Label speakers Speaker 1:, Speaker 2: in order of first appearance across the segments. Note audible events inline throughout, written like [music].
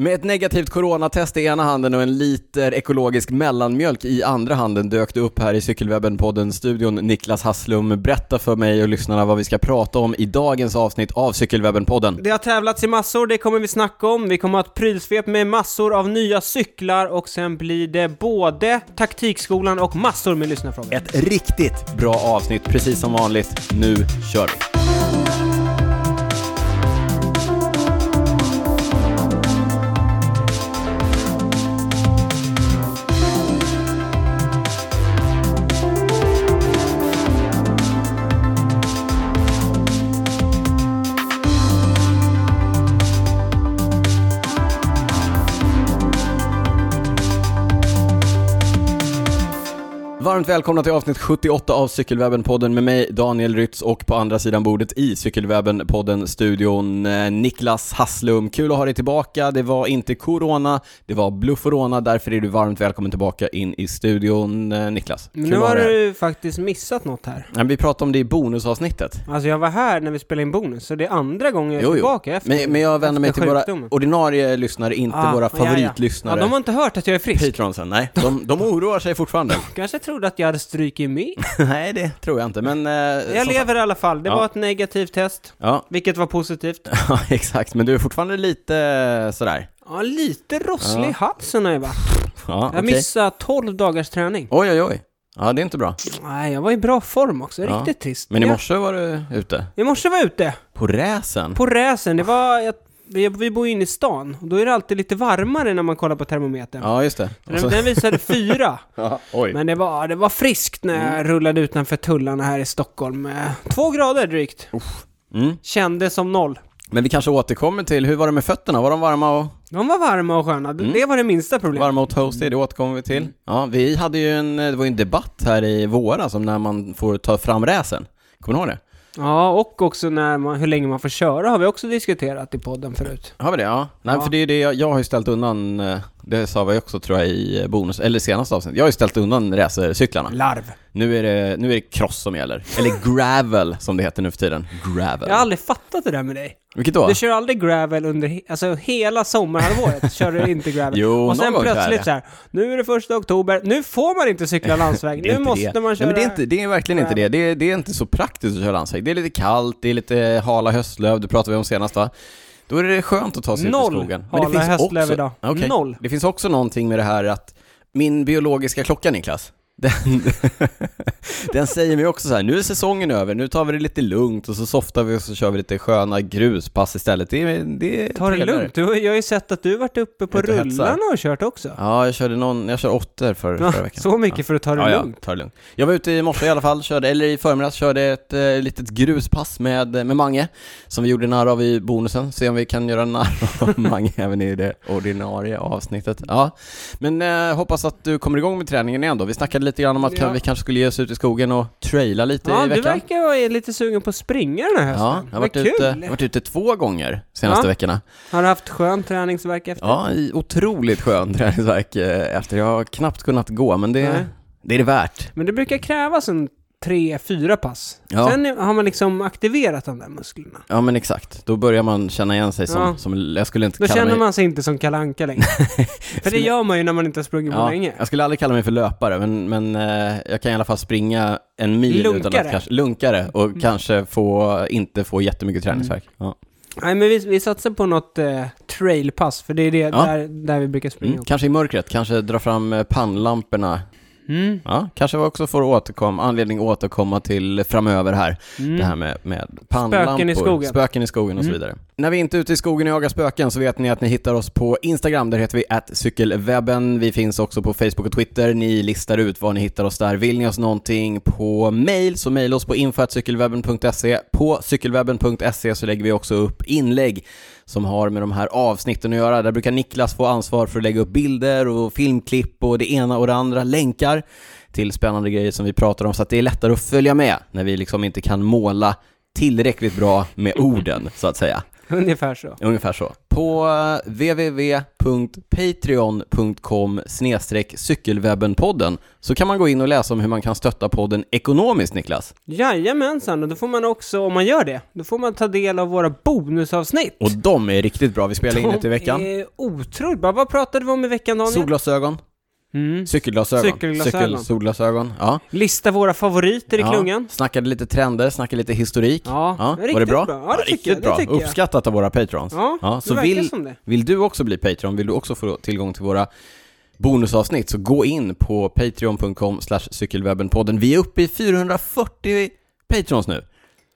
Speaker 1: Med ett negativt coronatest i ena handen och en liter ekologisk mellanmjölk i andra handen dök det upp här i Cykelwebben-podden-studion. Niklas Hasslum, berätta för mig och lyssnarna vad vi ska prata om i dagens avsnitt av Cykelwebben-podden.
Speaker 2: Det har tävlats i massor, det kommer vi snacka om. Vi kommer ha ett prylsvep med massor av nya cyklar och sen blir det både taktikskolan och massor med lyssnarfrågor.
Speaker 1: Ett riktigt bra avsnitt, precis som vanligt. Nu kör vi! Varmt välkomna till avsnitt 78 av Cykelwebben-podden med mig Daniel Rytz och på andra sidan bordet i Cykelwebben-podden-studion eh, Niklas Hasslum. Kul att ha dig tillbaka. Det var inte corona, det var blufforona. Därför är du varmt välkommen tillbaka in i studion, eh, Niklas. Kul
Speaker 2: nu
Speaker 1: att ha
Speaker 2: har
Speaker 1: dig här.
Speaker 2: du faktiskt missat något här.
Speaker 1: Nej, Vi pratade om det i bonusavsnittet.
Speaker 2: Alltså jag var här när vi spelade in bonus, så det är andra gången jag är
Speaker 1: Jo, jo.
Speaker 2: tillbaka efter
Speaker 1: Men, men jag vänder mig
Speaker 2: efter
Speaker 1: till våra
Speaker 2: sjukdomen.
Speaker 1: ordinarie lyssnare, inte
Speaker 2: Ah,
Speaker 1: våra
Speaker 2: ja, ja.
Speaker 1: favoritlyssnare.
Speaker 2: Ja, de har inte hört att jag är frisk.
Speaker 1: Patronsen, nej. De, de oroar sig
Speaker 2: [laughs]
Speaker 1: fortfarande.
Speaker 2: Kanske trodde att jag hade strykit med.
Speaker 1: nej, det tror jag inte, men... Eh,
Speaker 2: Jag
Speaker 1: som-
Speaker 2: lever i alla fall. Det
Speaker 1: Ja.
Speaker 2: var ett negativt test,
Speaker 1: Ja,
Speaker 2: vilket
Speaker 1: [laughs]
Speaker 2: var positivt.
Speaker 1: Ja, exakt. Men du är fortfarande lite eh, sådär.
Speaker 2: Ja, lite rosslig
Speaker 1: Ja.
Speaker 2: i halsen har jag varit.
Speaker 1: Ja,
Speaker 2: Jag
Speaker 1: okej.
Speaker 2: missade 12 dagars träning.
Speaker 1: Oj, oj, oj. Ja, det är inte bra.
Speaker 2: Nej, jag var i bra form också.
Speaker 1: Ja.
Speaker 2: Riktigt trist.
Speaker 1: Men i morse var du ute.
Speaker 2: Jag, i morse var jag ute
Speaker 1: På räsen?
Speaker 2: på räsen. Det var... Jag, vi, vi bor ju inne i stan. Och då är det alltid lite varmare när man kollar på termometern.
Speaker 1: Ja, alltså. just det. Och
Speaker 2: Den,
Speaker 1: så-
Speaker 2: den visade fyra.
Speaker 1: [laughs] Ja, oj.
Speaker 2: Men det var, det var friskt när
Speaker 1: Mm.
Speaker 2: jag rullade utanför tullarna här i Stockholm. Eh, Två grader drygt.
Speaker 1: Mm.
Speaker 2: Kändes som noll.
Speaker 1: Men vi kanske återkommer till, hur var det med fötterna? Var de varma och,
Speaker 2: De var varma och sköna.
Speaker 1: Mm.
Speaker 2: Det- Det var det minsta problemet.
Speaker 1: varma och toasty? Det återkommer vi till. Ja, vi hade ju en, eh, det var ju en debatt här i våras om när man får ta fram räsen. Kommer ni ihåg det?
Speaker 2: Ja, och också när man, hur länge man får köra har vi också diskuterat i podden förut.
Speaker 1: Har vi det? Ja. Nej,
Speaker 2: Ja.
Speaker 1: för det är det jag, jag har ju ställt undan, eh, det sa vi också tror jag i eh, bonus, eller senaste avsnittet. Jag har ju ställt undan racercyklarna.
Speaker 2: Larv.
Speaker 1: Nu är, det, nu är det cross som gäller. Eller gravel som det heter nu för tiden. Gravel.
Speaker 2: Jag har aldrig fattat det där med dig.
Speaker 1: Vilket då?
Speaker 2: Du kör aldrig gravel under he- alltså,
Speaker 1: [laughs]
Speaker 2: hela sommarhalvåret. kör du inte gravel.
Speaker 1: Jo, någon
Speaker 2: och sen
Speaker 1: gång kör jag
Speaker 2: plötsligt
Speaker 1: det.
Speaker 2: så här, nu är det första oktober, nu får man
Speaker 1: [laughs]
Speaker 2: inte cykla landsväg,
Speaker 1: Det är
Speaker 2: nu
Speaker 1: inte
Speaker 2: måste
Speaker 1: det.
Speaker 2: man köra...
Speaker 1: Nej, men det, är inte, det är verkligen inte det. det. är- Det är inte så praktiskt att köra landsväg. Det är lite kallt, det är lite hala höstlöv, det pratade vi om senast va? Då är det skönt att ta sig ut i
Speaker 2: Noll
Speaker 1: skogen.
Speaker 2: hala
Speaker 1: det
Speaker 2: höstlöv
Speaker 1: också,
Speaker 2: idag.
Speaker 1: Ja, okej.
Speaker 2: Noll.
Speaker 1: Det finns också någonting med det här att min biologiska klocka Niklas, [laughs] den, den säger mig också så här, nu är säsongen över, nu tar vi det lite lugnt och så softar vi och så kör vi lite sköna gruspass istället. Det, är- det är
Speaker 2: Ta det
Speaker 1: trevligare.
Speaker 2: lugnt. Du, har- jag har ju sett att du har varit uppe på
Speaker 1: Ute och hetsar.
Speaker 2: rullarna och kört också.
Speaker 1: Ja, jag körde någon, jag körde åttor för,
Speaker 2: Ja,
Speaker 1: förra veckan.
Speaker 2: så mycket för att ta det
Speaker 1: Ja, ja,
Speaker 2: lugnt.
Speaker 1: ta det lugnt. Jag var ute i morse i alla fall, körde, eller i förmiddags, körde ett eh, litet gruspass med, med Mange, som vi gjorde narr av i bonusen. Se om vi kan göra narr
Speaker 2: [laughs]
Speaker 1: av Mange även i det ordinarie avsnittet. Ja. Men eh, hoppas att du kommer igång med träningen igen då. Vi snackade lite grann om att
Speaker 2: Ja.
Speaker 1: vi kanske skulle ge oss ut i skogen och traila lite
Speaker 2: Ja,
Speaker 1: i
Speaker 2: du
Speaker 1: veckan.
Speaker 2: verkar vara lite sugen på att springa den här hösten.
Speaker 1: Ja, jag har
Speaker 2: Vad
Speaker 1: varit
Speaker 2: kul!
Speaker 1: ute, jag har varit ute två gånger senaste
Speaker 2: Ja.
Speaker 1: veckorna.
Speaker 2: Har du haft skön träningsvärk efter?
Speaker 1: Ja, i otroligt skön träningsvärk eh, efter. Jag har knappt kunnat gå, men
Speaker 2: Nej.
Speaker 1: det, det är det värt.
Speaker 2: Men det brukar krävas en tre, fyra pass.
Speaker 1: Ja.
Speaker 2: Sen är- har man liksom aktiverat de där musklerna.
Speaker 1: Ja men exakt, då börjar man känna igen sig som,
Speaker 2: Ja.
Speaker 1: som jag skulle inte
Speaker 2: Då
Speaker 1: kalla
Speaker 2: känner
Speaker 1: mig...
Speaker 2: man sig inte som Kalle
Speaker 1: [laughs]
Speaker 2: Anka längre. För det gör man ju när man inte har sprungit på
Speaker 1: ja,
Speaker 2: länge.
Speaker 1: Jag skulle aldrig kalla mig för löpare, men, men eh, jag kan i alla fall springa en mil utan
Speaker 2: Lunkare. Mm.
Speaker 1: att kanske, lunkare och kanske få, inte få jättemycket träningsvärk. Ja.
Speaker 2: Nej, men vi, vi satsar på något eh, trailpass, för det är det
Speaker 1: Ja.
Speaker 2: där, där vi brukar springa.
Speaker 1: Mm. Kanske i mörkret, kanske dra fram eh, pannlamporna.
Speaker 2: Mm.
Speaker 1: Ja, kanske vi också får återkom, anledning att återkomma till framöver här. Det här med, med pannlampor,
Speaker 2: Mm. Spöken i skogen.
Speaker 1: spöken i skogen och så
Speaker 2: Mm.
Speaker 1: vidare. När vi inte är ute i skogen och jagar spöken så vet ni att ni hittar oss på Instagram, där heter vi cykelwebben. Vi finns också på Facebook och Twitter. Ni listar ut var ni hittar oss där. Vill ni oss någonting på mail så mejla oss på info.cykelwebben.se. På cykelwebben.se så lägger vi också upp inlägg som har med de här avsnitten att göra. Där brukar Niklas få ansvar för att lägga upp bilder och filmklipp och det ena och det andra, länkar till spännande grejer som vi pratar om så att det är lättare att följa med när vi liksom inte kan måla tillräckligt bra med orden, så att säga.
Speaker 2: Ungefär så.
Speaker 1: Ungefär så. På eh, www.patreon.com cykelwebbenpodden så kan man gå in och läsa om hur man kan stötta podden ekonomiskt, Niklas.
Speaker 2: Jajamensan, och då får man också, om man gör det, då får man ta del av våra bonusavsnitt.
Speaker 1: Och de är riktigt bra. Vi spelar in
Speaker 2: De
Speaker 1: ett i veckan.
Speaker 2: är otroligt bra. Vad pratade vi om i veckan, Daniel?
Speaker 1: Solglasögon,
Speaker 2: Mm.
Speaker 1: cykelglasögon,
Speaker 2: Cykelglasögon.
Speaker 1: cykel, solglasögon. Ja.
Speaker 2: Lista våra favoriter i
Speaker 1: ja.
Speaker 2: klungan.
Speaker 1: Snackade lite trender, snackade lite historik.
Speaker 2: Ja,
Speaker 1: Var det
Speaker 2: riktigt
Speaker 1: bra?
Speaker 2: bra. Ja, det tycker
Speaker 1: riktigt
Speaker 2: jag, det
Speaker 1: bra.
Speaker 2: tycker jag.
Speaker 1: Uppskattat av våra patrons.
Speaker 2: Ja, det
Speaker 1: så
Speaker 2: verkar
Speaker 1: vill,
Speaker 2: som det.
Speaker 1: vill du också bli Patreon, vill du också få tillgång till våra bonusavsnitt, så gå in på patreon.com cykelwebbenpodden. Vi är uppe i 440 patrons nu.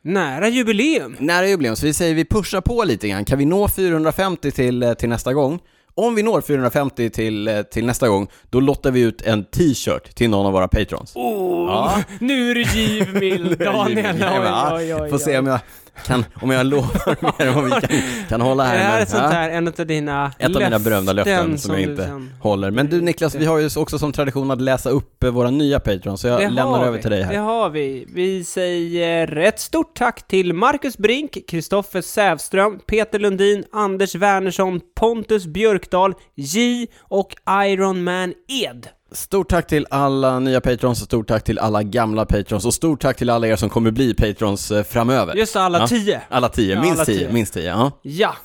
Speaker 2: Nära jubileum.
Speaker 1: Nära jubileum, så vi säger vi pushar på lite grann. Kan vi nå 450 till, eh, till nästa gång? Om vi når 450 till, eh, till nästa gång, då lottar vi ut en t-shirt till någon av våra patrons.
Speaker 2: Oh,
Speaker 1: Ja.
Speaker 2: [laughs] Nu är
Speaker 1: [laughs]
Speaker 2: du givmild, Daniel.
Speaker 1: Ja,
Speaker 2: Oj, oj, oj,
Speaker 1: ah, Får se om jag, kan, om jag lovar [laughs] mer än vad vi kan, kan hålla
Speaker 2: Det
Speaker 1: här.
Speaker 2: här
Speaker 1: men-
Speaker 2: är sånt
Speaker 1: ja.
Speaker 2: här, en av dina
Speaker 1: Ett av mina berömda löften som jag
Speaker 2: du
Speaker 1: inte
Speaker 2: sen-
Speaker 1: håller. Men du Niklas, vi har ju också som tradition att läsa upp eh, våra nya Patreon, så jag
Speaker 2: Det
Speaker 1: lämnar
Speaker 2: har
Speaker 1: över
Speaker 2: vi.
Speaker 1: till dig här.
Speaker 2: Det har vi. Vi säger ett stort tack till Marcus Brink, Kristoffer Sävström, Peter Lundin, Anders Wernersson, Pontus Björkdal, J och Iron Man Ed.
Speaker 1: Stort tack till alla nya Patrons och stort tack till alla gamla Patrons och stort tack till alla er som kommer bli Patrons eh, framöver.
Speaker 2: Just det, alla
Speaker 1: Ja.
Speaker 2: tio.
Speaker 1: Alla tio,
Speaker 2: Ja,
Speaker 1: minst
Speaker 2: alla
Speaker 1: tio,
Speaker 2: tio.
Speaker 1: minst tio. Ja.
Speaker 2: Ja.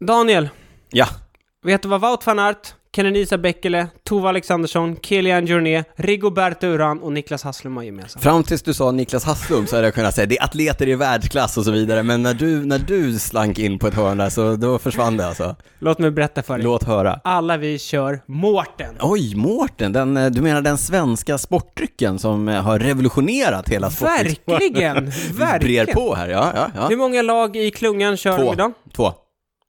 Speaker 2: Daniel,
Speaker 1: ja,
Speaker 2: vet du vad Wout van Aert, Kenenisa Bäckele, Tove Alexandersson, Kilian Journé, Rigoberto Uran och Niklas Hasslum har gemensamt?
Speaker 1: fram tills du sa Niklas Hasslum så hade jag kunnat säga det är atleter i världsklass och så vidare, men när du, när du slank in på ett hörn där så då försvann det alltså.
Speaker 2: Låt mig berätta för dig.
Speaker 1: Låt höra.
Speaker 2: Alla vi kör Mårten.
Speaker 1: Oj, Mårten, den, eh, du menar den svenska sportdrycken som eh, har revolutionerat hela sportdrycken?
Speaker 2: Verkligen,
Speaker 1: brer
Speaker 2: verkligen.
Speaker 1: på här, ja. ja, ja.
Speaker 2: Hur många lag i klungan kör de idag?
Speaker 1: Två. Två.
Speaker 2: Ah.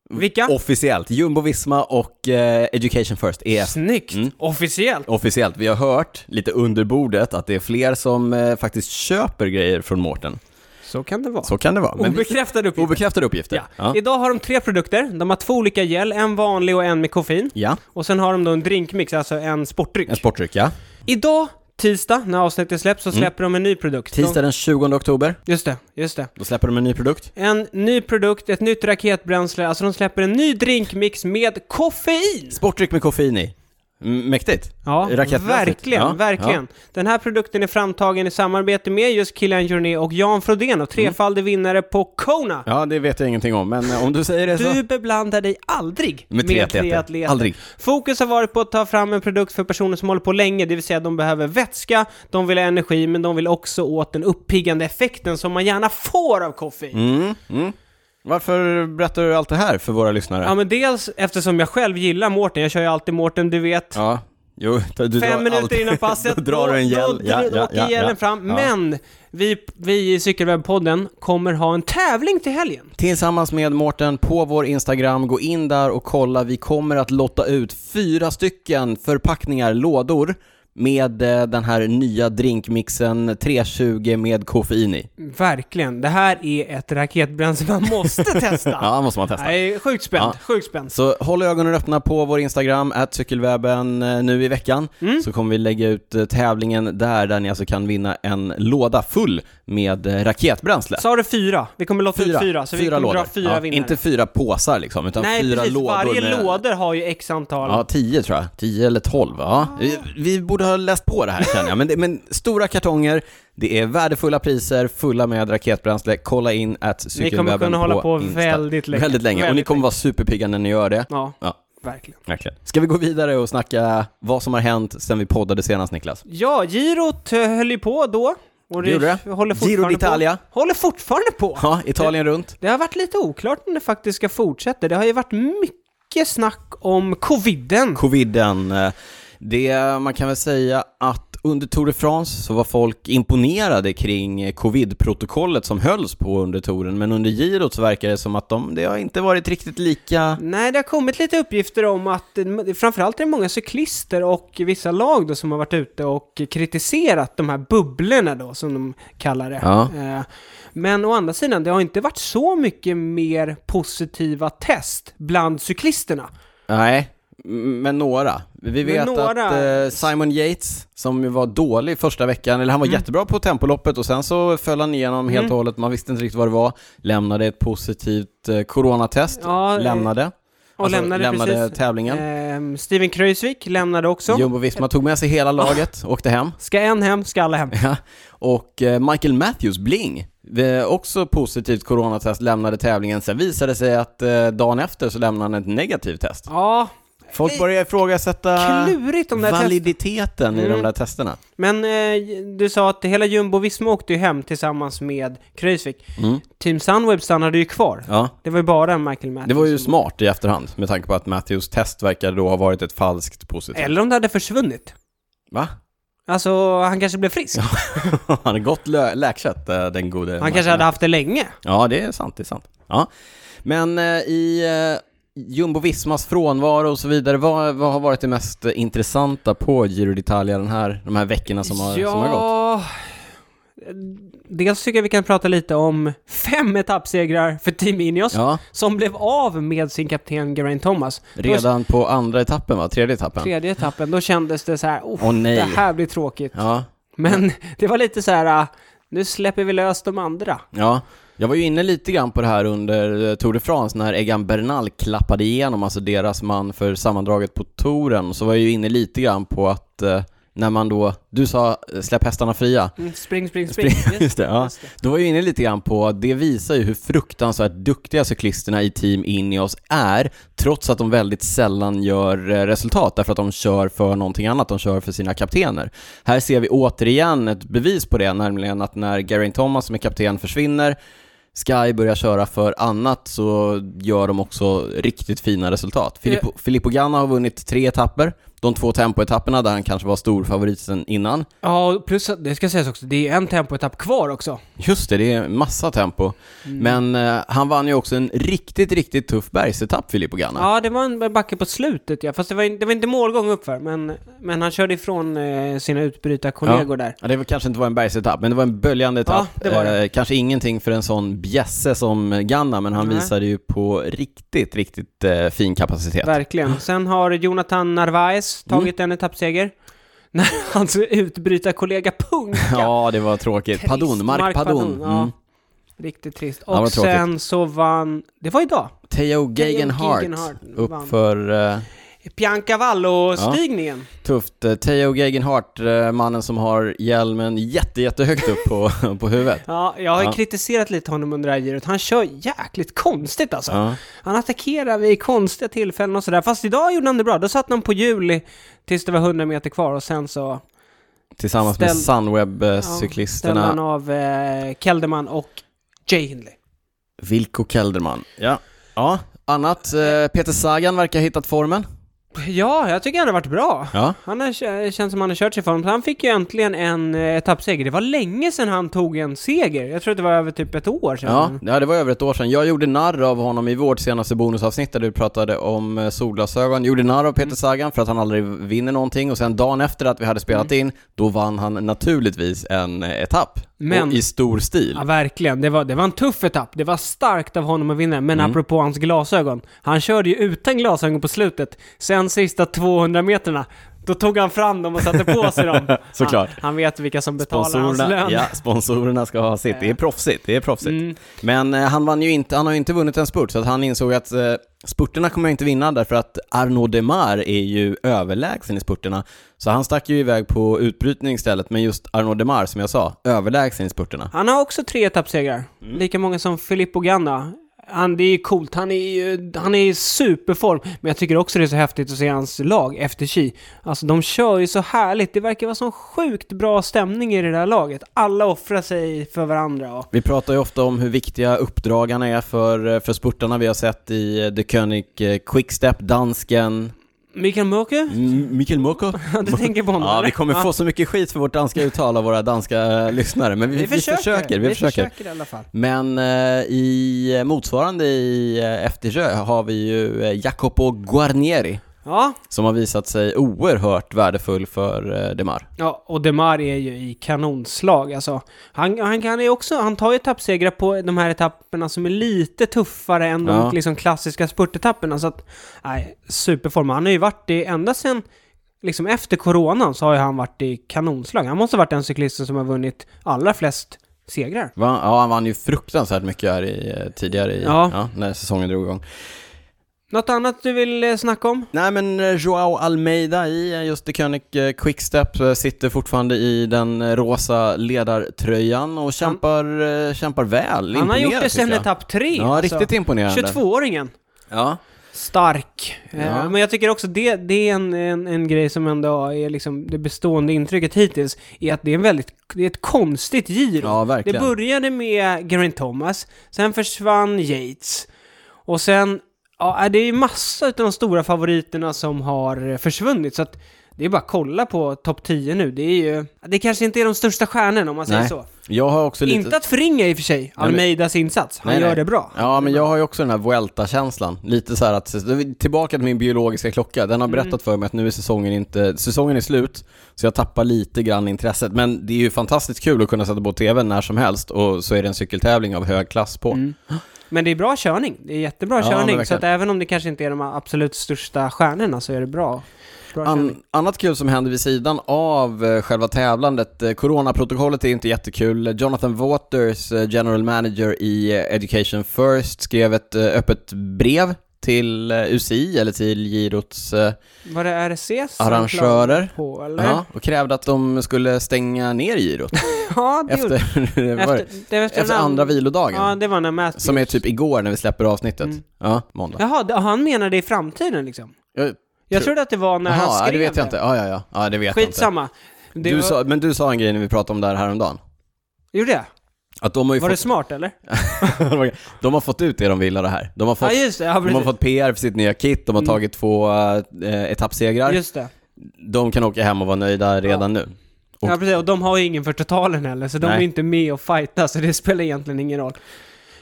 Speaker 2: Vilka?
Speaker 1: Officiellt. Jumbo Visma och eh, Education First, EF.
Speaker 2: Snyggt! Officiellt!
Speaker 1: Officiellt. Vi har hört lite under bordet att det är fler som eh, faktiskt köper grejer från Mårten.
Speaker 2: Så kan det vara.
Speaker 1: Så kan det vara. Men vi-
Speaker 2: Obekräftade uppgifter.
Speaker 1: obekräftade uppgifter.
Speaker 2: Ja.
Speaker 1: Ja.
Speaker 2: Idag har de tre produkter. De har två olika gel, en vanlig och en med koffein.
Speaker 1: Ja.
Speaker 2: Och sen har de då en drinkmix, alltså en sportdryck.
Speaker 1: En sportdryck, ja.
Speaker 2: Idag, tisdag, när avsnittet släpps, så släpper de en ny produkt.
Speaker 1: Tisdag den 20 oktober,
Speaker 2: De, just det, just det.
Speaker 1: då släpper de en ny produkt.
Speaker 2: En ny produkt, ett nytt raketbränsle, alltså de släpper en ny drinkmix med koffein!
Speaker 1: Sportdryck med koffein i. M- Mäktigt.
Speaker 2: Ja,
Speaker 1: Raketmässigt.
Speaker 2: verkligen,
Speaker 1: Ja,
Speaker 2: verkligen. Den här produkten är framtagen i samarbete med just Kilian Journé och Jan Frodeno, trefaldig vinnare på Kona.
Speaker 1: Mm. Ja. ja, det vet jag ingenting om, men eh, om du säger det så...
Speaker 2: Du beblandar dig aldrig
Speaker 1: Med tre atleter. Aldrig.
Speaker 2: Fokus har varit på att ta fram en produkt för personer som håller på länge, det vill säga de behöver vätska, de vill ha energi, men de vill också åt den uppiggande effekten som man gärna får av koffein.
Speaker 1: Mm, mm. Varför berättar du allt det här för våra lyssnare?
Speaker 2: Ja, men dels eftersom jag själv gillar Mårten, jag kör ju alltid Mårten, du vet.
Speaker 1: Ja, jo, du drar
Speaker 2: Fem minuter
Speaker 1: alltid-
Speaker 2: innan passet,
Speaker 1: då drar [laughs] du en gel.
Speaker 2: Då, då, då åker gelen fram. Men vi, vi i Cykelwebbpodden kommer ha en tävling till helgen.
Speaker 1: Tillsammans med Mårten på vår Instagram, gå in där och kolla. Vi kommer att lotta ut fyra stycken förpackningar, lådor, med eh, den här nya drinkmixen 320 med koffein i.
Speaker 2: Verkligen, det här är ett raketbränsle
Speaker 1: [laughs]
Speaker 2: man måste testa.
Speaker 1: Ja, måste man testa.
Speaker 2: Nej, sjukt spänt, sjukt spänt.
Speaker 1: Så håll ögonen öppna på vår Instagram, att cykelwebben, eh, nu i veckan.
Speaker 2: Mm.
Speaker 1: Så kommer vi lägga ut eh, tävlingen där, där ni alltså kan vinna en låda full med eh, raketbränsle.
Speaker 2: Sa du fyra? Vi kommer låta ut fyra, så vi kommer dra fyra
Speaker 1: Ja,
Speaker 2: vinnare.
Speaker 1: Inte fyra påsar liksom, utan
Speaker 2: Nej,
Speaker 1: fyra
Speaker 2: precis.
Speaker 1: lådor.
Speaker 2: Varje
Speaker 1: med-
Speaker 2: lådor har ju x antal.
Speaker 1: Ja, tio tror jag. Tio eller tolv, ja. Vi, vi borde ha läst på det här känner jag. Men, det, men stora kartonger, det är värdefulla priser, fulla med raketbränsle. Kolla in att
Speaker 2: Ni
Speaker 1: cykelwebben
Speaker 2: kommer kunna hålla på
Speaker 1: Insta.
Speaker 2: väldigt länge.
Speaker 1: Väldigt länge, och ni kommer vara superpigga när ni gör det.
Speaker 2: Ja,
Speaker 1: Ja.
Speaker 2: verkligen.
Speaker 1: Verkligen. Ska vi gå vidare och snacka vad som har hänt sen vi poddade senast Niklas?
Speaker 2: Ja, girot eh, höll ju på då. Och
Speaker 1: Det gjorde det.
Speaker 2: håller
Speaker 1: Giro
Speaker 2: fortfarande
Speaker 1: d'Italia.
Speaker 2: På. Håller fortfarande på.
Speaker 1: Ja, Italien runt.
Speaker 2: Det har varit lite oklart om det faktiskt ska fortsätta. Det har ju varit mycket snack om coviden.
Speaker 1: Coviden. eh, Det, man kan väl säga att under Tour de France så var folk imponerade kring eh, covid-protokollet som hölls på under touren, men under girot så verkar det som att de, det har inte varit riktigt lika...
Speaker 2: Nej, det har kommit lite uppgifter om att eh, framförallt är det många cyklister och vissa lag då som har varit ute och kritiserat de här bubblorna då som de kallar det.
Speaker 1: Ja.
Speaker 2: Eh, Men å andra sidan, det har inte varit så mycket mer positiva test bland cyklisterna.
Speaker 1: Nej, Men några. Vi vet
Speaker 2: några-
Speaker 1: att eh, Simon Yates, som ju var dålig första veckan, eller han
Speaker 2: Mm.
Speaker 1: var jättebra på tempoloppet och sen så föll han igenom helt och hållet, man visste inte riktigt vad det var, lämnade ett positivt eh, coronatest,
Speaker 2: Ja, eh,
Speaker 1: lämnade,
Speaker 2: Och
Speaker 1: Alltså,
Speaker 2: lämnade, precis.
Speaker 1: tävlingen.
Speaker 2: Ehm, Steven Kreuzvik lämnade också.
Speaker 1: Jumbo-Visma tog med sig
Speaker 2: Ah.
Speaker 1: hela laget, åkte hem.
Speaker 2: Ska en hem, ska alla hem.
Speaker 1: Ja. Och eh, Michael Matthews, Bling, eh, också positivt coronatest, lämnade tävlingen. Sen visade det sig att eh, dagen efter så lämnade han ett negativt test.
Speaker 2: Ja,
Speaker 1: Folk börjar ifrågasätta
Speaker 2: klurigt de där testerna.
Speaker 1: validiteten i de
Speaker 2: Mm.
Speaker 1: där testerna.
Speaker 2: Men eh, du sa att hela Jumbo-Visma åkte ju hem tillsammans med Kreuzvik.
Speaker 1: Mm.
Speaker 2: Team Sunweb stannade ju kvar.
Speaker 1: Ja.
Speaker 2: Det var ju bara Michael Matthews.
Speaker 1: Det var ju smart i efterhand med tanke på att Matthews test verkar då ha varit ett falskt positivt.
Speaker 2: Eller om det hade försvunnit.
Speaker 1: Va? [laughs]
Speaker 2: Alltså, han kanske blev frisk.
Speaker 1: Han har gott lö- läkkött, eh, den gode
Speaker 2: han kanske hade haft det länge.
Speaker 1: Ja, det är sant, det är sant. Ja. Men eh, i eh, Jumbo-Vismas frånvaro och så vidare, vad, vad har varit det mest eh, intressanta på Giro d'Italia den här, de här veckorna som har, som har gått?
Speaker 2: Dels tycker jag vi kan prata lite om fem etappsegrar för Team Ineos.
Speaker 1: Ja,
Speaker 2: Som blev av med sin kapten Geraint Thomas. Då,
Speaker 1: redan på andra etappen va? Tredje etappen?
Speaker 2: tredje etappen, då kändes det så här, oh,
Speaker 1: Åh, nej.
Speaker 2: det här blir tråkigt.
Speaker 1: Ja,
Speaker 2: Men [laughs] det var lite så här, ah, nu släpper vi lös de andra.
Speaker 1: ja. Jag var ju inne lite grann på det här under eh, Tour de France när Egan Bernal klappade igenom, alltså deras man för sammandraget på touren. Så var jag ju inne lite grann på att eh, när man då, du sa eh, släpp hästarna fria.
Speaker 2: Mm, spring, spring, spring.
Speaker 1: Spring, [laughs] just det, ja.
Speaker 2: Just det.
Speaker 1: Då var jag inne lite grann på att det visar ju hur fruktansvärt duktiga cyklisterna i Team Ineos är, trots att de väldigt sällan gör eh, resultat, därför att de kör för någonting annat, de kör för sina kaptener. Här ser vi återigen ett bevis på det, nämligen att när Geraint Thomas som är kapten försvinner, Sky börjar köra för annat så gör de också riktigt fina resultat. Filippo, Filippo Ganna har vunnit tre etapper, de två tempoetapperna där han kanske var stor favorit sen innan.
Speaker 2: Ja, och plus att det ska sägas också, det är en tempoetapp kvar också.
Speaker 1: Just det, det är massa tempo.
Speaker 2: Mm.
Speaker 1: Men eh, han vann ju också en riktigt, riktigt tuff bergsetapp, Filippo Ganna.
Speaker 2: Ja, det var en backe på slutet ja, fast det var, in, det var inte målgång uppför, men, men han körde ifrån eh, sina utbrytarkollegor där.
Speaker 1: Ja, det var, kanske inte var en bergsetapp, men det var en böljande etapp.
Speaker 2: Ja, det var det.
Speaker 1: Eh, kanske ingenting för en sån bjässe som Ganna, men han
Speaker 2: Nej.
Speaker 1: visade ju på riktigt, riktigt eh, fin kapacitet.
Speaker 2: Verkligen. Sen har Jonathan Narvaez
Speaker 1: Mm.
Speaker 2: tagit en etappseger. [laughs] När hans utbrytarkollega Punka.
Speaker 1: [laughs] Ja, det var tråkigt.
Speaker 2: Trist.
Speaker 1: Padon, Mark, Padon.
Speaker 2: ja.
Speaker 1: Mm.
Speaker 2: Riktigt trist.
Speaker 1: Ja, vad
Speaker 2: Och
Speaker 1: tråkigt.
Speaker 2: sen så vann, det var idag,
Speaker 1: Theo Gegenhardt,
Speaker 2: Gegenhardt vann.
Speaker 1: upp för... eh,
Speaker 2: Piancavallo-stigningen.
Speaker 1: Tufft. Eh, Theo Gegenhardt, eh, mannen som har hjälmen jätte, jättehögt upp på, [laughs] på huvudet.
Speaker 2: Ja, jag har ju
Speaker 1: Ja.
Speaker 2: kritiserat lite honom under det här girot. Han kör jäkligt konstigt alltså.
Speaker 1: Ja.
Speaker 2: Han attackerar vid konstiga tillfällen och sådär. Fast idag gjorde han det bra. Då satt han på hjul i- tills det var 100 meter kvar och sen så
Speaker 1: Tillsammans med
Speaker 2: Ställ- ställde
Speaker 1: Sunweb-cyklisterna
Speaker 2: han av eh, Kelderman och Jay Hindley.
Speaker 1: Vilko Kelderman. Ja. ja. Annat, eh, Peter Sagan verkar ha hittat formen.
Speaker 2: Ja, jag tycker han har varit bra.
Speaker 1: Ja.
Speaker 2: Han har, kö- känns som han har kört sig i form. Han fick ju äntligen en eh, etappseger. Det var länge sedan han tog en seger. Jag tror att det var över typ ett år sedan.
Speaker 1: Ja, ja, det var över ett år sedan. Jag gjorde narr av honom i vårt senaste bonusavsnitt där du pratade om eh, solglasögon. Gjorde narr av Peter Sagan för att han aldrig vinner någonting och sen dagen efter att vi hade spelat in, då vann han naturligtvis en eh, etapp.
Speaker 2: Men-
Speaker 1: Och i stor stil.
Speaker 2: Ja, verkligen. Det var, det var en tuff etapp. Det var starkt av honom att vinna.
Speaker 1: Mm.
Speaker 2: Men apropå hans glasögon. Han körde ju utan glasögon på slutet. Sen sista 200 meterna, då tog han fram dem och satte på sig dem.
Speaker 1: [laughs] Såklart.
Speaker 2: Han, han vet vilka som betalar hans
Speaker 1: Sponsorerna,
Speaker 2: lön. Mm.
Speaker 1: ja, sponsorerna ska ha sitt. Det är proffsigt. Det är proffsigt. Men eh, han, vann ju inte, han har ju inte vunnit en spurt, så att han insåg att eh, spurterna kommer jag inte vinna därför att Arnaud Demar är ju överlägsen i spurterna. Så han stack ju iväg på utbrytning istället, men just Arnaud Demar, som jag sa, överlägsen i spurterna.
Speaker 2: Han har också tre etappsegrar.
Speaker 1: Mm.
Speaker 2: Lika många som Filippo Ganna. Han, det är ju coolt. Han är ju han är i superform. Men jag tycker också det är så häftigt att se hans lag efter Chi. Alltså de kör ju så härligt. Det verkar vara sån sjukt bra stämning i det där laget. Alla offrar sig för varandra. Och
Speaker 1: Vi pratar ju ofta om hur viktiga uppdragarna är för, eh, för spurtarna. Vi har sett i eh, The König eh, Quickstep, dansken,
Speaker 2: Mikael Mörker?
Speaker 1: M- Mikael Mokko.
Speaker 2: [laughs] Ja, du tänker på honom
Speaker 1: Ja,
Speaker 2: eller?
Speaker 1: vi kommer
Speaker 2: Ja.
Speaker 1: få så mycket skit för vårt danska uttal av våra danska eh, lyssnare, men vi, vi, försöker, vi, försöker.
Speaker 2: i alla fall.
Speaker 1: Men eh, i eh, motsvarande i eh, FDJ har vi ju eh, Jacopo Guarnieri.
Speaker 2: Ja,
Speaker 1: som har visat sig oerhört värdefull för eh, Demar.
Speaker 2: ja och Demar är ju i kanonslag alltså. Han, han, kan ju också, han tar ju etappsegrar på de här etapperna som är lite tuffare än
Speaker 1: Ja.
Speaker 2: de liksom, klassiska spurtetapperna. Så att, nej, superform. Han har ju varit i, ända sen liksom efter coronan så har ju han varit i kanonslag. Han måste ha varit den cyklisten som har vunnit allra flest segrar.
Speaker 1: Va? Ja, han vann ju fruktansvärt mycket här i, eh, tidigare i, ja.
Speaker 2: Ja.
Speaker 1: när säsongen drog igång.
Speaker 2: Något annat du vill eh, snacka om?
Speaker 1: Nej, men eh, Joao Almeida i eh, just The König eh, Quickstep eh, sitter fortfarande i den eh, rosa ledartröjan och kämpar, eh, kämpar väl.
Speaker 2: Han har gjort
Speaker 1: Imponerad,
Speaker 2: det
Speaker 1: tycker
Speaker 2: sen
Speaker 1: jag.
Speaker 2: etapp tre. alltså.
Speaker 1: Ja, riktigt imponerande.
Speaker 2: 22-åringen.
Speaker 1: Ja.
Speaker 2: Stark. Eh,
Speaker 1: Ja.
Speaker 2: Men jag tycker också det, det är en, en, en grej som ändå är liksom det bestående intrycket hittills. Är att det är, en väldigt, det är ett konstigt giro.
Speaker 1: ja,
Speaker 2: det
Speaker 1: verkligen.
Speaker 2: började med Geraint Thomas, sen försvann Yates. Och sen, ja det är ju massa av de stora favoriterna som har försvunnit. Så att det är bara att kolla på topp 10 nu. Det är ju, det kanske inte är de största stjärnorna om man säger
Speaker 1: Nej.
Speaker 2: så.
Speaker 1: Jag har också lite...
Speaker 2: Inte att förringa i och för sig
Speaker 1: men-
Speaker 2: Almeidas insats. Han
Speaker 1: Nej,
Speaker 2: gör
Speaker 1: nej.
Speaker 2: det bra.
Speaker 1: Ja, men jag har ju också den här Vuelta-känslan. Lite så här att, tillbaka till min biologiska klocka. Den har berättat för mig att nu är säsongen inte, säsongen är slut, så jag tappar lite grann intresset. Men det är ju fantastiskt kul att kunna sätta på tvn när som helst och så är det en cykeltävling av hög klass på.
Speaker 2: Mm. Men det är bra körning. Det är jättebra
Speaker 1: Ja, men
Speaker 2: körning. Så
Speaker 1: verkligen.
Speaker 2: att även om det kanske inte är de absolut största stjärnorna så är det bra. bra körning.
Speaker 1: An, annat kul som händer vid sidan av eh, själva tävlandet, eh, coronaprotokollet är inte jättekul. Jonathan Waters, eh, general manager i eh, Education First, skrev ett eh, öppet brev till eh, UCI, eller till Girots eh,
Speaker 2: Var det RCS? som
Speaker 1: Arrangörer.
Speaker 2: klagade På, eller?
Speaker 1: Ja,
Speaker 2: [laughs] Ja,
Speaker 1: och krävde att de skulle stänga ner girot
Speaker 2: det
Speaker 1: efter,
Speaker 2: [laughs] gjorde
Speaker 1: det var det?
Speaker 2: efter, det var
Speaker 1: efter
Speaker 2: den-
Speaker 1: andra vilodagen.
Speaker 2: Ja, Mm. det var när Matthews.
Speaker 1: som är typ igår när vi släpper avsnittet. Ja, måndag.
Speaker 2: Jaha, det- han menar det i framtiden liksom?
Speaker 1: Jag,
Speaker 2: Jag
Speaker 1: Tror-
Speaker 2: trodde att det var när han
Speaker 1: aha,
Speaker 2: skrev
Speaker 1: ja, det vet jag inte. Ja, ja, ja. ja det vet
Speaker 2: Skitsamma.
Speaker 1: jag inte.
Speaker 2: Det
Speaker 1: Du
Speaker 2: var,
Speaker 1: sa, men du sa en grej när vi pratade om det här häromdagen.
Speaker 2: Gjorde jag?
Speaker 1: Att de har ju
Speaker 2: Var det
Speaker 1: fått,
Speaker 2: smart eller?
Speaker 1: [laughs] de har fått ut det de vill av det här. De har fått,
Speaker 2: Ja, just det. Ja,
Speaker 1: de har
Speaker 2: precis.
Speaker 1: fått PR för sitt nya kit, de har tagit två eh, etappsegrar.
Speaker 2: Just det.
Speaker 1: De kan åka hem och vara nöjda redan nu. Och-
Speaker 2: Ja, precis. Och de har ju ingen för totalen heller, så de
Speaker 1: Nej.
Speaker 2: är inte med och fightar så det spelar egentligen ingen roll.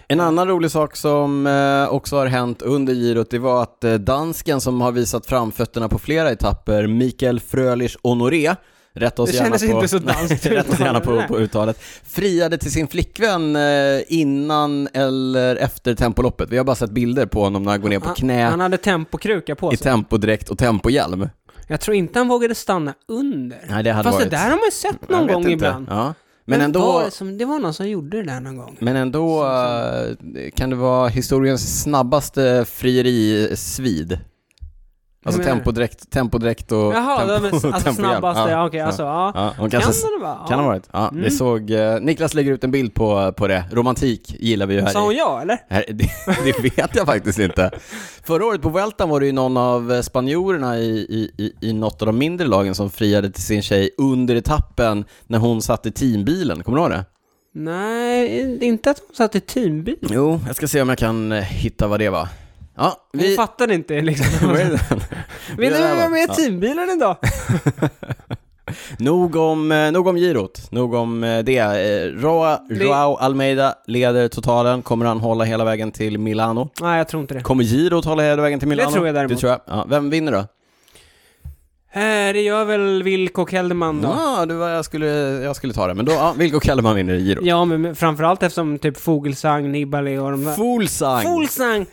Speaker 1: En annan rolig sak som eh, också har hänt under girot, det var att eh, dansken som har visat framfötterna på flera etapper, Mikael Frölich Honoré, rätta oss
Speaker 2: Det
Speaker 1: gärna
Speaker 2: kändes
Speaker 1: på,
Speaker 2: inte så
Speaker 1: [laughs]
Speaker 2: danskt
Speaker 1: rätta oss gärna på,
Speaker 2: uttal.
Speaker 1: på uttalet, friade till sin flickvän eh, innan eller efter tempoloppet. Vi har bara sett bilder på honom när han går ner på
Speaker 2: Han-
Speaker 1: knä
Speaker 2: Han hade tempokruka på
Speaker 1: i
Speaker 2: sig.
Speaker 1: tempodräkt och tempohjälm.
Speaker 2: Jag tror inte han vågade stanna under.
Speaker 1: Nej, det hade
Speaker 2: Fast
Speaker 1: varit...
Speaker 2: det där har man ju sett
Speaker 1: Jag
Speaker 2: någon
Speaker 1: vet
Speaker 2: gång
Speaker 1: inte.
Speaker 2: ibland.
Speaker 1: Ja. Men
Speaker 2: Vem Var
Speaker 1: ändå,
Speaker 2: det, som, det var någon som gjorde det där någon gång.
Speaker 1: men ändå eh, kan det vara historiens snabbaste frierisvid. Alltså
Speaker 2: menar du?
Speaker 1: tempodräkt, tempodräkt och tempo,
Speaker 2: Jaha,
Speaker 1: [laughs]
Speaker 2: de, alltså
Speaker 1: tempohjälm.
Speaker 2: snabbaste, ja,
Speaker 1: Ja,
Speaker 2: okej, alltså ja.
Speaker 1: ja, de
Speaker 2: Kan
Speaker 1: kanske,
Speaker 2: det Mm. vara?
Speaker 1: kan ha varit. Ja, det såg, eh, Niklas lägger ut en bild på, på det. Romantik gillar vi ju
Speaker 2: ja.
Speaker 1: här
Speaker 2: Sa
Speaker 1: i-
Speaker 2: hon ja, eller?
Speaker 1: här, det, det vet jag faktiskt inte. Förra året på Vueltan var det ju någon av eh, spanjorerna i, i, i- i något av de mindre lagen som friade till sin tjej under etappen när hon satt i teambilen. Kommer du ihåg det?
Speaker 2: Nej, det är inte att hon satt i teambil.
Speaker 1: Jo, jag ska se om jag kan eh, hitta vad det var. Ja,
Speaker 2: Vi...
Speaker 1: vi...
Speaker 2: fattade inte
Speaker 1: [laughs]
Speaker 2: liksom.
Speaker 1: Vad är det?
Speaker 2: [laughs] Vill
Speaker 1: det
Speaker 2: du
Speaker 1: där
Speaker 2: vara
Speaker 1: var-
Speaker 2: med i
Speaker 1: ja.
Speaker 2: teambilen idag?
Speaker 1: nog, om, eh, nog om girot, nog om eh, det. Eh, Roa,
Speaker 2: Det-
Speaker 1: Joao Almeida leder totalen. Kommer han hålla hela vägen till Milano?
Speaker 2: Nej, jag tror inte det.
Speaker 1: Kommer girot hålla hela vägen till Milano?
Speaker 2: tror jag däremot. Mm.
Speaker 1: Det tror jag. Ja, vem vinner då?
Speaker 2: Eh, det gör väl Wilco och Kelderman då.
Speaker 1: Ja, det var, jag, skulle, jag skulle ta det. Men då, ja, Vilko Kellerman vinner i Giro.
Speaker 2: Ja, men men framförallt eftersom typ Fogelsang, Nibali och de där.
Speaker 1: Fuglsang!
Speaker 2: Fuglsang!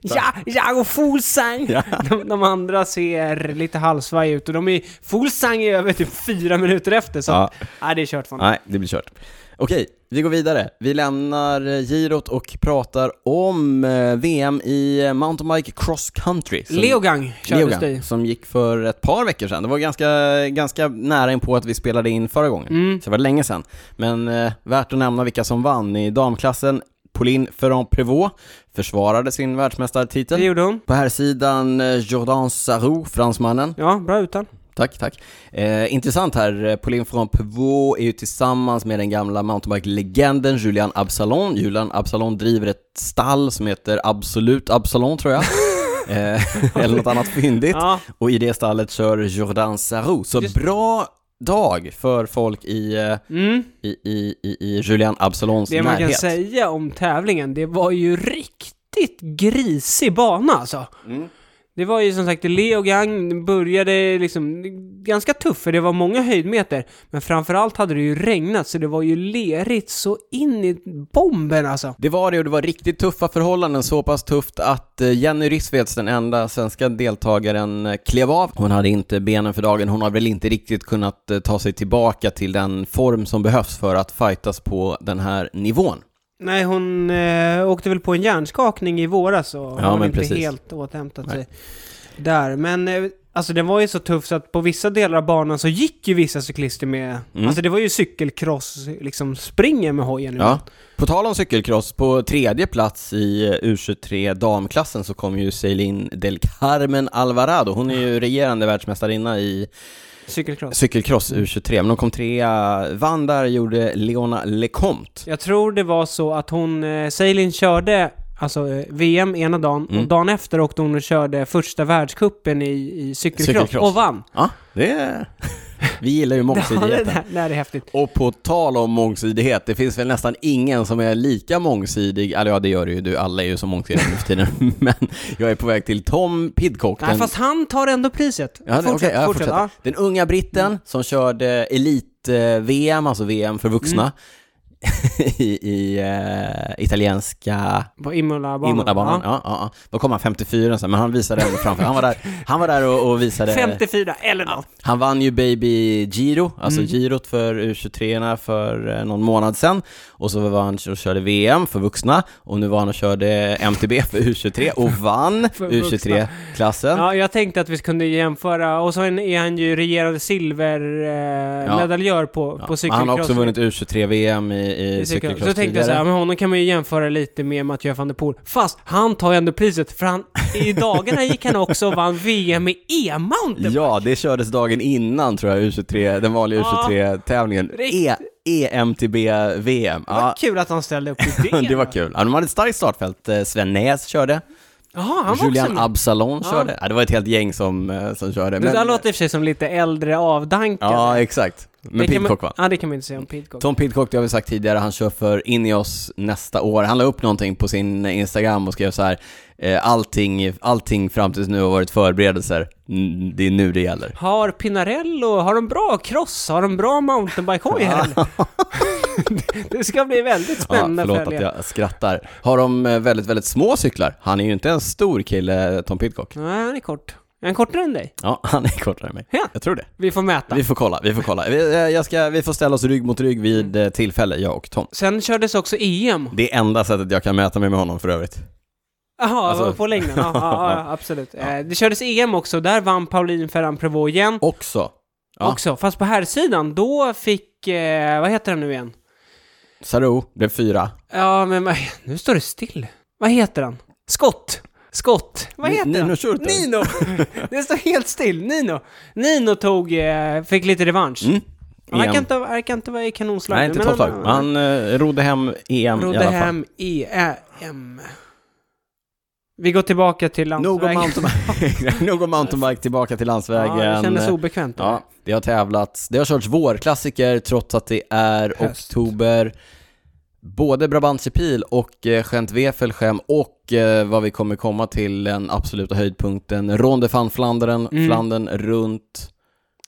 Speaker 2: Ja, jag och Fuglsang!
Speaker 1: Ja.
Speaker 2: De, de andra ser lite halvsvaj ut och de är... Fuglsang är över typ fyra minuter efter så...
Speaker 1: Ja.
Speaker 2: Ja. det är kört för honom.
Speaker 1: Nej, det blir kört. Okej, vi går vidare. Vi lämnar eh, girot och pratar om eh, VM i eh, mountainbike cross country. som-
Speaker 2: Leogang kördes
Speaker 1: Leogang,
Speaker 2: det i.
Speaker 1: som gick för ett par veckor sedan. Det var ganska, ganska nära in på att vi spelade in förra gången,
Speaker 2: Mm.
Speaker 1: så det var länge sedan. Men eh, värt att nämna vilka som vann i damklassen. Pauline Ferrand-Prévot försvarade sin
Speaker 2: Det
Speaker 1: världsmästartitel.
Speaker 2: gjorde hon.
Speaker 1: På här sidan eh, Jordan Sarou, fransmannen.
Speaker 2: Ja, bra utan.
Speaker 1: Tack, tack. Eh, intressant här, eh, Pauline från Pevot är ju tillsammans med den gamla mountainbike-legenden Julian Absalon. Julian Absalon driver ett stall som heter Absolut Absalon,
Speaker 2: [laughs]
Speaker 1: tror jag. eh, [laughs] eller något annat fyndigt.
Speaker 2: Ja,
Speaker 1: Och i det stallet kör Jordan Sarou. Så
Speaker 2: Just-
Speaker 1: bra dag för folk i, eh,
Speaker 2: mm.
Speaker 1: i, i, i, i Julian Absalons
Speaker 2: Det man
Speaker 1: närhet.
Speaker 2: kan säga om tävlingen, det var ju riktigt grisig bana alltså. Det var ju som sagt Leogang, det började liksom ganska tufft för det var många höjdmeter. Men framförallt hade det ju regnat så det var ju lerigt så in i bomben alltså.
Speaker 1: Det var det och det var riktigt tuffa förhållanden, så pass tufft att eh, Jenny Rissveds, den enda svenska deltagaren, eh, klev av. Hon hade inte benen för dagen, hon har väl inte riktigt kunnat eh, ta sig tillbaka till den form som behövs för att fightas på den här nivån.
Speaker 2: Nej, hon eh, åkte väl på en hjärnskakning i våras och har
Speaker 1: men
Speaker 2: inte
Speaker 1: precis.
Speaker 2: helt återhämtat
Speaker 1: Nej.
Speaker 2: sig där. Men eh, alltså den var ju så tuff så att på vissa delar av banan så gick ju vissa cyklister med,
Speaker 1: Mm.
Speaker 2: alltså det var ju cykelcross, liksom springer med hojen. nu.
Speaker 1: Ja. På tal om cykelcross, på tredje plats i eh, U23 damklassen så kom ju Celine del Carmen Alvarado. Hon är
Speaker 2: Ah.
Speaker 1: ju regerande världsmästarinna i
Speaker 2: Cykelcross.
Speaker 1: cykelcross U23, men hon kom trea. Vann där gjorde Leona Lecomte.
Speaker 2: Jag tror det var så att hon, eh, Sailin körde alltså eh, VM ena dagen
Speaker 1: Mm.
Speaker 2: och dagen efter åkte hon och körde första världscupen i, i cykelcross,
Speaker 1: Cykelcross.
Speaker 2: och vann.
Speaker 1: Ja, det är... [laughs] Vi gillar ju
Speaker 2: [laughs] Ja, det,
Speaker 1: mångsidigheten.
Speaker 2: där- det här är häftigt.
Speaker 1: Och på tal om mångsidighet, det finns väl nästan ingen som är lika mångsidig, eller ja det gör det ju, du, alla är ju så mångsidiga nu för tiden, [laughs] men jag är på väg till Tom Pidcock,
Speaker 2: Nej,
Speaker 1: den,
Speaker 2: fast han tar ändå priset.
Speaker 1: ja, det- okej, jag fortsätter.
Speaker 2: ja. Mm.
Speaker 1: den unga britten som körde elit-VM, alltså VM för vuxna,
Speaker 2: Mm.
Speaker 1: [laughs] i, i eh, italienska
Speaker 2: På Imola-banan.
Speaker 1: Imola-banan. Ja. Ja, ja, Då kom han 54 sen, men han visade ändå framför, han var där, han var där och, och visade...
Speaker 2: 54 eller något.
Speaker 1: Han vann ju Baby Giro, alltså
Speaker 2: Mm.
Speaker 1: girot för U23 för eh, någon månad sedan. Och så var han och körde VM för vuxna och nu var han och körde MTB för U23 och vann
Speaker 2: [laughs] För vuxna.
Speaker 1: U23-klassen.
Speaker 2: Ja, jag tänkte att vi kunde jämföra, och så är han ju regerande
Speaker 1: Ja.
Speaker 2: silvermedaljör på, på
Speaker 1: Men han
Speaker 2: cykelcross.
Speaker 1: har också vunnit U23-VM i, i cykelcross
Speaker 2: Så tänkte jag så här, men honom kan man ju jämföra lite med Mathieu van der Poel. Fast han tar ju ändå priset, för han, i dagarna gick han också och vann VM i e-mountain.
Speaker 1: Ja, det kördes dagen innan tror jag, U23, den vanliga
Speaker 2: Ja.
Speaker 1: U23-tävlingen. E,
Speaker 2: Riktigt.
Speaker 1: EMTB-VM. Ja,
Speaker 2: Vad kul att han ställde upp
Speaker 1: [laughs]
Speaker 2: i det.
Speaker 1: det var kul. Ja, de hade ett starkt startfält. Eh, Sven Nääs körde.
Speaker 2: Jaha, han var också
Speaker 1: Julian
Speaker 2: med.
Speaker 1: Absalon
Speaker 2: Ja.
Speaker 1: körde. Ja, det var ett helt gäng som, eh, som körde.
Speaker 2: Det där låter i och för sig som lite äldre avdankad.
Speaker 1: Ja, exakt. Men
Speaker 2: Det kan man-
Speaker 1: Pidcock vann.
Speaker 2: Ja, det kan man inte säga om Pidcock.
Speaker 1: Tom Pidcock, det har vi sagt tidigare, han kör för Ineos nästa år. Han la upp någonting på sin Instagram och skrev så här, eh, allting, allting fram tills nu har varit förberedelser. Mm, Det är nu det gäller.
Speaker 2: Har Pinarello, har de bra cross? Har de bra mountainbike-hoj här eller? [laughs] Det ska bli väldigt
Speaker 1: [laughs] Ja,
Speaker 2: spännande
Speaker 1: förlåt
Speaker 2: att
Speaker 1: att
Speaker 2: följa.
Speaker 1: jag skrattar. Har de eh, väldigt, väldigt små cyklar? Han är ju inte en stor kille, Tom Pidcock.
Speaker 2: Nej, han är kort. Är han kortare än dig?
Speaker 1: Ja, [laughs] han är kortare än mig.
Speaker 2: Ja.
Speaker 1: Jag tror det.
Speaker 2: Vi får mäta.
Speaker 1: Vi får kolla, vi får kolla. Vi, eh, jag ska, vi får ställa oss rygg mot rygg vid eh, tillfälle, jag och Tom.
Speaker 2: Sen kördes också E EM.
Speaker 1: Det är enda sättet jag kan mäta mig med honom för övrigt.
Speaker 2: Jaha,
Speaker 1: Alltså-
Speaker 2: på längden. Ja,
Speaker 1: [laughs]
Speaker 2: ja, ja, absolut. Eh, Det kördes EM också, där vann Pauline Ferran Prevot igen.
Speaker 1: Också, ja.
Speaker 2: Också, fast på här sidan då fick, eh, vad heter han nu igen?
Speaker 1: Sarou blev fyra.
Speaker 2: Ja, men vad- nu står det still. Vad heter han? Skott! Skott! Vad
Speaker 1: Ni-
Speaker 2: heter
Speaker 1: Nino
Speaker 2: han?
Speaker 1: Schurter.
Speaker 2: Nino! [laughs] det står helt still. Nino! Nino tog, eh, fick lite revansch.
Speaker 1: Mm.
Speaker 2: Han verkar
Speaker 1: EM.
Speaker 2: inte, verkar inte vara i kanonslag
Speaker 1: Nej,
Speaker 2: nu,
Speaker 1: inte
Speaker 2: men
Speaker 1: topplag. Han eh, rodde hem EM i
Speaker 2: rodde
Speaker 1: alla fall.
Speaker 2: hem EM. Vi går tillbaka till
Speaker 1: Nog om
Speaker 2: landsvägen.
Speaker 1: mountainbike. [laughs] Nog om mountainbike, tillbaka till landsvägen.
Speaker 2: [laughs] Ja, det kändes obekvämt.
Speaker 1: Ja, det har tävlats. Det har körts vårklassiker trots att det är
Speaker 2: Höst.
Speaker 1: oktober. Både Brabantse Pil och eh, Gent Wefelschem och eh, vad vi kommer komma till den absoluta höjdpunkten, Ronde van Flandern,
Speaker 2: Mm.
Speaker 1: Flandern runt.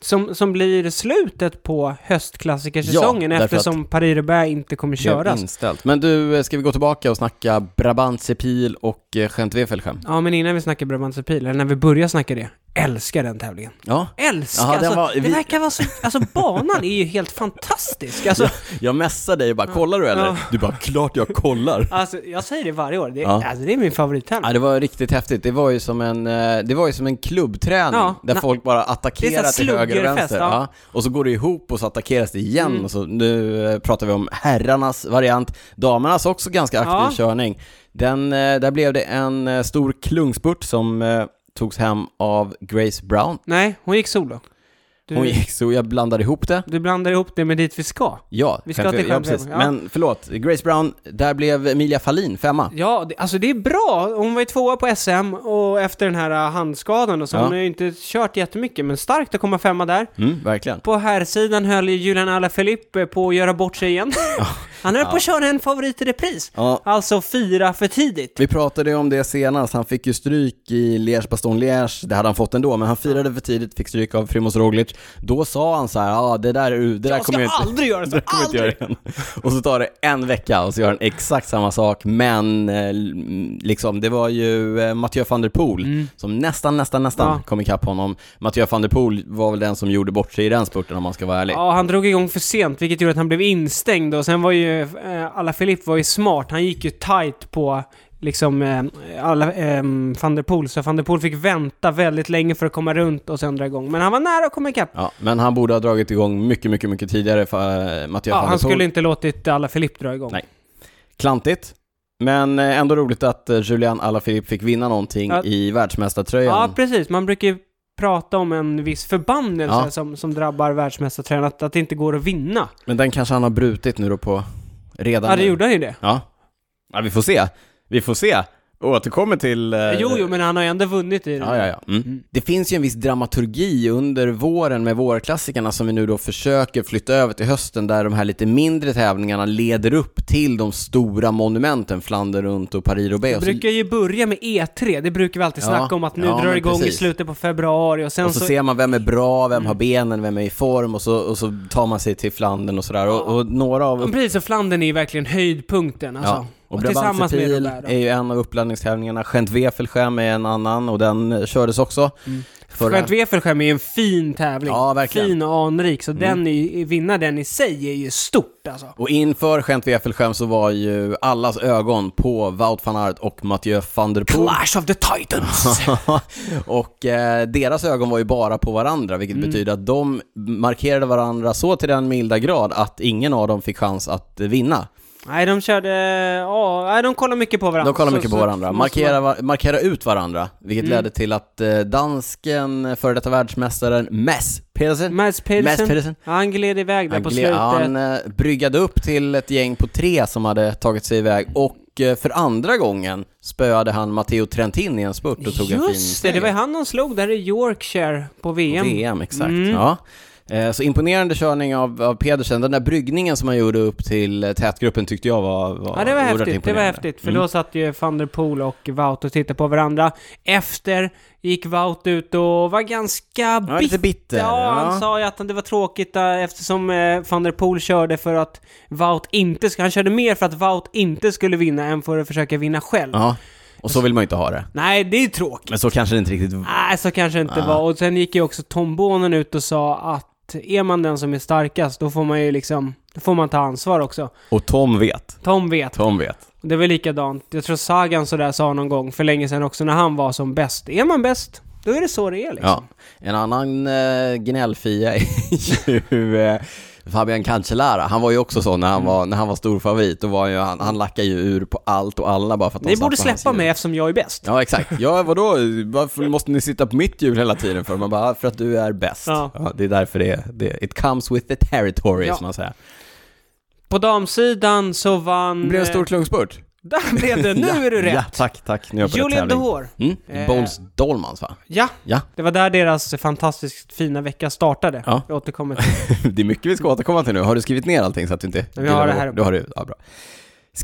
Speaker 2: Som, som blir slutet på höstklassikersäsongen
Speaker 1: Ja, därför
Speaker 2: eftersom Paris-Roubaix inte kommer
Speaker 1: Det är
Speaker 2: köras.
Speaker 1: inställt. Men du, eh, ska vi gå tillbaka och snacka Brabantse Pil och eh, Gent Wefelschem?
Speaker 2: Ja, men innan vi snackar Brabantse Pil, eller när vi börjar snacka det, älskar den tävlingen.
Speaker 1: Ja,
Speaker 2: Älskar!
Speaker 1: Jaha, den
Speaker 2: alltså,
Speaker 1: var- vi-
Speaker 2: Det verkar vara så... Alltså banan är ju helt fantastisk. Alltså,
Speaker 1: Jag messar dig och bara, kollar du eller?
Speaker 2: Ja.
Speaker 1: Du bara, klart jag kollar.
Speaker 2: alltså, jag säger det varje år. Det,
Speaker 1: Ja.
Speaker 2: alltså, det är min favorittävling.
Speaker 1: Ja, det var riktigt häftigt. Det var ju som en, eh, det var ju som en klubbträning
Speaker 2: Ja,
Speaker 1: där
Speaker 2: na-
Speaker 1: folk bara
Speaker 2: det är
Speaker 1: attackerar
Speaker 2: så
Speaker 1: till höger och
Speaker 2: sluggerfest,
Speaker 1: vänster.
Speaker 2: ja. Mm.
Speaker 1: Ja. Och så går det ihop och så attackeras det igen. Och så, nu eh, pratar vi om herrarnas variant. Damernas också ganska aktiv
Speaker 2: Ja.
Speaker 1: körning. Den, eh, där blev det en eh, stor klungspurt som eh, togs hem av Grace Brown.
Speaker 2: Nej, hon gick solo. Du,
Speaker 1: Hon gick så jag blandade ihop det.
Speaker 2: du blandar ihop det med dit vi ska.
Speaker 1: Ja,
Speaker 2: Vi ska
Speaker 1: skämt-
Speaker 2: till
Speaker 1: ja,
Speaker 2: skämt-
Speaker 1: precis.
Speaker 2: ja.
Speaker 1: Men förlåt, Grace Brown, där blev Emilia Fallin femma.
Speaker 2: Ja, det, alltså det är bra. Hon var ju tvåa på SM och efter den här eh, handskadan och så.
Speaker 1: Ja.
Speaker 2: Hon har ju inte kört jättemycket, men starkt att komma femma där.
Speaker 1: Mm, verkligen.
Speaker 2: På här sidan höll ju Julian Alaphilippe på att göra bort sig igen. [laughs] Han höll på att köra en favorit i repris.
Speaker 1: Ja.
Speaker 2: Alltså fyra för tidigt.
Speaker 1: Vi pratade ju om det senast, han fick ju stryk i Liège Baston Liège, det hade han fått ändå, men han firade för tidigt, fick stryk av Primoz Roglic. Då sa han så här, ja ah, det där, är u- det där
Speaker 2: Jag ska
Speaker 1: kommer jag inte...
Speaker 2: aldrig göra så,
Speaker 1: det kommer jag inte göra
Speaker 2: aldrig!
Speaker 1: igen. Och så tar det en vecka och så gör han exakt samma sak, men eh, l- liksom, det var ju eh, Mathieu van der Poel som nästan, nästan, nästan
Speaker 2: Mm. Ja.
Speaker 1: kom ikapp honom. Mathieu van der Poel var väl den som gjorde bort sig i den spurten om man ska vara ärlig.
Speaker 2: Ja, han drog igång för sent, vilket gjorde att han blev instängd. Och sen var ju... Eh, alla var ju smart. Han gick ju tight på liksom eh, alla, eh, van der Poel. Så van der Poel fick vänta väldigt länge för att komma runt och sen dra igång. Men han var nära att komma ikapp.
Speaker 1: Ja, men han borde ha dragit igång mycket, mycket, mycket tidigare för eh, Mathieu
Speaker 2: Ja,
Speaker 1: van der
Speaker 2: han
Speaker 1: Poel.
Speaker 2: skulle inte låtit alla dra igång.
Speaker 1: Nej. Klantigt. Men eh, ändå roligt att eh, Julian Alaphilippe fick vinna någonting
Speaker 2: Ja.
Speaker 1: i
Speaker 2: Ja,
Speaker 1: världsmästartröjan.
Speaker 2: precis. Man brukar ju prata om en viss förbannelse
Speaker 1: Ja.
Speaker 2: som, som drabbar världsmästartröjan, att, att det inte går att vinna.
Speaker 1: Men den kanske han har brutit nu då på redan
Speaker 2: Ja, det
Speaker 1: nu.
Speaker 2: gjorde han ju det.
Speaker 1: Ja. ja, vi får se. Vi får se. Återkommer till... eh,
Speaker 2: Jo, jo, men han har ju ändå vunnit i det.
Speaker 1: Ja, ja, ja. Mm. Det finns ju en viss dramaturgi under våren med vårklassikerna som vi nu då försöker flytta över till hösten där de här lite mindre tävlingarna leder upp till de stora monumenten, Flandern runt och Paris-Roubaix.
Speaker 2: Det
Speaker 1: Och så-
Speaker 2: brukar ju börja med E3, det brukar vi alltid
Speaker 1: Ja,
Speaker 2: snacka om att nu
Speaker 1: ja,
Speaker 2: drar
Speaker 1: men
Speaker 2: det igång i
Speaker 1: precis.
Speaker 2: slutet på februari och sen
Speaker 1: Och
Speaker 2: så...
Speaker 1: så, ser man vem är bra, vem har benen, vem är i form och så, och så tar man sig till Flandern och sådär. Och, och några av...
Speaker 2: Ja, precis, och Flandern är ju verkligen höjdpunkten alltså.
Speaker 1: ja. Och
Speaker 2: tillsammans med
Speaker 1: Brabantsepil
Speaker 2: Robert.
Speaker 1: är ju en av uppladdningstävlingarna. Gent Wefelschem är en annan och den eh, kördes också. Mm.
Speaker 2: Skönt Wefelskär är ju en fin tävling.
Speaker 1: Ja, verkligen. Mm.
Speaker 2: Fin och anrik, så den är, vinna den i sig är ju stort alltså.
Speaker 1: Och inför Gent Wefelschem så var ju allas ögon på Wout van Aert och Mathieu van der Poel.
Speaker 2: Clash of
Speaker 1: [laughs]
Speaker 2: the Titans!
Speaker 1: och eh, deras ögon var ju bara på varandra, vilket betyder att de markerade varandra så till den milda grad att ingen av dem fick chans att eh, vinna.
Speaker 2: Nej, de körde... Ja, nej, de kollar mycket på varandra.
Speaker 1: De kollar
Speaker 2: Så-
Speaker 1: mycket på
Speaker 2: så-
Speaker 1: varandra,
Speaker 2: så måste man- Mm.
Speaker 1: markera, va- markera ut varandra, vilket ledde till att eh, dansken, eh, före detta världsmästaren Mess Pedersen,
Speaker 2: Mads Pedersen,
Speaker 1: Mads Pedersen.
Speaker 2: han gled iväg där
Speaker 1: han,
Speaker 2: på
Speaker 1: gle-
Speaker 2: slutet.
Speaker 1: han eh, bryggade upp till ett gäng på tre som hade tagit sig iväg och eh, för andra gången spöade han Matteo Trentin i en spurt och tog en fin
Speaker 2: Just det, det var ju han de slog där i Yorkshire på VM.
Speaker 1: VM, exakt.
Speaker 2: Mm.
Speaker 1: Ja. Eh, Så imponerande körning av, av Pedersen. Den där bryggningen som han gjorde upp till eh, tätgruppen tyckte jag var, var
Speaker 2: Ja, det var
Speaker 1: oerhört
Speaker 2: häftigt. Det var
Speaker 1: imponerande. Mm.
Speaker 2: häftigt. För då satt ju van der Poel och Wout och tittade på varandra. Efter gick Wout ut och var ganska
Speaker 1: Ja, lite bitter,
Speaker 2: Ja, han
Speaker 1: ja.
Speaker 2: sa ju att det var tråkigt eh, eftersom eh, van der Poel körde för att Wout inte skulle... Han körde mer för att Wout inte skulle vinna än för att försöka vinna själv.
Speaker 1: Ja, och så vill man ju inte ha det.
Speaker 2: Nej, det är ju tråkigt.
Speaker 1: Men så kanske det inte riktigt
Speaker 2: Nej, så kanske det inte var. Och sen gick ju också Tom Bonen ut och sa att är man den som är starkast, då får man ju liksom... Då får man ta ansvar också.
Speaker 1: Och Tom vet.
Speaker 2: Tom vet.
Speaker 1: Tom vet.
Speaker 2: Det var likadant. Jag tror Sagan sådär sa någon gång för länge sedan också när han var som bäst. Är man bäst, då är det så det är liksom.
Speaker 1: Ja. En annan eh, gnällfia är ju eh, Fabian Cancellara. Han var ju också så när han var, när han var stor favorit. Då var ju, han, han lackade ju ur på allt och alla bara för att de
Speaker 2: Ni
Speaker 1: satt
Speaker 2: borde
Speaker 1: på hans
Speaker 2: släppa
Speaker 1: hjul.
Speaker 2: mig eftersom jag är bäst.
Speaker 1: Ja, exakt. Ja, vadå? Varför måste ni sitta på mitt hjul hela tiden för? Man bara, "Ah, för att du är bäst.
Speaker 2: Ja.
Speaker 1: Ja. det är därför det, det it comes with the territory,
Speaker 2: Ja.
Speaker 1: som man säger.
Speaker 2: På damsidan så vann...
Speaker 1: Det blev en
Speaker 2: eh,
Speaker 1: stor klungspurt.
Speaker 2: [laughs] Där blev det, nu är du
Speaker 1: Ja,
Speaker 2: rätt!
Speaker 1: tack, tack. Nu är jag på
Speaker 2: Julian Eh.
Speaker 1: rätt tävling.
Speaker 2: Dehor.
Speaker 1: Mm, Bones Dolmans, va?
Speaker 2: Ja,
Speaker 1: Ja.
Speaker 2: det var där deras fantastiskt fina vecka startade.
Speaker 1: Ja.
Speaker 2: Jag återkommer till det.
Speaker 1: [laughs] Det är mycket vi ska återkomma till nu. Har du skrivit ner allting så att du inte...
Speaker 2: Jag har det här.
Speaker 1: Du har det, ja bra.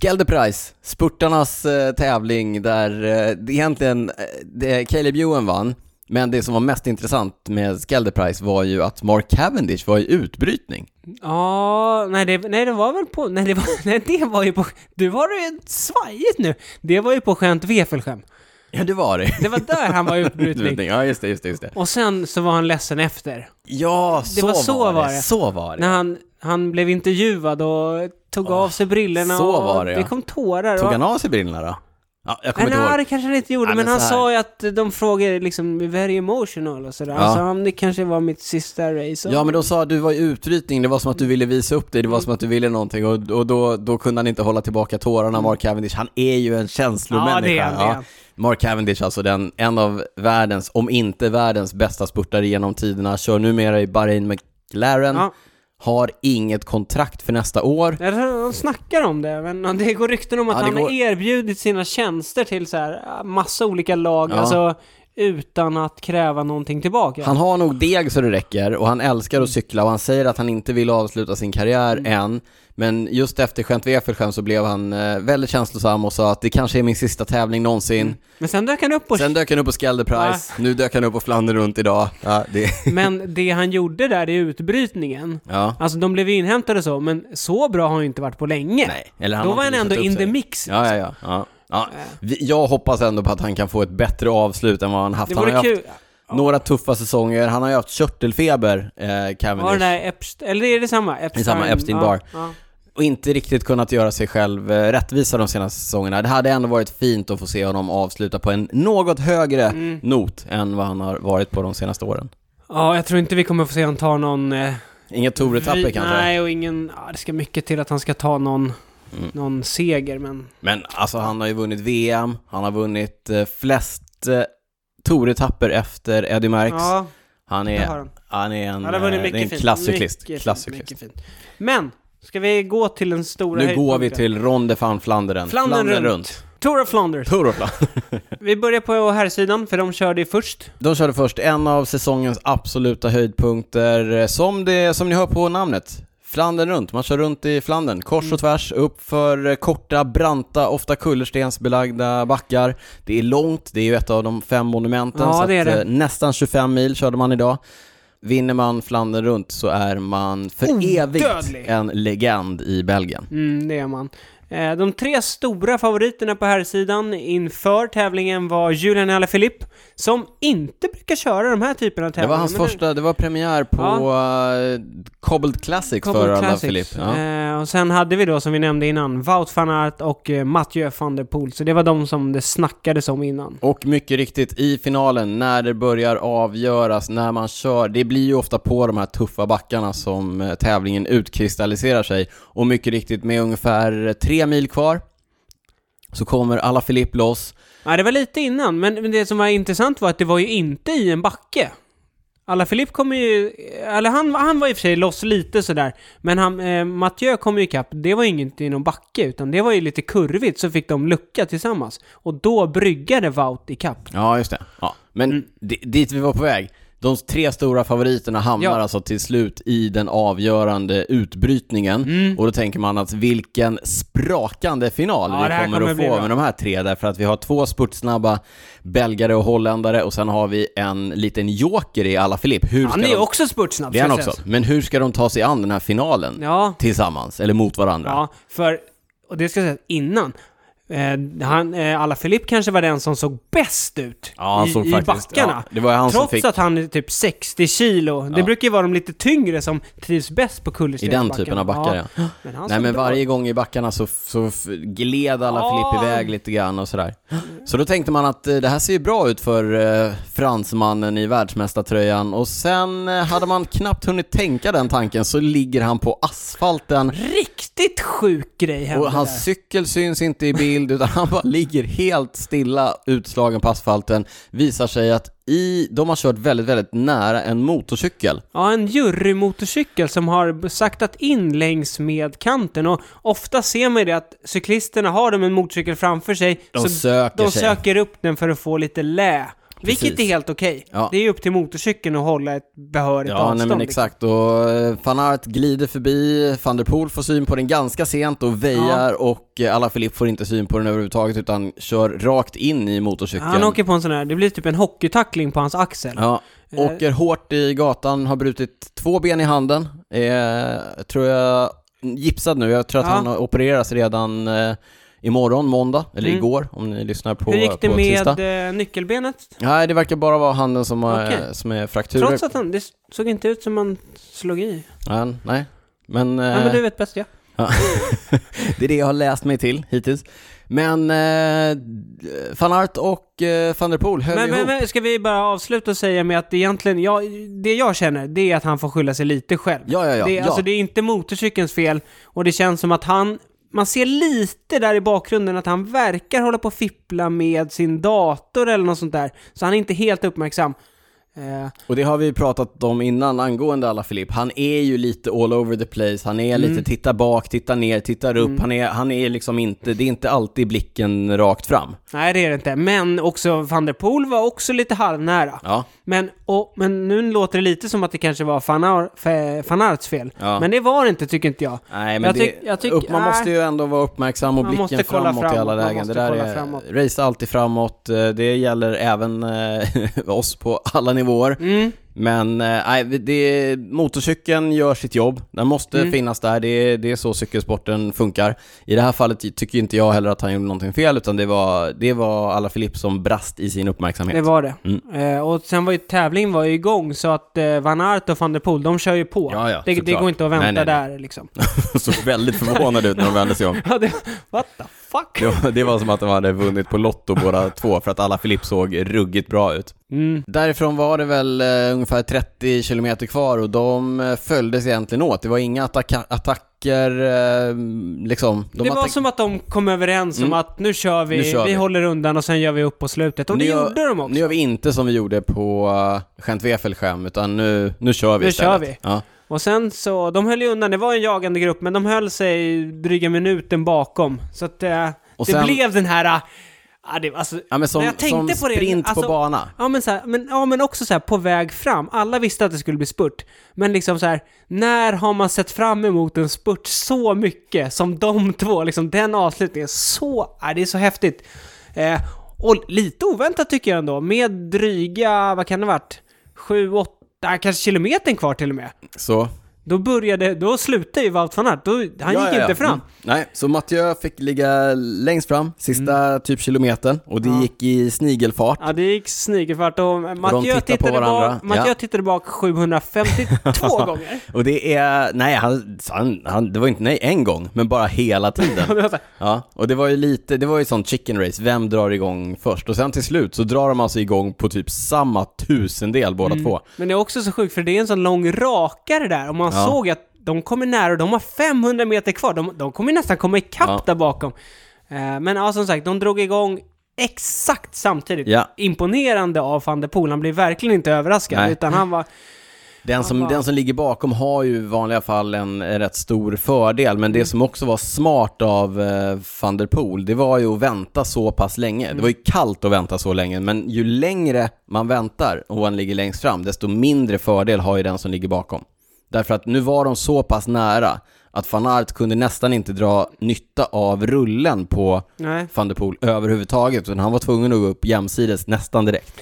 Speaker 1: Skelde Prize, spurtarnas eh, tävling där eh, det egentligen, eh, det, Caleb Ewan vann, men det som var mest intressant med Skelde Prize var ju att Mark Cavendish var i utbrytning.
Speaker 2: Ja, nej det, nej det var väl på... Nej det var, [laughs] nej, det var ju på... Du har det ju svajigt nu. Det var ju på skönt vefelskäm.
Speaker 1: Ja, det var det.
Speaker 2: Det var där
Speaker 1: [laughs]
Speaker 2: han var i utbrytning.
Speaker 1: Utbrytning, ja just det, just det, just det.
Speaker 2: Och sen så var han ledsen efter.
Speaker 1: Ja, så,
Speaker 2: var så var det.
Speaker 1: Så var
Speaker 2: När
Speaker 1: det.
Speaker 2: han, han blev intervjuad och tog av sig brillorna
Speaker 1: så
Speaker 2: och
Speaker 1: var det, ja.
Speaker 2: kom tårar.
Speaker 1: Tog
Speaker 2: och...
Speaker 1: han av sig brillorna då? Ja, jag kommer
Speaker 2: Nej,
Speaker 1: inte
Speaker 2: nej,
Speaker 1: ihåg.
Speaker 2: det kanske han inte gjorde,
Speaker 1: Ja,
Speaker 2: men,
Speaker 1: men
Speaker 2: han
Speaker 1: så här.
Speaker 2: sa ju att de frågade liksom very emotional och sådär.
Speaker 1: Ja.
Speaker 2: Så han, det kanske var mitt sista race. Och...
Speaker 1: Ja men de sa att du var i utbrytning, det var som att du ville visa upp dig, det var som att du ville någonting och, och då, då kunde han inte hålla tillbaka tårarna, Mark Cavendish. Han är ju en känslomänniska.
Speaker 2: Ja, det är han, det är han.
Speaker 1: Mark Cavendish, alltså den, en av världens, om inte världens bästa spurtare genom tiderna, kör numera i Bahrain McLaren,
Speaker 2: Ja.
Speaker 1: har inget kontrakt för nästa år.
Speaker 2: Jag tror de snackar om det, men det går rykten om att
Speaker 1: Ja, det
Speaker 2: han har
Speaker 1: går-
Speaker 2: erbjudit sina tjänster till så här massa olika lag,
Speaker 1: Ja.
Speaker 2: alltså utan att kräva någonting tillbaka.
Speaker 1: Han har nog deg så det räcker och han älskar
Speaker 2: Mm.
Speaker 1: att cykla och han säger att han inte vill avsluta sin karriär än. Men just efter Gent Wefelskärm så blev han eh, väldigt känslosam och sa att det kanske är min sista tävling någonsin.
Speaker 2: Men sen dök han upp och...
Speaker 1: Sen dök han upp på Skelder Prize, nu dök han upp på Flandern runt idag. Ja, det...
Speaker 2: [laughs] Men det han gjorde där i utbrytningen,
Speaker 1: [laughs] ja.
Speaker 2: alltså de blev inhämtade och så, men så bra har han ju inte varit på länge.
Speaker 1: Nej. Eller
Speaker 2: Då
Speaker 1: har
Speaker 2: var han
Speaker 1: inte
Speaker 2: ändå
Speaker 1: visat upp
Speaker 2: in the
Speaker 1: sig.
Speaker 2: mix.
Speaker 1: Ja, ja, ja. ja. ja. Vi- Jag hoppas ändå på att han kan få ett bättre avslut än vad han haft.
Speaker 2: Det
Speaker 1: Han har
Speaker 2: vore
Speaker 1: ju haft
Speaker 2: kul.
Speaker 1: några tuffa säsonger, han har ju haft körtelfeber, eh,
Speaker 2: Var det
Speaker 1: Cavendish.
Speaker 2: där Epstein, eller är det samma? Epstein,
Speaker 1: samma, Epstein
Speaker 2: ja,
Speaker 1: Barr.
Speaker 2: Ja.
Speaker 1: och inte riktigt kunnat göra sig själv eh, rättvisa de senaste säsongerna. Det hade ändå varit fint att få se honom avsluta på en något högre
Speaker 2: Mm.
Speaker 1: not än vad han har varit på de senaste åren.
Speaker 2: ja, jag tror inte vi kommer få se han ta någon... Eh,
Speaker 1: Inget Tour-etapper
Speaker 2: vi-
Speaker 1: kanske,
Speaker 2: Nej, och ingen... Ja, det ska mycket till att han ska ta någon,
Speaker 1: Mm.
Speaker 2: någon seger, men...
Speaker 1: men alltså han har ju vunnit VM, han har vunnit eh, flest eh, Tour-etapper efter Eddie Merckx.
Speaker 2: Ja,
Speaker 1: Han
Speaker 2: det har
Speaker 1: är,
Speaker 2: han.
Speaker 1: han är en,
Speaker 2: Han har vunnit
Speaker 1: eh, det
Speaker 2: mycket
Speaker 1: är en
Speaker 2: fint.
Speaker 1: klasscyklist.
Speaker 2: Mycket fint,
Speaker 1: klasscyklist.
Speaker 2: mycket fint. Men, ska vi gå till den stora
Speaker 1: Nu går vi
Speaker 2: höjdpunkten?
Speaker 1: till Ronde van Flandern.
Speaker 2: Flandern runt. Tour
Speaker 1: [laughs]
Speaker 2: of Flanders.
Speaker 1: Tour of Flandern.
Speaker 2: Vi börjar på herrsidan, för de körde ju först.
Speaker 1: De körde först en av säsongens absoluta höjdpunkter, eh, som, det, som ni hör på namnet. Flandern runt, man kör runt i Flandern, kors
Speaker 2: Mm.
Speaker 1: och tvärs, upp för eh, korta, branta, ofta kullerstensbelagda backar. Det är långt, det är ju ett av de fem monumenten,
Speaker 2: Ja,
Speaker 1: så
Speaker 2: det är
Speaker 1: att, eh,
Speaker 2: det.
Speaker 1: nästan 25 mil körde man idag. Vinner man Flandern runt så är man för
Speaker 2: Odödlig.
Speaker 1: evigt en legend i Belgien.
Speaker 2: Mm, det är man. Eh, De tre stora favoriterna på herrsidan inför tävlingen var Julian Alaphilippe, som inte brukar köra de här typerna av
Speaker 1: Det
Speaker 2: tävlingar.
Speaker 1: var hans
Speaker 2: men nu-
Speaker 1: första, det var premiär på eh, Cobbled Classic
Speaker 2: Cobbled
Speaker 1: för alla
Speaker 2: Classics.
Speaker 1: Philippe. Ja.
Speaker 2: Eh, och sen hade vi då, som vi nämnde innan, Wout van Aert och eh, Mathieu van der Poel. Så det var de som det snackades om innan.
Speaker 1: Och mycket riktigt, i finalen, när det börjar avgöras, när man kör, det blir ju ofta på de här tuffa backarna som eh, tävlingen utkristalliserar sig. Och mycket riktigt, med ungefär tre mil kvar, så kommer alla Filipp loss.
Speaker 2: Ja, det var lite innan, men men det som var intressant var att det var ju inte i en backe. Alaphilippe kommer ju... Eller han, han var i och för sig loss lite sådär, men han, eh, Mathieu kom ju ikapp. Det var ju inget i någon backe, utan det var ju lite kurvigt, så fick de lucka tillsammans. Och då bryggade Wout ikapp.
Speaker 1: Ja, just det. Ja. Men
Speaker 2: Mm.
Speaker 1: di- dit vi var på väg, de tre stora favoriterna hamnar
Speaker 2: Ja.
Speaker 1: alltså till slut i den avgörande utbrytningen.
Speaker 2: Mm.
Speaker 1: Och då tänker man att vilken sprakande final
Speaker 2: Ja, det
Speaker 1: vi
Speaker 2: här
Speaker 1: kommer,
Speaker 2: kommer
Speaker 1: att
Speaker 2: bli
Speaker 1: få
Speaker 2: bra.
Speaker 1: med de här tre, därför att vi har två spurtsnabba belgare och holländare och sen har vi en liten joker i alla Filip. Hur ska
Speaker 2: Han är ju
Speaker 1: de...
Speaker 2: också spurtsnabb,
Speaker 1: Det är
Speaker 2: ska
Speaker 1: han
Speaker 2: sägas.
Speaker 1: också. Men hur ska de ta sig an den här finalen
Speaker 2: Ja,
Speaker 1: tillsammans, eller mot varandra?
Speaker 2: ja, för... Och det ska sägas innan. Eh, han, eh, Alaphilippe kanske var den som såg bäst ut
Speaker 1: Ja, han
Speaker 2: i,
Speaker 1: såg
Speaker 2: i
Speaker 1: faktiskt-
Speaker 2: backarna.
Speaker 1: ja, det var han som
Speaker 2: Trots
Speaker 1: fick-
Speaker 2: att han är typ 60 kilo. Det brukar ju vara de lite tyngre som trivs bäst på
Speaker 1: I
Speaker 2: kullerstensbackarna.
Speaker 1: den typen av backar, ja.
Speaker 2: Men han
Speaker 1: Nej
Speaker 2: såg
Speaker 1: men
Speaker 2: bra
Speaker 1: varje gång i backarna så, så f- gled alla
Speaker 2: Ja.
Speaker 1: Filipp iväg lite grann och sådär. Så då tänkte man att eh, det här ser ju bra ut för eh, fransmannen i världsmästartröjan och sen eh, hade man knappt hunnit tänka den tanken så ligger han på asfalten
Speaker 2: Riktigt sjuk grej hände
Speaker 1: och hans
Speaker 2: där.
Speaker 1: cykel syns inte i bild utan han bara ligger helt stilla utslagen på asfalten. Visar sig att i, de har kört väldigt, väldigt nära en motorcykel.
Speaker 2: Ja, en jurymotorcykel som har saktat in längs med kanten och ofta ser man ju det att cyklisterna har de en motorcykel framför sig
Speaker 1: De
Speaker 2: så
Speaker 1: söker
Speaker 2: de
Speaker 1: sig.
Speaker 2: söker upp den för att få lite lä. Vilket är
Speaker 1: Precis.
Speaker 2: helt okej.
Speaker 1: Ja.
Speaker 2: Det är ju upp till motorcykeln att hålla ett behörigt
Speaker 1: Ja,
Speaker 2: avstånd.
Speaker 1: nej men
Speaker 2: liksom.
Speaker 1: exakt. Och eh, van Aert glider förbi, van der Poel får syn på den ganska sent och väjar och eh, Alaphilippe får inte syn på den överhuvudtaget utan kör rakt in i motorcykeln.
Speaker 2: Han åker Eh. på en sån här, det blir typ en hockeytackling på hans axel.
Speaker 1: Ja, åker hårt i gatan, har brutit två ben i handen. Eh, tror jag, gipsad nu. Jag tror att
Speaker 2: Ja.
Speaker 1: han opereras redan eh, imorgon, måndag, eller
Speaker 2: Mm.
Speaker 1: igår om ni lyssnar på
Speaker 2: Hur gick det
Speaker 1: på tisdag.
Speaker 2: med eh, nyckelbenet?
Speaker 1: Nej, det verkar bara vara handen som, har,
Speaker 2: Okej.
Speaker 1: eh, som är frakturer.
Speaker 2: Trots att han, det såg inte ut som han slog i.
Speaker 1: Ja, nej. Men, eh,
Speaker 2: Ja, men du vet bäst ja.
Speaker 1: Ja. det är det jag har läst mig till hittills. Men eh, van Aert och eh, van der Poel höll
Speaker 2: Men,
Speaker 1: ihop.
Speaker 2: men, men ska vi bara avsluta och säga med att det egentligen, ja, det jag känner, det är att han får skylla sig lite själv.
Speaker 1: Ja, ja, ja.
Speaker 2: det,
Speaker 1: ja.
Speaker 2: Alltså det är inte motorcykelns fel och det känns som att han, man ser lite där i bakgrunden att han verkar hålla på och fippla med sin dator eller något sånt där. Så han är inte helt uppmärksam. Eh,
Speaker 1: Och det har vi pratat om innan angående alla Filip. Han är ju lite all over the place. Han är
Speaker 2: Mm.
Speaker 1: lite titta bak, titta ner, tittar upp. Han, är, han är liksom inte, det är inte alltid blicken rakt fram.
Speaker 2: nej, det är det inte. Men också van der Poel var också lite halvnära.
Speaker 1: Ja,
Speaker 2: Men, och, men nu låter det lite som att det kanske var Fanar, Fe- Fanarts fel.
Speaker 1: Ja.
Speaker 2: Men det var det inte, tycker inte jag.
Speaker 1: nej men
Speaker 2: Jag
Speaker 1: det,
Speaker 2: tyck- jag tyck-
Speaker 1: upp, man
Speaker 2: nej.
Speaker 1: måste ju ändå vara uppmärksam och
Speaker 2: Man
Speaker 1: blicken
Speaker 2: måste kolla
Speaker 1: framåt i
Speaker 2: framåt,
Speaker 1: alla
Speaker 2: man
Speaker 1: lägen.
Speaker 2: måste
Speaker 1: Det där
Speaker 2: kolla
Speaker 1: är,
Speaker 2: framåt.
Speaker 1: race alltid framåt. Eh, Det gäller även eh, [laughs] oss på alla nivåer.
Speaker 2: Mm.
Speaker 1: Men eh, nej, det, motorcykeln gör sitt jobb. Den måste
Speaker 2: Mm.
Speaker 1: finnas där. Det, är- det är så cykelsporten funkar. I det här fallet tycker inte jag heller att han gjorde någonting fel, utan det var, det var alla Filip som brast i sin uppmärksamhet.
Speaker 2: Det var det.
Speaker 1: Mm.
Speaker 2: Eh, och sen var ju tävlingen var ju igång så att eh, Van Aert och van der Poel, de kör ju på.
Speaker 1: Ja, ja,
Speaker 2: det, det
Speaker 1: såklart.
Speaker 2: går inte att vänta
Speaker 1: Nej, nej, nej.
Speaker 2: där liksom. [laughs]
Speaker 1: De [laughs] såg väldigt förvånade ut när de vände sig om.
Speaker 2: Ja, det, what the fuck?
Speaker 1: Det var, det var som att de hade vunnit på Lotto båda två, för att alla Filip såg ruggigt bra ut.
Speaker 2: Mm.
Speaker 1: Därifrån var det väl eh, ungefär 30 kilometer kvar och de eh, följdes egentligen åt. Det var inga attacka- attacker, eh, liksom. De
Speaker 2: det var
Speaker 1: attack-
Speaker 2: som att de kom överens om att nu kör vi,
Speaker 1: Nu kör
Speaker 2: vi.
Speaker 1: vi.
Speaker 2: håller undan och sen gör vi upp på slutet. Och det
Speaker 1: gör-
Speaker 2: gjorde de också.
Speaker 1: Nu gör vi inte som vi gjorde på uh, Gent-Wefelgem, utan nu, nu kör vi
Speaker 2: Nu
Speaker 1: istället.
Speaker 2: kör vi.
Speaker 1: Ja.
Speaker 2: Och sen så, de höll ju undan, det var en jagande grupp, men de höll sig dryga minuten bakom. Så att eh,
Speaker 1: Och
Speaker 2: det
Speaker 1: sen-
Speaker 2: blev den här... ah, ah, det, alltså,
Speaker 1: ja, men som,
Speaker 2: när jag tänkte
Speaker 1: som
Speaker 2: på det,
Speaker 1: sprint
Speaker 2: alltså-
Speaker 1: på bana.
Speaker 2: Ja men, så här, men, ja men också så här på väg fram. Alla visste att det skulle bli spurt. Men liksom så här, när har man sett fram emot en spurt så mycket som de två? Liksom den avslutningen, så, äh, det är så häftigt. Eh, och lite oväntat tycker jag ändå, med dryga, vad kan det ha varit, sju, åtta, kanske kilometern kvar till och med.
Speaker 1: Så.
Speaker 2: Då började, då slutade ju Wout van Aert, då, han
Speaker 1: Ja,
Speaker 2: gick
Speaker 1: ja,
Speaker 2: inte
Speaker 1: ja.
Speaker 2: fram.
Speaker 1: Mm. Nej, så Mathieu fick ligga längst fram, sista
Speaker 2: Mm.
Speaker 1: typ kilometern, och det gick i snigelfart.
Speaker 2: Ja, det gick snigelfart och Mathieu
Speaker 1: tittar på
Speaker 2: tittade,
Speaker 1: varandra.
Speaker 2: bak, Mathieu
Speaker 1: Ja.
Speaker 2: tittade bak 752
Speaker 1: [laughs]
Speaker 2: gånger.
Speaker 1: Och det är, nej, han, han, han, det var inte nej en gång, men bara hela
Speaker 2: [laughs]
Speaker 1: tiden.
Speaker 2: Och det var så här,
Speaker 1: Ja, och det var ju lite, det var ju sånt chicken race, vem drar igång först? Och sen till slut så drar de alltså igång på typ samma tusendel båda två.
Speaker 2: Men det är också så sjukt för det är en sån lång rakare där och man såg att de kommer nära och de har 500 meter kvar. De, de kommer ju nästan komma ikapp
Speaker 1: Ja.
Speaker 2: där bakom. Eh, men ja, som sagt, de drog igång exakt samtidigt.
Speaker 1: Ja.
Speaker 2: Imponerande av van der Poel. Han blev verkligen inte överraskad
Speaker 1: Nej.
Speaker 2: utan han var...
Speaker 1: Den som,
Speaker 2: Aha.
Speaker 1: den som ligger bakom har ju i vanliga fall en eh, rätt stor fördel, men
Speaker 2: Mm.
Speaker 1: det som också var smart av eh, van der Poel, det var ju att vänta så pass länge. Det var
Speaker 2: Mm.
Speaker 1: ju kallt att vänta så länge, men ju längre man väntar och han ligger längst fram, desto mindre fördel har ju den som ligger bakom. Därför att nu var de så pass nära att van Aert kunde nästan inte dra nytta av rullen på
Speaker 2: Nej.
Speaker 1: van der Poel överhuvudtaget, utan han var tvungen att gå upp jämsides nästan direkt.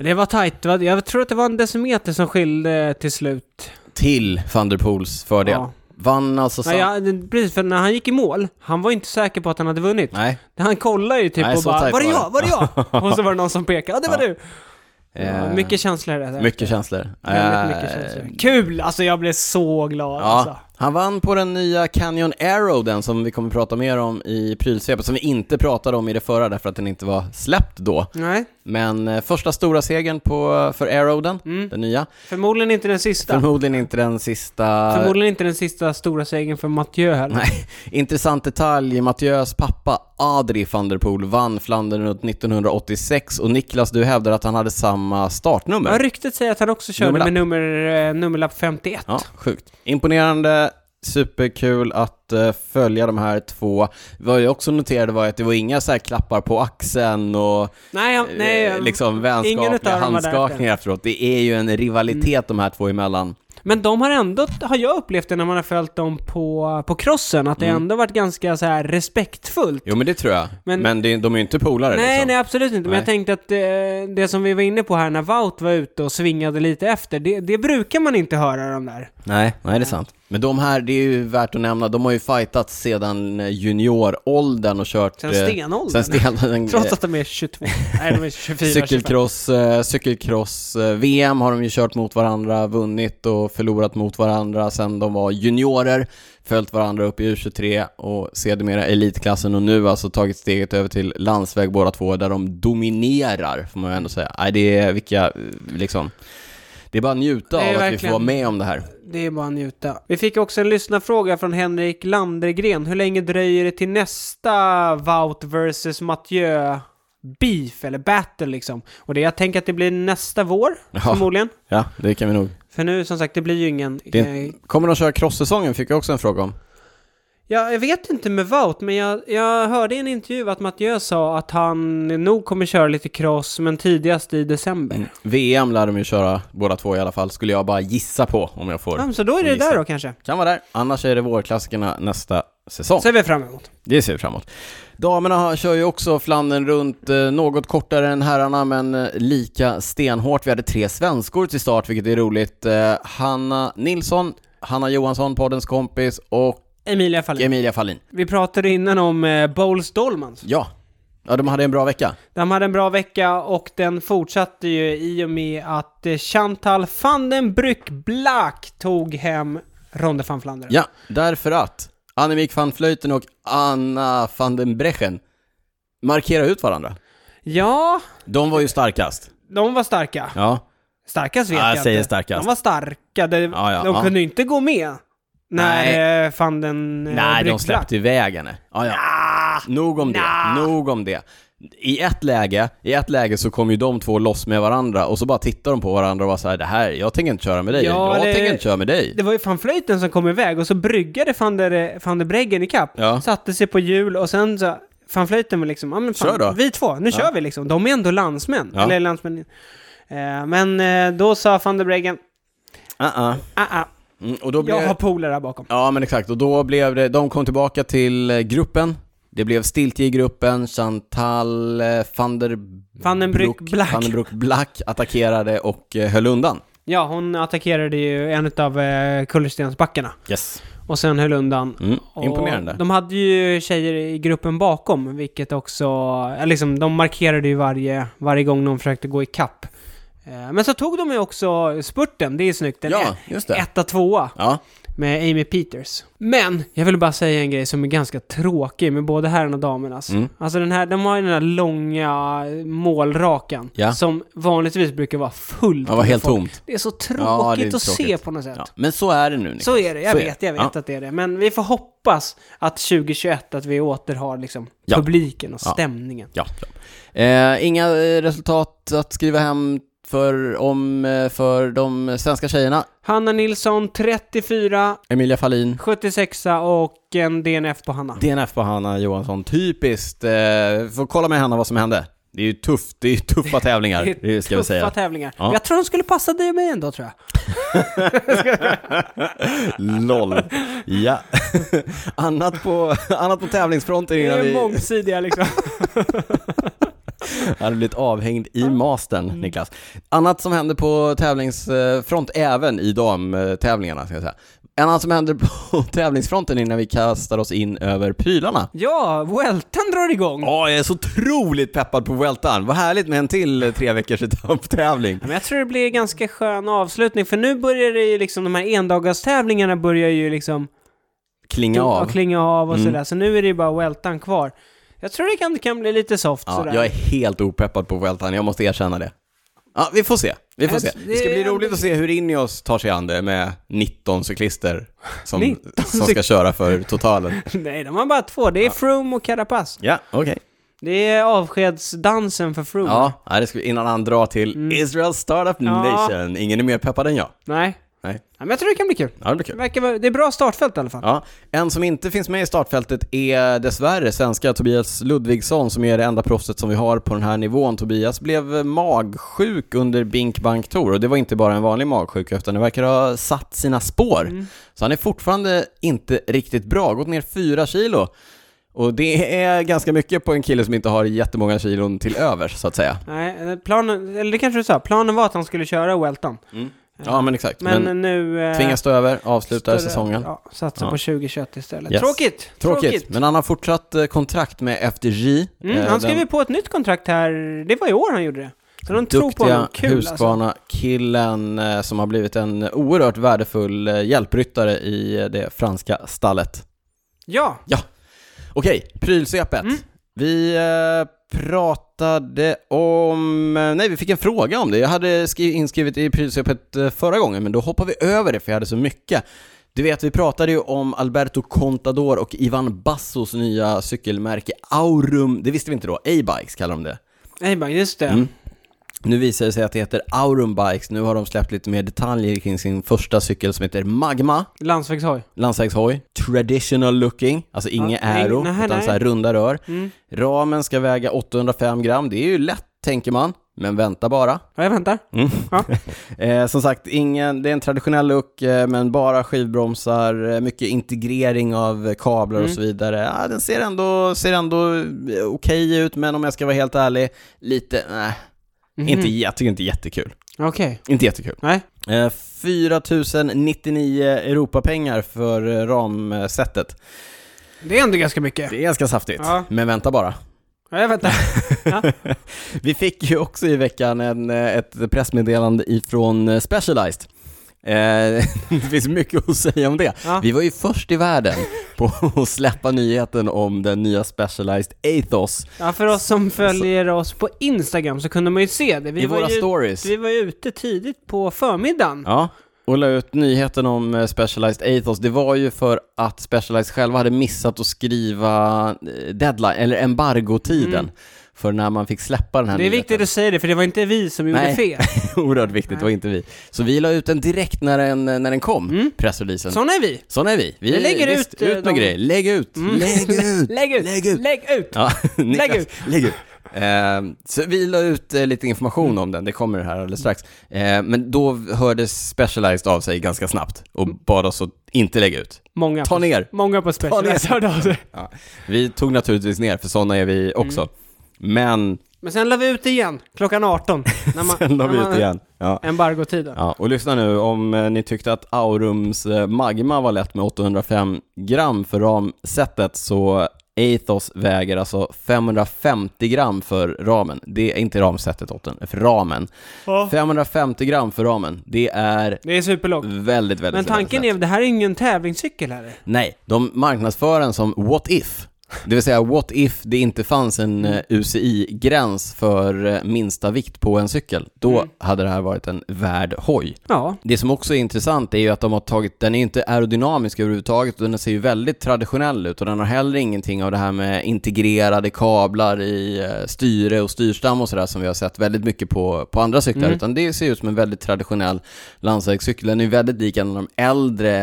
Speaker 2: Det var tajt. va? Jag tror att det var en decimeter som skilde till slut.
Speaker 1: Till van der Poels fördel.
Speaker 2: Ja.
Speaker 1: Vann alltså... sam-
Speaker 2: Nej, ja, det- precis, för när han gick i mål, han var ju inte säker på att han hade vunnit.
Speaker 1: Nej,
Speaker 2: Han kollade ju typ
Speaker 1: Nej,
Speaker 2: och
Speaker 1: så
Speaker 2: bara
Speaker 1: tajt
Speaker 2: Var det
Speaker 1: var
Speaker 2: jag? Var det
Speaker 1: [laughs]
Speaker 2: jag? Och så var det någon som pekade, ja det var du! Ja,
Speaker 1: Eh,
Speaker 2: mycket känslor i det där.
Speaker 1: Mycket känslor.
Speaker 2: Väldigt mycket
Speaker 1: Eh,
Speaker 2: känslor. Kul! Alltså jag blev så glad alltså.
Speaker 1: Ja, han vann på den nya Canyon Arrow, den som vi kommer prata mer om i prylsvepet, som vi inte pratade om i det förra därför att den inte var släppt då.
Speaker 2: Nej,
Speaker 1: Men eh, första stora segern på, för Arrowden,
Speaker 2: Mm.
Speaker 1: den nya.
Speaker 2: förmodligen inte den sista.
Speaker 1: Förmodligen inte den sista...
Speaker 2: förmodligen inte den sista stora segern för Mathieu heller.
Speaker 1: Nej, intressant detalj. Mathieu's pappa Adri van der Poel vann Flandern runt 1986 och Niklas, du hävdar att han hade samma startnummer.
Speaker 2: Ja, ryktet säger att han också körde
Speaker 1: Nummerlapp.
Speaker 2: med nummer, eh, nummerlapp 51.
Speaker 1: Ja, sjukt. Imponerande, superkul att eh, följa de här två. Vad jag också noterade var att det var inga så här klappar på axeln och
Speaker 2: Nej, ja, nej,
Speaker 1: eh,
Speaker 2: ja.
Speaker 1: liksom
Speaker 2: ingen
Speaker 1: vänskapliga
Speaker 2: utav dem var där
Speaker 1: handskakningar efteråt. Det är ju en rivalitet de här två emellan.
Speaker 2: Men de har ändå, har jag upplevt det när man har följt dem på, på crossen, att det
Speaker 1: Mm.
Speaker 2: ändå varit ganska så här respektfullt.
Speaker 1: Jo men det tror jag. Men,
Speaker 2: Men-
Speaker 1: det, de är ju inte polare
Speaker 2: Nej,
Speaker 1: liksom.
Speaker 2: nej absolut inte. Men
Speaker 1: Nej.
Speaker 2: jag tänkte att eh, det som vi var inne på här när Wout var ute och svingade lite efter, det, det brukar man inte höra de där.
Speaker 1: Nej, nej det är sant. Men de här, det är ju värt att nämna, de har ju fightat sedan eh, junioråldern och kört...
Speaker 2: Sen
Speaker 1: eh,
Speaker 2: stenåldern.
Speaker 1: Sen stenåldern.
Speaker 2: [laughs] Trots att de
Speaker 1: [laughs]
Speaker 2: är 22. Nej, de är 24, 25.
Speaker 1: Cykelcross, eh, cykelcross eh, VM har de ju kört mot varandra, vunnit och förlorat mot varandra sen de var juniorer, följt varandra upp i U23 och sedermera elitklassen och nu alltså tagit steget över till landsväg båda två där de dominerar får man ju ändå säga. Nej, det är vilka, eh, liksom, det är bara att njuta
Speaker 2: Det
Speaker 1: av att
Speaker 2: är
Speaker 1: vi får
Speaker 2: verkligen-
Speaker 1: vara med om det här.
Speaker 2: Det är bara att njuta. Vi fick också en lyssnarfråga från Henrik Landergren. Hur länge dröjer det till nästa Wout versus Mathieu beef eller battle liksom. Och det jag tänker att det blir nästa vår,
Speaker 1: Ja.
Speaker 2: förmodligen.
Speaker 1: Ja, det kan vi nog.
Speaker 2: För nu, som sagt, det blir ju ingen...
Speaker 1: Det är
Speaker 2: eh,
Speaker 1: Kommer de köra cross-säsongen? Fick jag också en fråga om.
Speaker 2: Ja, jag vet inte med Wout, men jag, jag hörde i en intervju att Mathieu sa att han nog kommer köra lite cross, men tidigast i december.
Speaker 1: VM Mm. lär de ju köra båda två i alla fall, skulle jag bara gissa på om jag får.
Speaker 2: Ja, men så då är det
Speaker 1: Gissa.
Speaker 2: där då kanske.
Speaker 1: Kan vara där. Annars är det vårklassikerna nästa säsong.
Speaker 2: Ser vi fram emot.
Speaker 1: Det ser vi framåt. Damerna har- kör ju också Flandern runt, eh, något kortare än herrarna men eh, lika stenhårt. Vi hade tre svenskor till start, vilket är roligt. Eh, Hanna Nilsson, Hanna Johansson, poddens kompis, och
Speaker 2: Emilia Fahlin.
Speaker 1: Emilia Fallin.
Speaker 2: Vi pratade innan om eh, Bowles Dolmans.
Speaker 1: Ja. ja, de hade en bra vecka.
Speaker 2: De hade en bra vecka och den fortsatte ju i och med att eh, Chantal van den Brück Black tog hem Ronde van Flandern.
Speaker 1: Ja, därför att Annemiek van Vleuten och Anna van den Brechen markerar ut varandra.
Speaker 2: Ja,
Speaker 1: De var ju starkast.
Speaker 2: de var starka.
Speaker 1: Ja.
Speaker 2: Starkast vet
Speaker 1: Ja, jag
Speaker 2: jag
Speaker 1: säger
Speaker 2: inte.
Speaker 1: starkast.
Speaker 2: De var starka. De,
Speaker 1: Ja, ja,
Speaker 2: de
Speaker 1: ja.
Speaker 2: kunde ju inte gå med när eh, fan den... eh,
Speaker 1: Nej, de
Speaker 2: Brick
Speaker 1: släppte
Speaker 2: Black.
Speaker 1: iväg henne. Ja, ja. Nog om det,
Speaker 2: Nja.
Speaker 1: nog om det. I ett, läge, I ett läge så kom ju de två loss med varandra och så bara tittade de på varandra och var så här, det här, jag tänker inte köra med dig,
Speaker 2: Ja,
Speaker 1: jag
Speaker 2: det-
Speaker 1: tänker inte köra med dig.
Speaker 2: Det var ju fan flöjten som kom iväg och så bryggade van der, eh, van der Breggen ikapp.
Speaker 1: Ja.
Speaker 2: Satte sig på hjul och sen så... Van flöjten var liksom, ja men fan,
Speaker 1: Kör då.
Speaker 2: vi två, nu kör vi liksom. De är ändå landsmän.
Speaker 1: Ja.
Speaker 2: Eller landsmän. Eh, men eh, då sa van der Breggen,
Speaker 1: Uh-uh.
Speaker 2: ah, ah,
Speaker 1: Mm, och då blev...
Speaker 2: jag har polare här bakom.
Speaker 1: Ja, men exakt. Och då blev det, de kom tillbaka till eh, gruppen. Det blev stiltje i gruppen, Chantal eh, van der...
Speaker 2: Van den Brück
Speaker 1: Broek-
Speaker 2: Black.
Speaker 1: Van den Broek Black attackerade och eh, höll undan.
Speaker 2: Ja, hon attackerade ju en av eh, kullerstensbackarna.
Speaker 1: Yes.
Speaker 2: Och sen höll undan.
Speaker 1: Mm.
Speaker 2: Och
Speaker 1: Imponerande.
Speaker 2: De hade ju tjejer i gruppen bakom, vilket också... eh, Liksom, de markerade ju varje, varje gång någon försökte gå i kapp. Eh, Men så tog de ju också spurten, det är snyggt. Den
Speaker 1: Ja,
Speaker 2: är
Speaker 1: just det.
Speaker 2: etta, tvåa
Speaker 1: Ja.
Speaker 2: med Amy Peters. Men, jag vill bara säga en grej som är ganska tråkig med både herrarna och damernas.
Speaker 1: Mm.
Speaker 2: Alltså den här, de har ju den här långa målrakan
Speaker 1: Ja.
Speaker 2: som vanligtvis brukar vara full.
Speaker 1: Det var helt tomt.
Speaker 2: Det är så tråkigt
Speaker 1: Ja, det är
Speaker 2: att se
Speaker 1: tråkigt.
Speaker 2: på något sätt.
Speaker 1: Ja. Men så är det nu, Niklas.
Speaker 2: Så är det, jag
Speaker 1: Så är
Speaker 2: vet,
Speaker 1: det.
Speaker 2: jag vet att det är det. Men vi får hoppas att 2021 att vi åter har liksom
Speaker 1: Ja.
Speaker 2: publiken och
Speaker 1: Ja.
Speaker 2: stämningen.
Speaker 1: Ja. Eh, inga eh, resultat att skriva hem för, om, eh, för de svenska tjejerna.
Speaker 2: Hanna Nilsson 34,
Speaker 1: Emilia Fallin.
Speaker 2: 76 och en DNF på Hanna.
Speaker 1: DNF på Hanna Johansson. Typiskt. Eh, får kolla med Hanna vad som hände. Det är ju tufft. Det är ju tuffa
Speaker 2: [laughs]
Speaker 1: tävlingar. Det, ska
Speaker 2: tuffa
Speaker 1: vi [laughs] säga.
Speaker 2: tävlingar.
Speaker 1: Ja.
Speaker 2: Jag tror de skulle passa dig och mig ändå tror jag.
Speaker 1: LOL. Ja. [laughs] annat, på, annat på tävlingsfronten
Speaker 2: Det
Speaker 1: innan
Speaker 2: är
Speaker 1: vi
Speaker 2: mångsidiga [laughs] liksom.
Speaker 1: hade blivit avhängd i mastern,
Speaker 2: Mm.
Speaker 1: Niklas. Annat som hände på tävlingsfront, eh, även i damtävlingarna, ska jag säga. Annat som hände på [laughs] tävlingsfronten innan vi kastar oss in över
Speaker 2: Mm.
Speaker 1: prylarna.
Speaker 2: ja, Weltan drar igång.
Speaker 1: Ja, jag är så otroligt peppad på Vueltan. Vad härligt med en till eh, tre veckors [laughs] etapptävling.
Speaker 2: Men jag tror det blir ganska skön avslutning för nu börjar det ju liksom, de här endagarstävlingarna börjar ju liksom
Speaker 1: Klinga
Speaker 2: och
Speaker 1: av. Mm.
Speaker 2: klinga av och sådär. Så nu är det ju bara Weltan kvar. Jag tror det kan, det kan bli lite soft
Speaker 1: Ja,
Speaker 2: sådär.
Speaker 1: jag är helt opeppad på Vueltan, jag måste erkänna det. Ja, vi får se. Vi får
Speaker 2: Jag-
Speaker 1: se. Det ska bli
Speaker 2: Äh, det-
Speaker 1: roligt att se hur Ineos tar sig an det med 19 cyklister
Speaker 2: [laughs]
Speaker 1: som,
Speaker 2: 19
Speaker 1: som ska köra för totalen.
Speaker 2: [laughs] Nej, de har bara två. Det är Froome och Carapaz.
Speaker 1: Ja, okej.
Speaker 2: Det är avskedsdansen för Froome.
Speaker 1: Ja, nej, det ska vi, innan han drar till Israel Startup
Speaker 2: Ja.
Speaker 1: Nation. Ingen är mer peppad än jag.
Speaker 2: Nej.
Speaker 1: Nej,
Speaker 2: Ja, men jag tror det kan bli kul.
Speaker 1: ja, det blir
Speaker 2: Det,
Speaker 1: kul.
Speaker 2: verkar vara, det är bra startfält i alla fall.
Speaker 1: Ja, en som inte finns med i startfältet är dessvärre svenska Tobias Ludvigsson som är det enda proffset som vi har på den här nivån. Tobias blev magsjuk under Bink Bank Tour och det var inte bara en vanlig magsjuka utan det verkar ha satt sina spår. Så han är fortfarande inte riktigt bra, gått ner fyra kilo. Och det är ganska mycket på en kille som inte har jättemånga kilon till övers så att säga.
Speaker 2: Nej, eh, planen, eller det kanske du sa, planen var att han skulle köra Welton.
Speaker 1: Ja men exakt.
Speaker 2: Men, nu... Eh,
Speaker 1: Tvingas stå över, avslutar
Speaker 2: större-
Speaker 1: säsongen.
Speaker 2: Ja, satsa
Speaker 1: Ja.
Speaker 2: på 2021 istället.
Speaker 1: Yes.
Speaker 2: Tråkigt!
Speaker 1: Tråkigt. men han har fortsatt eh, kontrakt med FDJ.
Speaker 2: Mm,
Speaker 1: eh,
Speaker 2: han skrev ju på ett nytt kontrakt här, det var i år han gjorde det. Så de tror på
Speaker 1: duktiga
Speaker 2: honom, kul alltså.
Speaker 1: Husqvarna-killen eh, som har blivit en oerhört värdefull eh, hjälpryttare i eh, det franska stallet.
Speaker 2: Ja,
Speaker 1: Okej, prylsvepet.
Speaker 2: Mm.
Speaker 1: Vi eh, pratade om... eh, Nej, vi fick en fråga om det. Jag hade skri- inskrivet i prylsvepet eh, förra gången, men då hoppade vi över det för jag hade så mycket. Du vet, vi pratade ju om Alberto Contador och Ivan Bassos nya cykelmärke Aurum. Det visste vi inte då. A-bikes kallar de det.
Speaker 2: Nej, bara, just det.
Speaker 1: Mm. Nu visar det sig att det heter Aurum Bikes. Nu har de släppt lite mer detaljer kring sin första cykel som heter Magma,
Speaker 2: Landsvägshoj.
Speaker 1: landsvägshoj. Traditional looking, alltså inget
Speaker 2: nej,
Speaker 1: aero,
Speaker 2: nej,
Speaker 1: utan
Speaker 2: nej.
Speaker 1: så här runda rör.
Speaker 2: Mm.
Speaker 1: Ramen ska väga 805 gram, det är ju lätt tänker man, men vänta bara.
Speaker 2: Ja, jag väntar. Ja.
Speaker 1: Eh, som sagt, ingen, det är en traditionell look, eh, men bara skivbromsar, eh, mycket integrering av eh, kablar och
Speaker 2: Mm.
Speaker 1: så vidare. Ah, den ser ändå, ser ändå eh, okej ut, men om jag ska vara helt ärlig, lite, nej,
Speaker 2: Mhm.
Speaker 1: Mm. inte, jag tycker inte jättekul.
Speaker 2: Okej.
Speaker 1: Inte jättekul.
Speaker 2: Nej.
Speaker 1: Eh, 4099 Europapengar för eh, ramsetet.
Speaker 2: Det är ändå ganska mycket.
Speaker 1: Det är ganska saftigt,
Speaker 2: Ja.
Speaker 1: men vänta bara.
Speaker 2: Ja,
Speaker 1: [laughs]
Speaker 2: jag väntar.
Speaker 1: Vi fick ju också i veckan en, eh, ett pressmeddelande ifrån eh, Specialized. Eh, [laughs] det finns mycket att säga om det.
Speaker 2: Ja.
Speaker 1: Vi var ju först i världen på [laughs] att släppa nyheten om den nya Specialized Athos
Speaker 2: Ja, för oss som följer oss på Instagram så kunde man ju se det. Vi,
Speaker 1: i
Speaker 2: var,
Speaker 1: våra
Speaker 2: ju,
Speaker 1: stories.
Speaker 2: vi var ju ute tidigt på förmiddagen.
Speaker 1: Ja, och la ut nyheten om eh, Specialized Athos. Det var ju för att Specialized själva hade missat att skriva eh, deadline, eller embargotiden, för när man fick släppa den här
Speaker 2: Mm. det är
Speaker 1: nyheten.
Speaker 2: viktigt att säga det, för det var inte vi som gjorde
Speaker 1: Nej.
Speaker 2: fel.
Speaker 1: [laughs] Oerhört viktigt, det var inte vi. Så vi la ut den direkt när den, när den kom,
Speaker 2: Mm.
Speaker 1: pressreleasen.
Speaker 2: Såna är vi.
Speaker 1: Såna är vi. Vi,
Speaker 2: Vi lägger
Speaker 1: visst,
Speaker 2: ut, eh,
Speaker 1: ut med
Speaker 2: de-
Speaker 1: grejer. Lägg ut! Lägg ut!
Speaker 2: [laughs] Lägg ut!
Speaker 1: Lägg ut!
Speaker 2: Lägg ut!
Speaker 1: [laughs] Ja, Niklas,
Speaker 2: ut.
Speaker 1: Lägg ut. Eh, så vi la ut eh, lite information om den, det kommer här alldeles strax. Eh, men då hörde Specialized av sig ganska snabbt och bad oss att inte lägga ut.
Speaker 2: Många,
Speaker 1: Ta
Speaker 2: på,
Speaker 1: ner!
Speaker 2: många på Specialized hörde av [laughs] sig.
Speaker 1: Ja. Vi tog naturligtvis ner, för sådana är vi också.
Speaker 2: Mm.
Speaker 1: Men
Speaker 2: Men sen la vi ut igen, klockan 18. När man,
Speaker 1: [laughs] sen la
Speaker 2: när
Speaker 1: vi
Speaker 2: man-
Speaker 1: ut igen. Ja.
Speaker 2: Embargotiden.
Speaker 1: Ja, och lyssna nu, om eh, ni tyckte att Aurums eh, Magma var lätt med 805 gram för ramsetet så Athos väger alltså 550 gram för ramen. Det är inte ramsetet, åt den, för ramen.
Speaker 2: Ja.
Speaker 1: 550 gram för ramen, det är
Speaker 2: Det är superlågt.
Speaker 1: väldigt, väldigt
Speaker 2: Men tanken
Speaker 1: väldigt
Speaker 2: är, det här är ingen tävlingscykel här.
Speaker 1: lätt. Nej, de marknadsför den som what if. Det vill säga, what if det inte fanns en eh, UCI-gräns för eh, minsta vikt på en cykel? Då
Speaker 2: Mm.
Speaker 1: hade det här varit en värd hoj.
Speaker 2: Ja.
Speaker 1: Det som också är intressant är ju att de har tagit, den är ju inte aerodynamisk överhuvudtaget och den ser ju väldigt traditionell ut och den har heller ingenting av det här med integrerade kablar i eh, styre och styrstam och sådär som vi har sett väldigt mycket på, på andra cyklar
Speaker 2: Mm.
Speaker 1: utan det ser ut som en väldigt traditionell landsvägscykel. Den är ju väldigt lik en av de äldre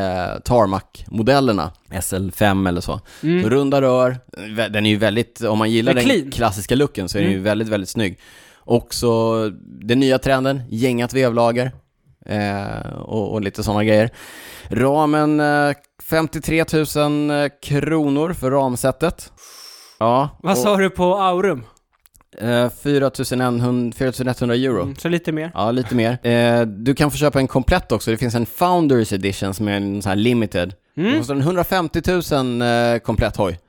Speaker 1: Tarmac-modellerna, SL5 eller så. Så
Speaker 2: Mm.
Speaker 1: runda rör, eh, vä- den är ju väldigt, om man gillar
Speaker 2: Den
Speaker 1: den
Speaker 2: är clean.
Speaker 1: klassiska looken så är den ju
Speaker 2: Mm.
Speaker 1: väldigt, väldigt snygg. Också den nya trenden, gängat vevlager eh, och, och lite sådana grejer. Ramen eh, 53 000 kronor för ramsetet. Ja,
Speaker 2: Vad sa du på Aurum?
Speaker 1: och, eh, 4 100 4 100 euro.
Speaker 2: Mm, så lite mer.
Speaker 1: Ja, lite mer. Eh, du kan få köpa en komplett också. Det finns en Founders Edition som är en sån här limited. Det
Speaker 2: Mm.
Speaker 1: kostar en 150 000 eh, komplett hoj.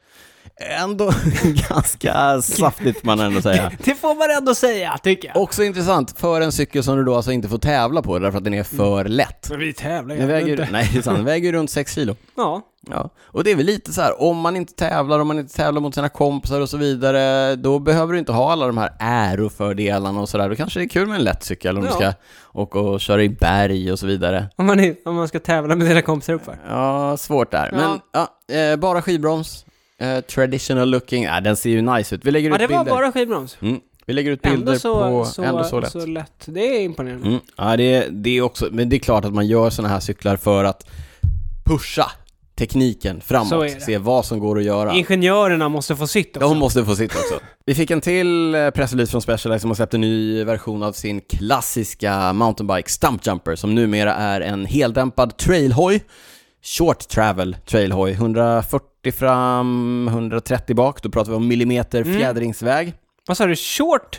Speaker 1: Ändå [laughs] ganska saftigt man ändå säga.
Speaker 2: [laughs] Det får man ändå säga, tycker jag.
Speaker 1: Också intressant, för en cykel som du då alltså inte får tävla på därför att den är för lätt.
Speaker 2: Men vi tävlar
Speaker 1: Den väger, nej, det är sant, den väger ju runt 6 kilo.
Speaker 2: Ja.
Speaker 1: Ja. Och det är väl lite så här, om man inte tävlar, om man inte tävlar mot sina kompisar och så vidare, då behöver du inte ha alla de här ärofördelarna och sådär. Då kanske det är kul med en lätt cykel om du
Speaker 2: Ja.
Speaker 1: ska åka och köra i berg och så vidare.
Speaker 2: Om man, är, om man ska tävla med sina kompisar uppför.
Speaker 1: Ja, svårt där. Men ja, eh, bara skivbroms, eh, traditional looking, ja, den ser ju nice ut. Vi lägger
Speaker 2: Ja,
Speaker 1: ut
Speaker 2: det var
Speaker 1: bilder.
Speaker 2: bara skivbroms.
Speaker 1: Mm. Vi lägger ut bilder
Speaker 2: Ändå så,
Speaker 1: på,
Speaker 2: så,
Speaker 1: ändå så lätt.
Speaker 2: så lätt. Det är imponerande.
Speaker 1: Mm. Ja, det, det är också, men det är klart att man gör sådana här cyklar för att pusha tekniken
Speaker 2: Så
Speaker 1: framåt,
Speaker 2: är det.
Speaker 1: se vad som går att göra.
Speaker 2: Ingenjörerna måste få sitt också.
Speaker 1: De måste få sitt också. Vi fick en till eh, pressrelease från Specialized som har släppt en ny version av sin klassiska mountainbike Stump Jumper som numera är en heldämpad trailhoj. Short travel trailhoj, 140 fram, 130 bak, då pratar vi om millimeter
Speaker 2: Mm.
Speaker 1: fjädringsväg.
Speaker 2: Vad sa du? Short?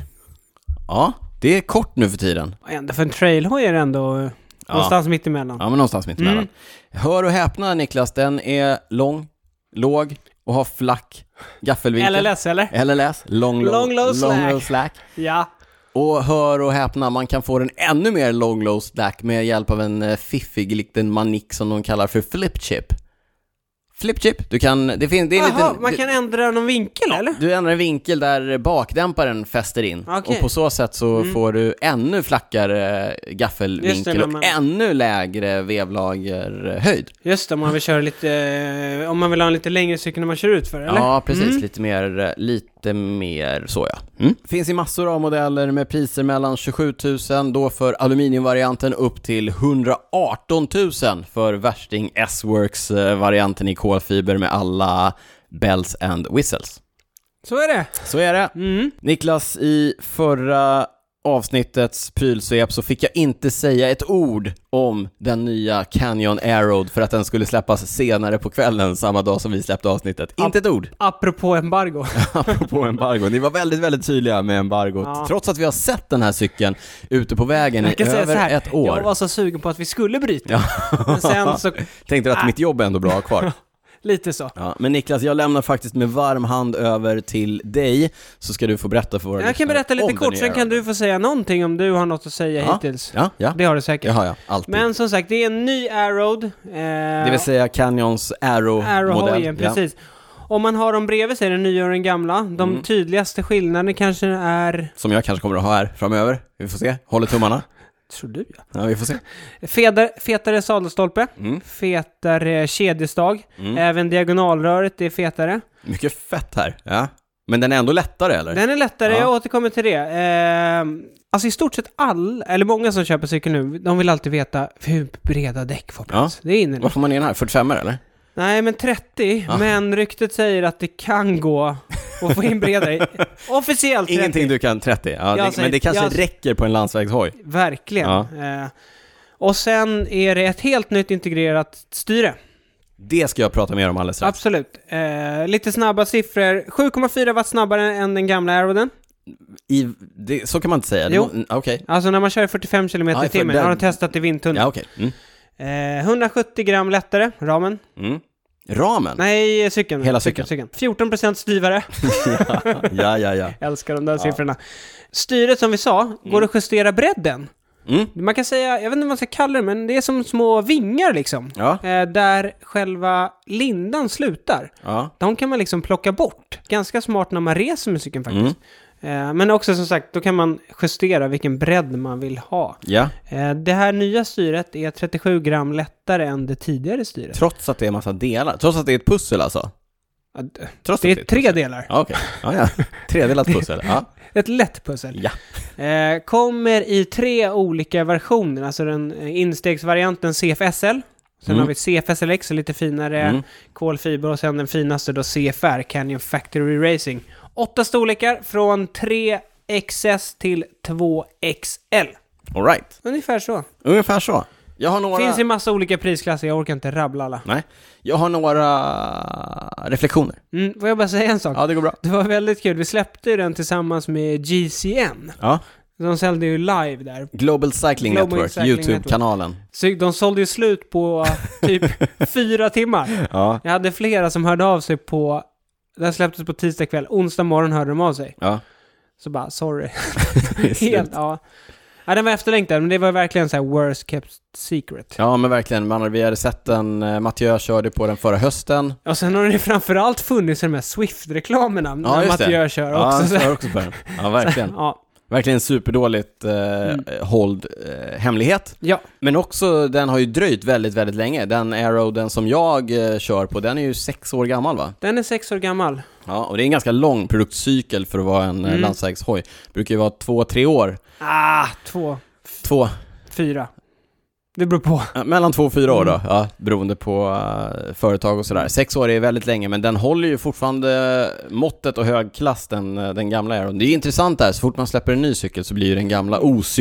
Speaker 1: Ja, det är kort nu för tiden.
Speaker 2: Ändå för en trailhoj är det ändå eh,
Speaker 1: Ja.
Speaker 2: någonstans mitt emellan.
Speaker 1: Ja, men någonstans mitt emellan.
Speaker 2: Mm.
Speaker 1: Hör och häpna Niklas, den är lång, låg och har flack gaffelvinkel.
Speaker 2: LLS eller?
Speaker 1: LLS, long, low,
Speaker 2: Long, low, slack.
Speaker 1: low slack.
Speaker 2: Ja.
Speaker 1: Och hör och häpna, man kan få den ännu mer long low stack med hjälp av en eh, fiffig liten manik som de kallar för flip chip. Flip chip, du kan, det finns, det är en
Speaker 2: Jaha,
Speaker 1: liten...
Speaker 2: man kan ändra någon vinkel eller?
Speaker 1: Du ändrar en vinkel där bakdämparen fäster in
Speaker 2: Okej. Mm.
Speaker 1: och på så sätt så får du ännu flackare eh,
Speaker 2: Just det,
Speaker 1: gaffelvinkel
Speaker 2: när
Speaker 1: och
Speaker 2: man-
Speaker 1: ännu lägre vevlagerhöjd.
Speaker 2: Just det, om man vill köra lite, eh, om man vill ha en lite längre cykel när man kör ut för eller?
Speaker 1: Mm. Ja, precis. Lite mer, eh, lite lite mer så ja. Mm. Finns i massor av modeller med priser mellan 27 000 då för aluminiumvarianten upp till 118 000 för värsting S-Works-varianten i kolfiber med alla bells and whistles.
Speaker 2: Så är det.
Speaker 1: Så är det.
Speaker 2: Mm.
Speaker 1: Niklas, i förra avsnittets prylsvep så fick jag inte säga ett ord om den nya Canyon Aeroad för att den skulle släppas senare på kvällen samma dag som vi släppte avsnittet. Inte ett ord,
Speaker 2: Apropå embargo.
Speaker 1: apropå embargo. Ni var väldigt, väldigt tydliga med embargot,
Speaker 2: Ja.
Speaker 1: trots att vi har sett den här cykeln ute på vägen i
Speaker 2: [laughs] Jag kan säga så
Speaker 1: över
Speaker 2: här,
Speaker 1: ett år.
Speaker 2: jag var så sugen på att vi skulle bryta.
Speaker 1: [laughs]
Speaker 2: Men sen så,
Speaker 1: Tänkte
Speaker 2: Äh.
Speaker 1: att mitt jobb är ändå bra att ha
Speaker 2: [laughs]
Speaker 1: kvar.
Speaker 2: lite så.
Speaker 1: Ja, men Niklas, jag lämnar faktiskt med varm hand över till dig, så ska du få berätta för våra
Speaker 2: Jag kan
Speaker 1: lyssnare
Speaker 2: berätta
Speaker 1: om
Speaker 2: lite
Speaker 1: den
Speaker 2: kort,
Speaker 1: nya
Speaker 2: sen kan
Speaker 1: Aeroad.
Speaker 2: du få säga någonting om du har något att säga
Speaker 1: Ja,
Speaker 2: hittills.
Speaker 1: Ja, ja.
Speaker 2: Det har du säkert.
Speaker 1: Det har jag, alltid.
Speaker 2: Men som sagt, det är en ny Aeroad. Eh,
Speaker 1: Det vill säga Canyons Arrow-modell.
Speaker 2: Aerohojen, precis. Om man har dem bredvid sig, den nya och den gamla, de
Speaker 1: Mm.
Speaker 2: tydligaste skillnaderna kanske är...
Speaker 1: Som jag kanske kommer att ha här framöver. Vi får se. Håller tummarna.
Speaker 2: Tror du ja.
Speaker 1: Ja, vi får se. Mm,
Speaker 2: Fedare, fetare sadelstolpe, fetare kedjestag, även diagonalröret är fetare.
Speaker 1: Mycket fett här. Ja. Men den är ändå lättare, eller?
Speaker 2: Den är lättare,
Speaker 1: Ja.
Speaker 2: jag återkommer till det. Ehm, alltså i stort sett all, eller många som köper cykel nu, de vill alltid veta hur breda däck får plats. Det är inne nu.
Speaker 1: Vad får man in här? 45 eller?
Speaker 2: Nej, men 30,
Speaker 1: Ah.
Speaker 2: men ryktet säger att det kan gå att få in bredare.
Speaker 1: [laughs]
Speaker 2: Officiellt 30.
Speaker 1: Ingenting du kan 30. Ja,
Speaker 2: Jag
Speaker 1: det,
Speaker 2: säger-
Speaker 1: men det kanske
Speaker 2: jag-
Speaker 1: räcker på en landsvägshoj.
Speaker 2: Verkligen.
Speaker 1: Ja.
Speaker 2: Eh, och sen är det ett helt nytt integrerat styre.
Speaker 1: Det ska jag prata mer om alldeles strax.
Speaker 2: Absolut. Eh, lite snabba siffror. 7,4 watt snabbare än den gamla Aeroden.
Speaker 1: I, det, så kan man inte säga. Det
Speaker 2: Jo.
Speaker 1: må- mm, Okej.
Speaker 2: Alltså när man kör i 45 km
Speaker 1: Ja,
Speaker 2: i
Speaker 1: för
Speaker 2: timmen.
Speaker 1: den-
Speaker 2: Har de testat i vindtunnel.
Speaker 1: Ja, okej. Mm.
Speaker 2: Eh, 170 gram lättare, ramen.
Speaker 1: Mm. Ramen?
Speaker 2: Nej, cykeln.
Speaker 1: Hela cykeln. [laughs]
Speaker 2: 14% styvare.
Speaker 1: Ja, ja, ja.
Speaker 2: Älskar de där siffrorna. Styret som vi sa, går att justera bredden.
Speaker 1: Mm.
Speaker 2: Man kan säga, jag vet inte vad man ska kalla det, men det är som små vingar liksom.
Speaker 1: Ja.
Speaker 2: Eh, där själva lindan slutar.
Speaker 1: Ja.
Speaker 2: De kan man liksom plocka bort. Ganska smart när man reser med cykeln faktiskt.
Speaker 1: Mm.
Speaker 2: Eh, Men också som sagt, då kan man justera vilken bredd man vill ha.
Speaker 1: ja.
Speaker 2: Eh, Det här nya styret är 37 gram lättare än det tidigare styret.
Speaker 1: Trots att det är en massa delar. Trots att det är ett pussel alltså.
Speaker 2: Ja, d-
Speaker 1: Trots
Speaker 2: Det
Speaker 1: att
Speaker 2: är tre delar.
Speaker 1: Ja, okej. Ja, ja. Tredelat pussel. Ja.
Speaker 2: Ett lätt pussel.
Speaker 1: ja.
Speaker 2: Eh, Kommer i tre olika versioner. Alltså den eh, instegsvarianten CFSL. Sen
Speaker 1: Mm.
Speaker 2: har vi CFSLX, lite finare
Speaker 1: Mm.
Speaker 2: kolfiber. Och sen den finaste då CFR, Canyon Factory Racing. Åtta storlekar från 3XS till 2XL.
Speaker 1: All right.
Speaker 2: Ungefär så.
Speaker 1: Ungefär så. Jag har några...
Speaker 2: Finns i massa olika prisklasser, jag orkar inte rabbla alla.
Speaker 1: Nej. Jag har några reflektioner.
Speaker 2: Mm, får jag bara säga en sak?
Speaker 1: Ja, det går bra.
Speaker 2: Det var väldigt kul, vi släppte ju den tillsammans med GCN.
Speaker 1: Ja.
Speaker 2: De sålde ju live där.
Speaker 1: Global Cycling
Speaker 2: Global
Speaker 1: Network,
Speaker 2: Cycling
Speaker 1: YouTube-kanalen.
Speaker 2: Så de sålde ju
Speaker 1: [laughs]
Speaker 2: slut på typ fyra timmar.
Speaker 1: Ja.
Speaker 2: Jag hade flera som hörde av sig på... Den släpptes på tisdag kväll, onsdag morgon hörde de av sig.
Speaker 1: Ja.
Speaker 2: Så bara, sorry.
Speaker 1: Det är slut.
Speaker 2: Helt, [laughs] ja. ja. Den var efterlängtad, men det var verkligen så här worst kept secret.
Speaker 1: ja, men verkligen. Man, hade- vi hade sett den, eh, Mathieu körde på den förra hösten.
Speaker 2: Och sen har det framförallt funnits de här Swift-reklamerna
Speaker 1: Ja,
Speaker 2: när
Speaker 1: just det.
Speaker 2: Mathieu kör
Speaker 1: ja,
Speaker 2: också.
Speaker 1: han
Speaker 2: så [laughs] här.
Speaker 1: kör också på den. Ja, verkligen.
Speaker 2: ja.
Speaker 1: Verkligen superdåligt eh, hålld eh, hemlighet.
Speaker 2: Mm. ja.
Speaker 1: Men också, den har ju dröjt väldigt, väldigt länge. Den Aero, den som jag eh, kör på, den är ju sex år gammal va?
Speaker 2: Den är sex år gammal.
Speaker 1: Ja, och det är en ganska lång produktcykel för att vara en mm. landsvägshoj. Brukar ju vara två, tre år.
Speaker 2: Ah, två,
Speaker 1: Två,
Speaker 2: fyra. Det beror på. [laughs]
Speaker 1: ja, mellan två och fyra år
Speaker 2: Mm.
Speaker 1: då, ja, beroende på eh, företag och sådär. Sex år är väldigt länge, men den håller ju fortfarande måttet och hög klass, den, eh, den gamla Aeron. Det är intressant där, så fort man släpper en ny cykel så blir ju den gamla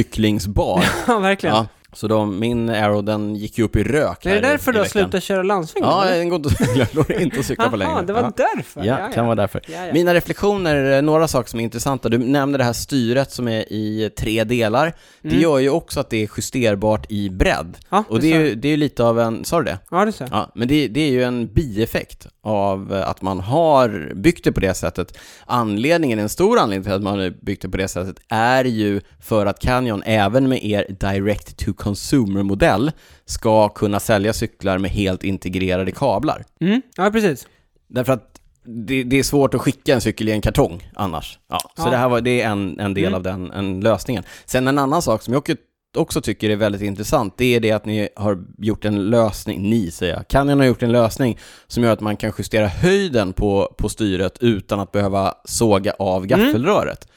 Speaker 1: ocyklingsbar.
Speaker 2: Ja, [laughs] verkligen.
Speaker 1: ja, så de, min Aero, den gick ju upp i rök
Speaker 2: Är det
Speaker 1: här i- i
Speaker 2: därför du har
Speaker 1: veckan.
Speaker 2: slutat köra landsväg?
Speaker 1: Ja, den går inte att cykla, går inte att cykla på längre.
Speaker 2: Jaha, det var
Speaker 1: ja.
Speaker 2: därför.
Speaker 1: Ja, kan vara därför.
Speaker 2: Ja, ja.
Speaker 1: Mina reflektioner, eh, några saker som är intressanta. Du nämnde det här styret som är i tre delar.
Speaker 2: Mm.
Speaker 1: Det gör ju också att det är justerbart i bredd.
Speaker 2: Ja,
Speaker 1: och
Speaker 2: det
Speaker 1: det är,
Speaker 2: sa
Speaker 1: ju, det är ju lite av en, sa du det?
Speaker 2: ja, det sa jag.
Speaker 1: Ja, men det, det är ju en bieffekt av eh, att man har byggt det på det sättet. Anledningen, en stor anledning till att man har byggt det på det sättet är ju för att Canyon, även med er direct to consumer-modell, ska kunna sälja cyklar med helt integrerade kablar.
Speaker 2: Mm. Ja, precis.
Speaker 1: Därför att det, det är svårt att skicka en cykel i en kartong annars. Ja, så
Speaker 2: Ja. Mm.
Speaker 1: det här var, det är en, en del av den en lösningen. Sen en annan sak som jag åker också tycker är väldigt intressant, det är det att ni har gjort en lösning, ni säger jag, Canyon har gjort en lösning som gör att man kan justera höjden på, på styret utan att behöva såga
Speaker 2: Mm.
Speaker 1: av gaffelröret.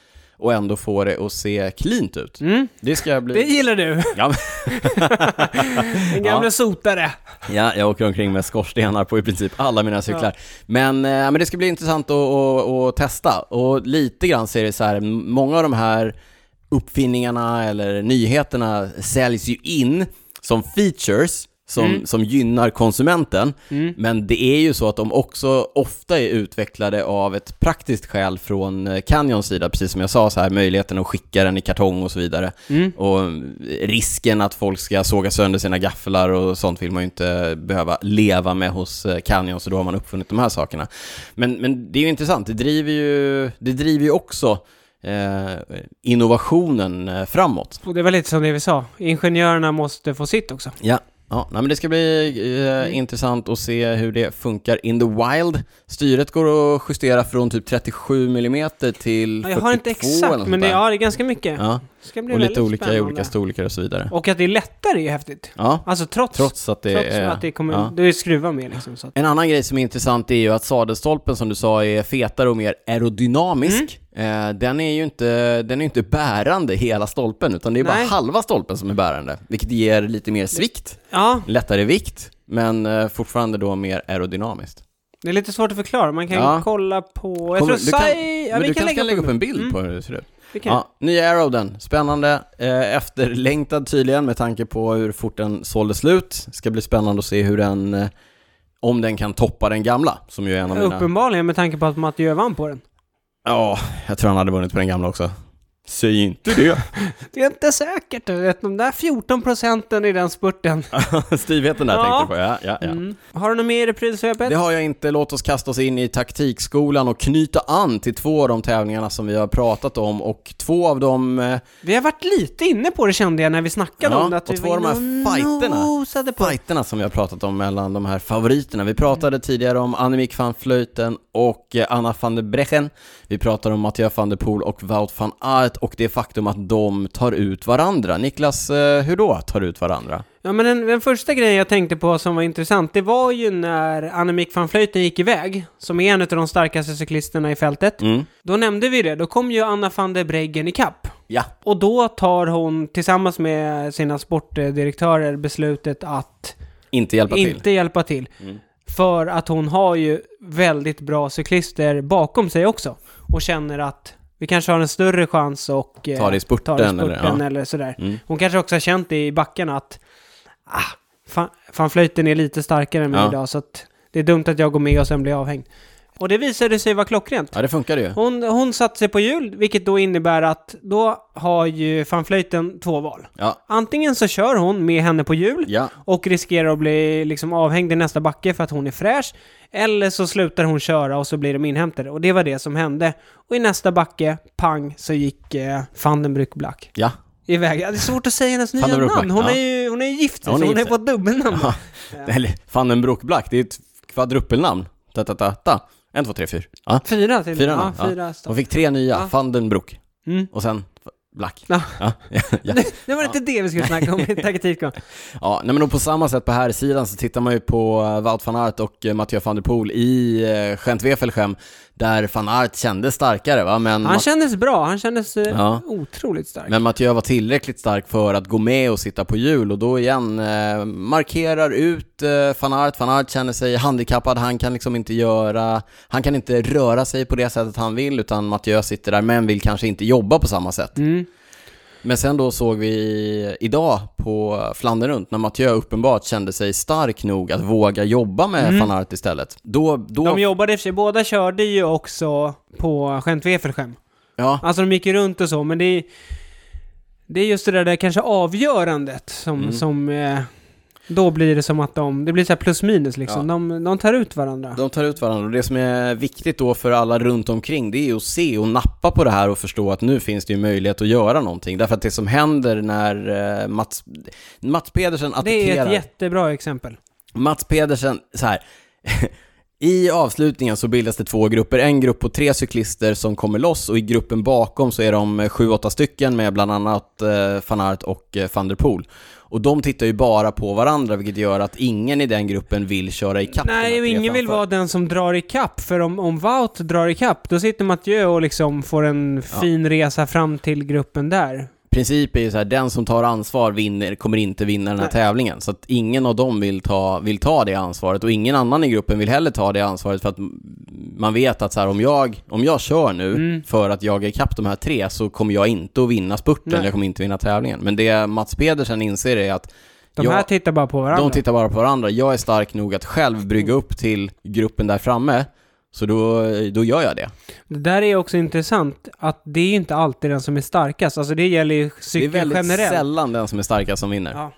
Speaker 1: Och ändå få det att se cleant ut. Det ska bli...
Speaker 2: Mm. Det gillar du,
Speaker 1: Ja,
Speaker 2: den gamla
Speaker 1: Ja.
Speaker 2: sotare.
Speaker 1: Ja, jag åker omkring med skorstenar på i princip alla mina cyklar. Men, eh, men det ska bli intressant att, att, att testa. Och lite grann ser det så här, många av de här uppfinningarna eller nyheterna säljs ju in som features som, som gynnar konsumenten. Men det är ju så att de också ofta är utvecklade av ett praktiskt skäl från eh, Canyons sida, precis som jag sa, så här, möjligheten att skicka den i kartong och så vidare. Och mm, risken att folk ska såga sönder sina gafflar och sånt vill man ju inte behöva leva med hos eh, Canyon, så då har man uppfunnit de här sakerna. Men, men det är ju intressant, det driver ju, det driver ju också eh, innovationen eh, framåt.
Speaker 2: Och det var lite som det vi sa, ingenjörerna måste få sitt också.
Speaker 1: Ja. Ja, nej, men det ska bli
Speaker 2: Mm.
Speaker 1: eh, intressant att se hur det funkar in the wild. Styret går att justera från typ 37 mm till
Speaker 2: Ja, Jag har inte
Speaker 1: 42 eller något
Speaker 2: exakt, men
Speaker 1: sånt
Speaker 2: det,
Speaker 1: där.
Speaker 2: ja, det är ganska mycket.
Speaker 1: Ja,
Speaker 2: Det ska bli
Speaker 1: och
Speaker 2: väldigt
Speaker 1: lite olika i
Speaker 2: spännande.
Speaker 1: olika storlekar och så vidare.
Speaker 2: Och att det är lättare är ju häftigt.
Speaker 1: Ja,
Speaker 2: Alltså trots, trots,
Speaker 1: trots att det är...
Speaker 2: att det kommer,
Speaker 1: ja.
Speaker 2: det är skruvar med liksom. Så att,
Speaker 1: En annan grej som är intressant är ju att sadelstolpen som du sa är fetare och mer aerodynamisk.
Speaker 2: Mm.
Speaker 1: Eh, den är ju inte, den är ju inte bärande hela stolpen utan det är bara
Speaker 2: Nej.
Speaker 1: halva stolpen som är bärande. Vilket ger lite mer svikt,
Speaker 2: ja,
Speaker 1: lättare vikt, men eh, fortfarande då mer aerodynamiskt.
Speaker 2: det är lite svårt att förklara. Man kan
Speaker 1: Ja.
Speaker 2: kolla på...
Speaker 1: Kommer-
Speaker 2: Jag tror
Speaker 1: du kan-
Speaker 2: Sai... Ja,
Speaker 1: men
Speaker 2: vi
Speaker 1: du
Speaker 2: kan
Speaker 1: kanske
Speaker 2: lägga,
Speaker 1: kan lägga upp en
Speaker 2: bild. Mm.
Speaker 1: bild på hur det ser ut?
Speaker 2: Vi kan.
Speaker 1: Ja, nya Arrow den. Spännande. Eh, efterlängtad tydligen med tanke på hur fort den sålde slut. Ska bli spännande att se hur den, eh, om den kan toppa den gamla, som ju är en av mina...
Speaker 2: Uppenbarligen med tanke på att Mattieu vann på den.
Speaker 1: Ja, jag tror han hade vunnit på den gamla också. Säg inte det. [laughs]
Speaker 2: Det är inte säkert, du vet, de där 14 procenten i den spurten.
Speaker 1: Styvheten där
Speaker 2: Ja.
Speaker 1: tänkte jag på, ja, ja, ja.
Speaker 2: Mm. Har du något mer i prylsvepet?
Speaker 1: Det har jag inte. Låt oss kasta oss in i taktikskolan och knyta an till två av de tävlingarna som vi har pratat om och två av de eh,
Speaker 2: Vi har varit lite inne på det kände jag när vi snackade
Speaker 1: Ja,
Speaker 2: om det, att
Speaker 1: och
Speaker 2: vi
Speaker 1: två av de
Speaker 2: var
Speaker 1: här
Speaker 2: inne och
Speaker 1: fighterna.
Speaker 2: nosade på det.
Speaker 1: fighterna som vi har pratat om mellan de här favoriterna. Vi pratade tidigare om Annemiek van Vleuten och eh, Anna van der Brechen. Vi pratade om Mattia van der Poel och Wout van Aert och det faktum att de tar ut varandra. Niklas, eh, hur då tar ut varandra?
Speaker 2: Ja, men den, den första grejen jag tänkte på som var intressant, det var ju när Annemiek van Vleuten gick iväg, som är en av de starkaste cyklisterna i fältet.
Speaker 1: Mm.
Speaker 2: Då nämnde vi det, då kom ju Anna van der Breggen ikapp.
Speaker 1: Ja.
Speaker 2: Och då tar hon tillsammans med sina sportdirektörer beslutet att
Speaker 1: Inte hjälpa till. Mm.
Speaker 2: inte hjälpa till. För att hon har ju väldigt bra cyklister bakom sig också. Och känner att vi kanske har en större chans och eh,
Speaker 1: Ta det i spurten
Speaker 2: ta det i
Speaker 1: eller- ja. Mm.
Speaker 2: eller sådär. Hon kanske också har känt det i backen att ah, fan, fan flöjten är lite starkare än mig
Speaker 1: Ja.
Speaker 2: idag så att det är dumt att jag går med och sen blir avhängd. Och det visade sig vara klockrent.
Speaker 1: Ja, det funkade ju.
Speaker 2: Hon, hon satte sig på hjul, vilket då innebär att då har ju fanflöjten två val.
Speaker 1: Ja.
Speaker 2: Antingen så kör hon med henne på hjul
Speaker 1: Ja.
Speaker 2: och riskerar att bli liksom avhängd i nästa backe för att hon är fräsch. Eller så slutar hon köra och så blir de inhämtade. Och det var det som hände. Och i nästa backe, pang, så gick eh, van den Brück Black
Speaker 1: Ja. [laughs]
Speaker 2: iväg. Ja, Det är svårt att säga hennes nya
Speaker 1: den Brück
Speaker 2: namn.
Speaker 1: Black,
Speaker 2: Hon
Speaker 1: ja.
Speaker 2: är ju hon är ju gift,
Speaker 1: Ja, hon
Speaker 2: så
Speaker 1: är
Speaker 2: hon är
Speaker 1: gift.
Speaker 2: på ett dubbelnamn.
Speaker 1: Ja. Eller Vandenbroek Black, det är ett kvadruppelnamn. Ta, ta, ta, ta. En, två, tre, fyra. Ja.
Speaker 2: Fyra till
Speaker 1: Fyra
Speaker 2: ja,
Speaker 1: namn, ja.
Speaker 2: fyra
Speaker 1: De
Speaker 2: stav.
Speaker 1: fick tre nya,
Speaker 2: Ja.
Speaker 1: Vandenbroek.
Speaker 2: Mm.
Speaker 1: Och sen Black.
Speaker 2: Ja.
Speaker 1: Ja. Ja.
Speaker 2: Det var inte det vi skulle snacka
Speaker 1: [laughs]
Speaker 2: om i taktiken.
Speaker 1: Mm. Ja, nej men och på samma sätt på här sidan så tittar man ju på eh, Wout van Aert och eh, Mathieu van der Poel i eh, gent wevelgem där van Aert kändes starkare va, men,
Speaker 2: Han
Speaker 1: Ma-
Speaker 2: kändes bra, han kändes eh,
Speaker 1: Ja.
Speaker 2: otroligt stark.
Speaker 1: men Mathieu var tillräckligt stark för att gå med och sitta på hjul och då igen eh, markerar ut eh, van Aert, van Aert känner sig handikappad, han kan liksom inte göra, han kan inte röra sig på det sättet han vill utan Mathieu sitter där men vill kanske inte jobba på samma sätt.
Speaker 2: Mm.
Speaker 1: Men sen då såg vi idag på Flandern runt när Mathieu uppenbart kände sig stark nog att våga jobba med van Aert istället. Då, då,
Speaker 2: Mm. De jobbade i och för sig, båda körde ju också på gent wevelgem
Speaker 1: ja,
Speaker 2: Alltså de gick ju runt och så, men det är, det är just det där, där kanske avgörandet som,
Speaker 1: Mm.
Speaker 2: som eh, då blir det som att de, det blir så här plus minus liksom. De, de tar ut varandra.
Speaker 1: de tar ut varandra och det som är viktigt då för alla runt omkring det är ju att se och nappa på det här och förstå att nu finns det ju möjlighet att göra någonting. Därför att det som händer när eh, Mats, Mats Pedersen
Speaker 2: det är
Speaker 1: attackerar...
Speaker 2: ett jättebra exempel.
Speaker 1: Mats Pedersen, så här. [laughs] I avslutningen så bildas det två grupper, en grupp på tre cyklister som kommer loss och i gruppen bakom så är de eh, sju, åtta stycken med bland annat eh, van Aert och eh, van der Poel. Och de tittar ju bara på varandra vilket gör att ingen i den gruppen vill köra ikapp de här
Speaker 2: Nej, och
Speaker 1: tre
Speaker 2: ingen vill
Speaker 1: framför.
Speaker 2: vara den som drar i kapp för om, om Wout drar i kapp då sitter Mathieu och liksom får en
Speaker 1: Ja.
Speaker 2: fin resa fram till gruppen där.
Speaker 1: Princip är ju så här, den som tar ansvar vinner, kommer inte vinna den här
Speaker 2: Nej.
Speaker 1: tävlingen. Så att ingen av dem vill ta, vill ta det ansvaret och ingen annan i gruppen vill heller ta det ansvaret för att m- man vet att så här, om, jag, om jag kör nu
Speaker 2: Mm.
Speaker 1: för att jag är ikapp de här tre så kommer jag inte att vinna spurten,
Speaker 2: Nej.
Speaker 1: jag kommer inte vinna tävlingen. Men det Mats Pedersen inser är att
Speaker 2: De
Speaker 1: Ja,
Speaker 2: här tittar bara på varandra.
Speaker 1: de tittar bara på varandra, jag är stark nog att själv brygga upp till gruppen där framme, så då, då gör jag det.
Speaker 2: Det där är också intressant, att det är inte alltid den som är starkast. Alltså det gäller ju
Speaker 1: Det är
Speaker 2: cykel
Speaker 1: väldigt
Speaker 2: generellt.
Speaker 1: sällan den som är starkast som vinner.
Speaker 2: Ja.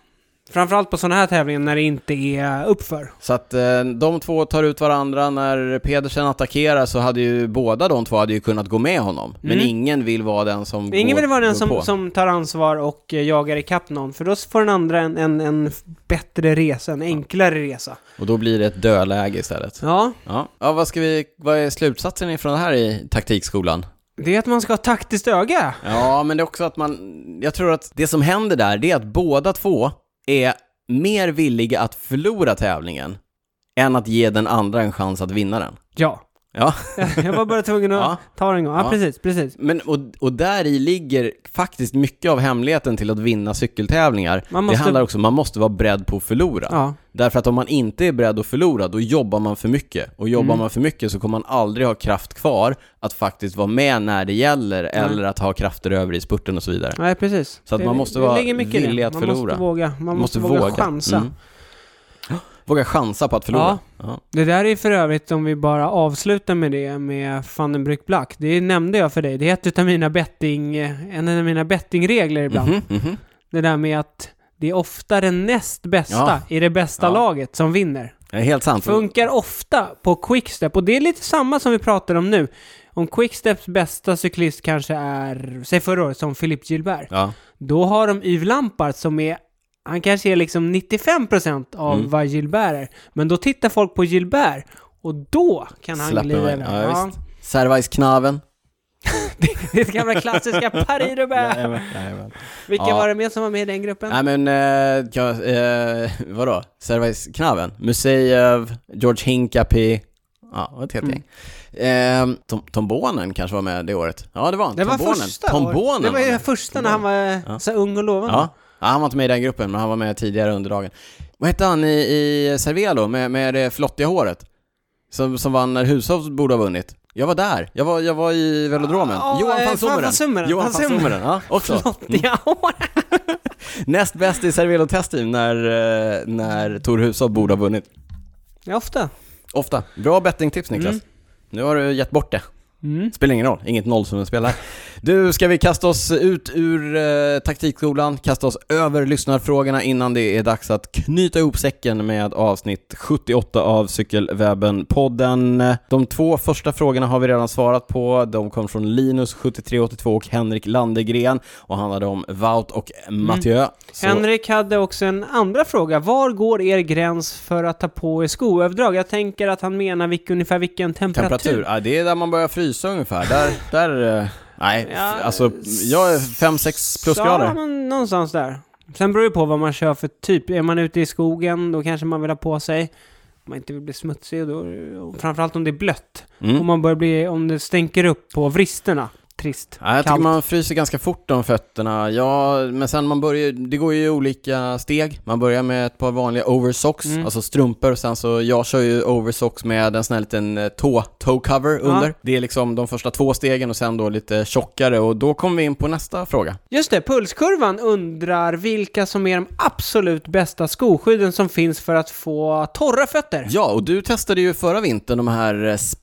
Speaker 2: Framförallt på sådana här tävlingar när det inte är uppför.
Speaker 1: Så att eh, de två tar ut varandra, när Pedersen attackerar så hade ju båda de två hade ju kunnat gå med honom. Men
Speaker 2: Mm.
Speaker 1: ingen vill vara den som
Speaker 2: Ingen
Speaker 1: går,
Speaker 2: vill vara den
Speaker 1: går på.
Speaker 2: som, som tar ansvar och eh, jagar ikapp någon, för då får den andra en, en, en f- bättre resa, en enklare resa.
Speaker 1: Och då blir det ett dödläge istället.
Speaker 2: Ja,
Speaker 1: Ja. ja, vad ska vi, vad är slutsatsen ifrån det här i taktikskolan?
Speaker 2: det är att man ska ha taktiskt öga.
Speaker 1: Ja, men det är också att man, jag tror att det som händer där, det är att båda två är mer villiga att förlora tävlingen än att ge den andra en chans att vinna den.
Speaker 2: Ja.
Speaker 1: Ja.
Speaker 2: [laughs] Jag var bara tvungen att
Speaker 1: Ja.
Speaker 2: ta den en gång. Ja,
Speaker 1: Ja.
Speaker 2: precis, precis.
Speaker 1: Men, och, och där i ligger faktiskt mycket av hemligheten till att vinna cykeltävlingar.
Speaker 2: Man måste-
Speaker 1: Det handlar också om att man måste vara beredd på att förlora.
Speaker 2: Ja.
Speaker 1: Därför att om man inte är beredd att förlora, då jobbar man för mycket. Och jobbar
Speaker 2: Mm.
Speaker 1: man för mycket så kommer man aldrig ha kraft kvar att faktiskt vara med när det gäller, eller att ha krafter över i spurten och så vidare.
Speaker 2: Nej, precis.
Speaker 1: Så att man måste vara
Speaker 2: ligger mycket i det.
Speaker 1: villig att
Speaker 2: Man
Speaker 1: förlora.
Speaker 2: måste våga. Man, måste, våga, chansa.
Speaker 1: Mm. Våga chansa på att förlora. Ja.
Speaker 2: Det där är för övrigt, om vi bara avslutar med det, med van den Bruyck Black. Det nämnde jag för dig. Det är ett utav mina betting, eh, en av mina bettingregler ibland.
Speaker 1: Mhm, mhm.
Speaker 2: Det där med att det är ofta den näst bästa
Speaker 1: Ja.
Speaker 2: i det bästa
Speaker 1: Ja. Mm.
Speaker 2: laget som vinner.
Speaker 1: Ja, helt sant.
Speaker 2: Funkar ofta på quickstep och det är lite samma som vi pratar om nu. Om quicksteps bästa cyklist kanske är, säg förra året, som Philippe Gilbert.
Speaker 1: Ja.
Speaker 2: Då har de Yves Lampard som är han kanske är liksom 95% av
Speaker 1: Mm.
Speaker 2: vad Gilbert är. Men då tittar folk på Gilbert och då kan han
Speaker 1: Släpper
Speaker 2: glida
Speaker 1: man-
Speaker 2: iväg.
Speaker 1: ja, visst. Servajsknaven.
Speaker 2: [laughs] det är [laughs] det gamla klassiska Paris Roubaix. Vilka
Speaker 1: Ja.
Speaker 2: var det mer som var med i den gruppen?
Speaker 1: Nej men, eh, kan, eh, vadå? Servajsknaven? Museev, George Hincapie, ja, det var ett helt
Speaker 2: Mm.
Speaker 1: gäng. Eh, Tom, Tombonen kanske var med det året? Ja, det var han.
Speaker 2: det var
Speaker 1: Tombonen.
Speaker 2: första
Speaker 1: Tombonen
Speaker 2: Det var ju
Speaker 1: med.
Speaker 2: första när han var
Speaker 1: Ja.
Speaker 2: så ung och lovande.
Speaker 1: Ja. ja, han var inte med i den gruppen, men han var med tidigare under dagen. Vad hette han i, i Cervelo med, med det flottiga håret? Som, som vann när Hushov borde ha vunnit. Jag var där, jag var, jag var i velodromen.
Speaker 2: Ja,
Speaker 1: Johan
Speaker 2: eh,
Speaker 1: van Sommeren.
Speaker 2: van Sommeren.
Speaker 1: Johan
Speaker 2: Van
Speaker 1: van
Speaker 2: Sommeren.
Speaker 1: Sommeren, ja, Mm. också.
Speaker 2: Flottiga år.
Speaker 1: Näst bäst i Cervelo Testteam när, eh, när Tor Hushov borde ha vunnit.
Speaker 2: Ja, ofta.
Speaker 1: Ofta. Bra bettingtips Niklas.
Speaker 2: Mm.
Speaker 1: Nu har du gett bort det.
Speaker 2: Mm.
Speaker 1: Spelar ingen roll, inget nollsummespel här. Du, ska vi kasta oss ut ur eh, taktikskolan, kasta oss över lyssnarfrågorna innan det är dags att knyta ihop säcken med avsnitt 78 av Cykelwebben-podden. De två första frågorna har vi redan svarat på. De kom från Linus, 7382 och Henrik Landegren och handlade om Wout och Mathieu. Så-
Speaker 2: Mm. Henrik hade också en andra fråga. Var går er gräns för att ta på er skoöverdrag? Jag tänker att han menar vilk, ungefär vilken temperatur.
Speaker 1: Temperatur, ja, det är där man börjar frysa ungefär. Där, där eh, nej,
Speaker 2: Ja,
Speaker 1: f- alltså jag är 5-6
Speaker 2: Ja,
Speaker 1: plusgrader.
Speaker 2: men någonstans där. Sen beror det på vad man kör för typ. Är man ute i skogen, då kanske man vill ha på sig. Om man inte vill bli smutsig, då, och framförallt om det är blött. Om,
Speaker 1: Mm.
Speaker 2: man börjar bli, om det stänker upp på vristerna. Trist.
Speaker 1: Ja, jag tycker
Speaker 2: Kallt.
Speaker 1: man fryser ganska fort om fötterna. Ja, men sen man börjar, det går ju i olika steg. Man börjar med ett par vanliga oversocks,
Speaker 2: Mm.
Speaker 1: alltså strumpor. och Sen så, jag kör ju oversocks med en sån här liten eh, tå, toe cover under. Det är liksom de första två stegen och sen då lite tjockare och då kommer vi in på nästa fråga.
Speaker 2: Just det, Pulskurvan undrar vilka som är de absolut bästa skoskydden som finns för att få torra fötter.
Speaker 1: Ja, och du testade ju förra vintern de här eh, spats.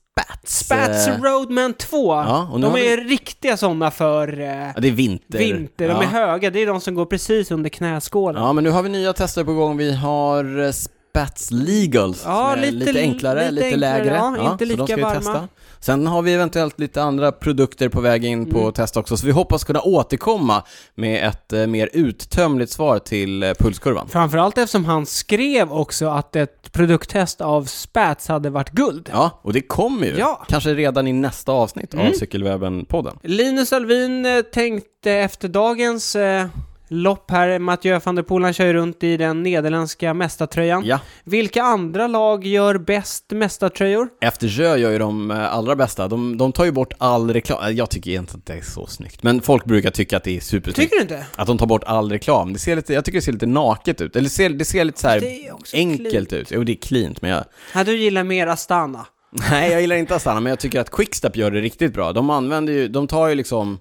Speaker 2: Spats
Speaker 1: eh,
Speaker 2: Roadman 2.
Speaker 1: Ja, och nu
Speaker 2: de
Speaker 1: har vi-
Speaker 2: är riktiga sådana för eh,
Speaker 1: Ja, det är vinter.
Speaker 2: vinter. De
Speaker 1: ja.
Speaker 2: är höga. Det är de som går precis under knäskålen.
Speaker 1: Ja, men nu har vi nya tester på gång. Vi har eh, Spats Legals.
Speaker 2: Ja,
Speaker 1: som är
Speaker 2: lite-
Speaker 1: lite, enklare,
Speaker 2: lite
Speaker 1: lite,
Speaker 2: enklare,
Speaker 1: lägre.
Speaker 2: ja, inte
Speaker 1: så de ska
Speaker 2: lika
Speaker 1: vi
Speaker 2: varma.
Speaker 1: testa. Sen har vi eventuellt lite andra produkter på väg in
Speaker 2: Mm.
Speaker 1: på test också, så vi hoppas kunna återkomma med ett eh, mer uttömligt svar till eh, pulskurvan.
Speaker 2: Framförallt eftersom han skrev också att ett produkttest av Spats hade varit guld.
Speaker 1: Ja, och det kommer ju.
Speaker 2: Ja. Mm.
Speaker 1: Kanske redan i nästa avsnitt av Cykelwebben-podden.
Speaker 2: Linus Alvin eh, tänkte efter dagens eh, lopp här, Mathieu van der Poel, han kör ju runt i den nederländska mästartröjan.
Speaker 1: Ja,
Speaker 2: Vilka andra lag gör bäst mästartröjor?
Speaker 1: Eftersjö gör ju de eh, allra bästa. De, de tar ju bort all reklam. Eh, Jag tycker egentligen att det är så snyggt, men folk brukar tycka att det är supersnyggt.
Speaker 2: Tycker du inte?
Speaker 1: Att de tar bort all reklam. Det ser lite, jag tycker det ser lite naket ut. Eller det ser, det ser lite så här
Speaker 2: Det är också
Speaker 1: enkelt
Speaker 2: cleant.
Speaker 1: ut. Jo, det är cleant, men jag... [laughs]
Speaker 2: Ja, du gillar mer Astana.
Speaker 1: Nej, jag gillar inte Astana, men jag tycker att Quickstep gör det riktigt bra. De använder ju, de tar ju liksom...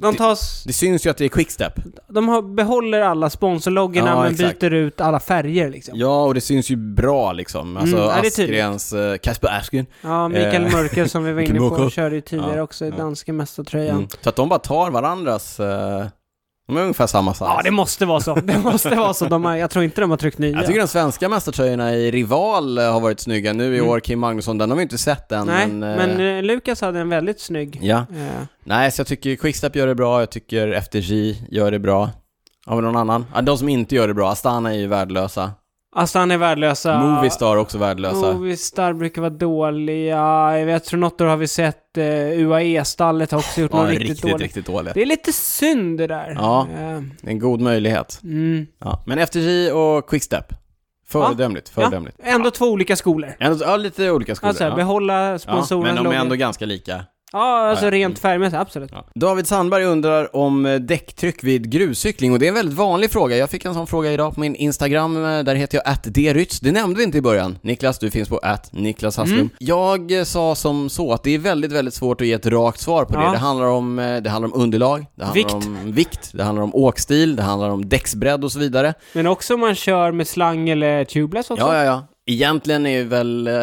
Speaker 2: De, tas,
Speaker 1: Det syns ju att det är Quickstep.
Speaker 2: de har, behåller alla sponsorloggorna
Speaker 1: Ja,
Speaker 2: men
Speaker 1: exakt.
Speaker 2: byter ut alla färger liksom. Ja,
Speaker 1: Ja, och det syns ju bra liksom. Alltså
Speaker 2: Mm, ja, det är tydligt.
Speaker 1: Asgrens... eh, Kasper Asgren.
Speaker 2: Mikael
Speaker 1: Eh,
Speaker 2: Mörker som vi var
Speaker 1: Mikael
Speaker 2: inne på
Speaker 1: Mörker.
Speaker 2: körde ju tidigare
Speaker 1: Ja,
Speaker 2: också i
Speaker 1: ja.
Speaker 2: danska mästartröjan.
Speaker 1: Mm. Så att de bara tar varandras... eh, De är ungefär samma size.
Speaker 2: Ja, det måste vara så. Det måste vara så. De har, jag tror inte de har tryckt nya.
Speaker 1: Alltså. Jag tycker de svenska mästartröjorna i Rival eh, har varit snygga. Nu i år, Kim Magnusson, den har vi inte sett än.
Speaker 2: Mm. Nej,
Speaker 1: men,
Speaker 2: men,
Speaker 1: eh,
Speaker 2: eh, Lukas hade en väldigt snygg.
Speaker 1: Ja.
Speaker 2: eh,
Speaker 1: Nej, så jag tycker Quickstep gör det bra, jag tycker FDJ gör det bra. Har vi någon annan? Ja, de som inte gör det bra. Astana är ju värdelösa.
Speaker 2: Alltså han är värdelösa.
Speaker 1: Movistar alltså. är också värdelösa.
Speaker 2: Movistar brukar vara dåliga. Jag vet, tror något år har vi sett eh, UAE-stallet har också gjort
Speaker 1: Ja,
Speaker 2: något
Speaker 1: riktigt,
Speaker 2: riktigt,
Speaker 1: riktigt,
Speaker 2: dåligt.
Speaker 1: dåligt.
Speaker 2: Det är lite synd det där.
Speaker 1: Ja.
Speaker 2: Eh,
Speaker 1: Det är en god möjlighet.
Speaker 2: mm.
Speaker 1: Ja. Men FDJ och Quickstep. Föredömligt, föredömligt. Ja.
Speaker 2: Ändå två olika skolor.
Speaker 1: Ändå, ja, lite olika skolor.
Speaker 2: Alltså,
Speaker 1: ja.
Speaker 2: behålla
Speaker 1: Ja, men
Speaker 2: sponsorernas
Speaker 1: de är
Speaker 2: loggor.
Speaker 1: ändå ganska lika.
Speaker 2: Ja, alltså
Speaker 1: Ja, ja.
Speaker 2: rent färgmässigt, absolut.
Speaker 1: Ja. David Sandberg undrar om eh, däcktryck vid gruscykling och det är en väldigt vanlig fråga. Jag fick en sån fråga idag på min Instagram, eh, där heter jag @drytz. Det nämnde vi inte i början. Niklas, du finns på Niklas Hasslum.
Speaker 2: Mm.
Speaker 1: Jag eh, sa som så att det är väldigt, väldigt svårt att ge ett rakt svar på det.
Speaker 2: Ja.
Speaker 1: Det, handlar om, eh, det handlar om underlag, det handlar
Speaker 2: Vikt.
Speaker 1: om vikt, det handlar om åkstil, det handlar om däcksbredd och så vidare.
Speaker 2: Men också om man kör med slang eller tubeless också.
Speaker 1: Ja, ja, ja. Egentligen är ju väl, eh,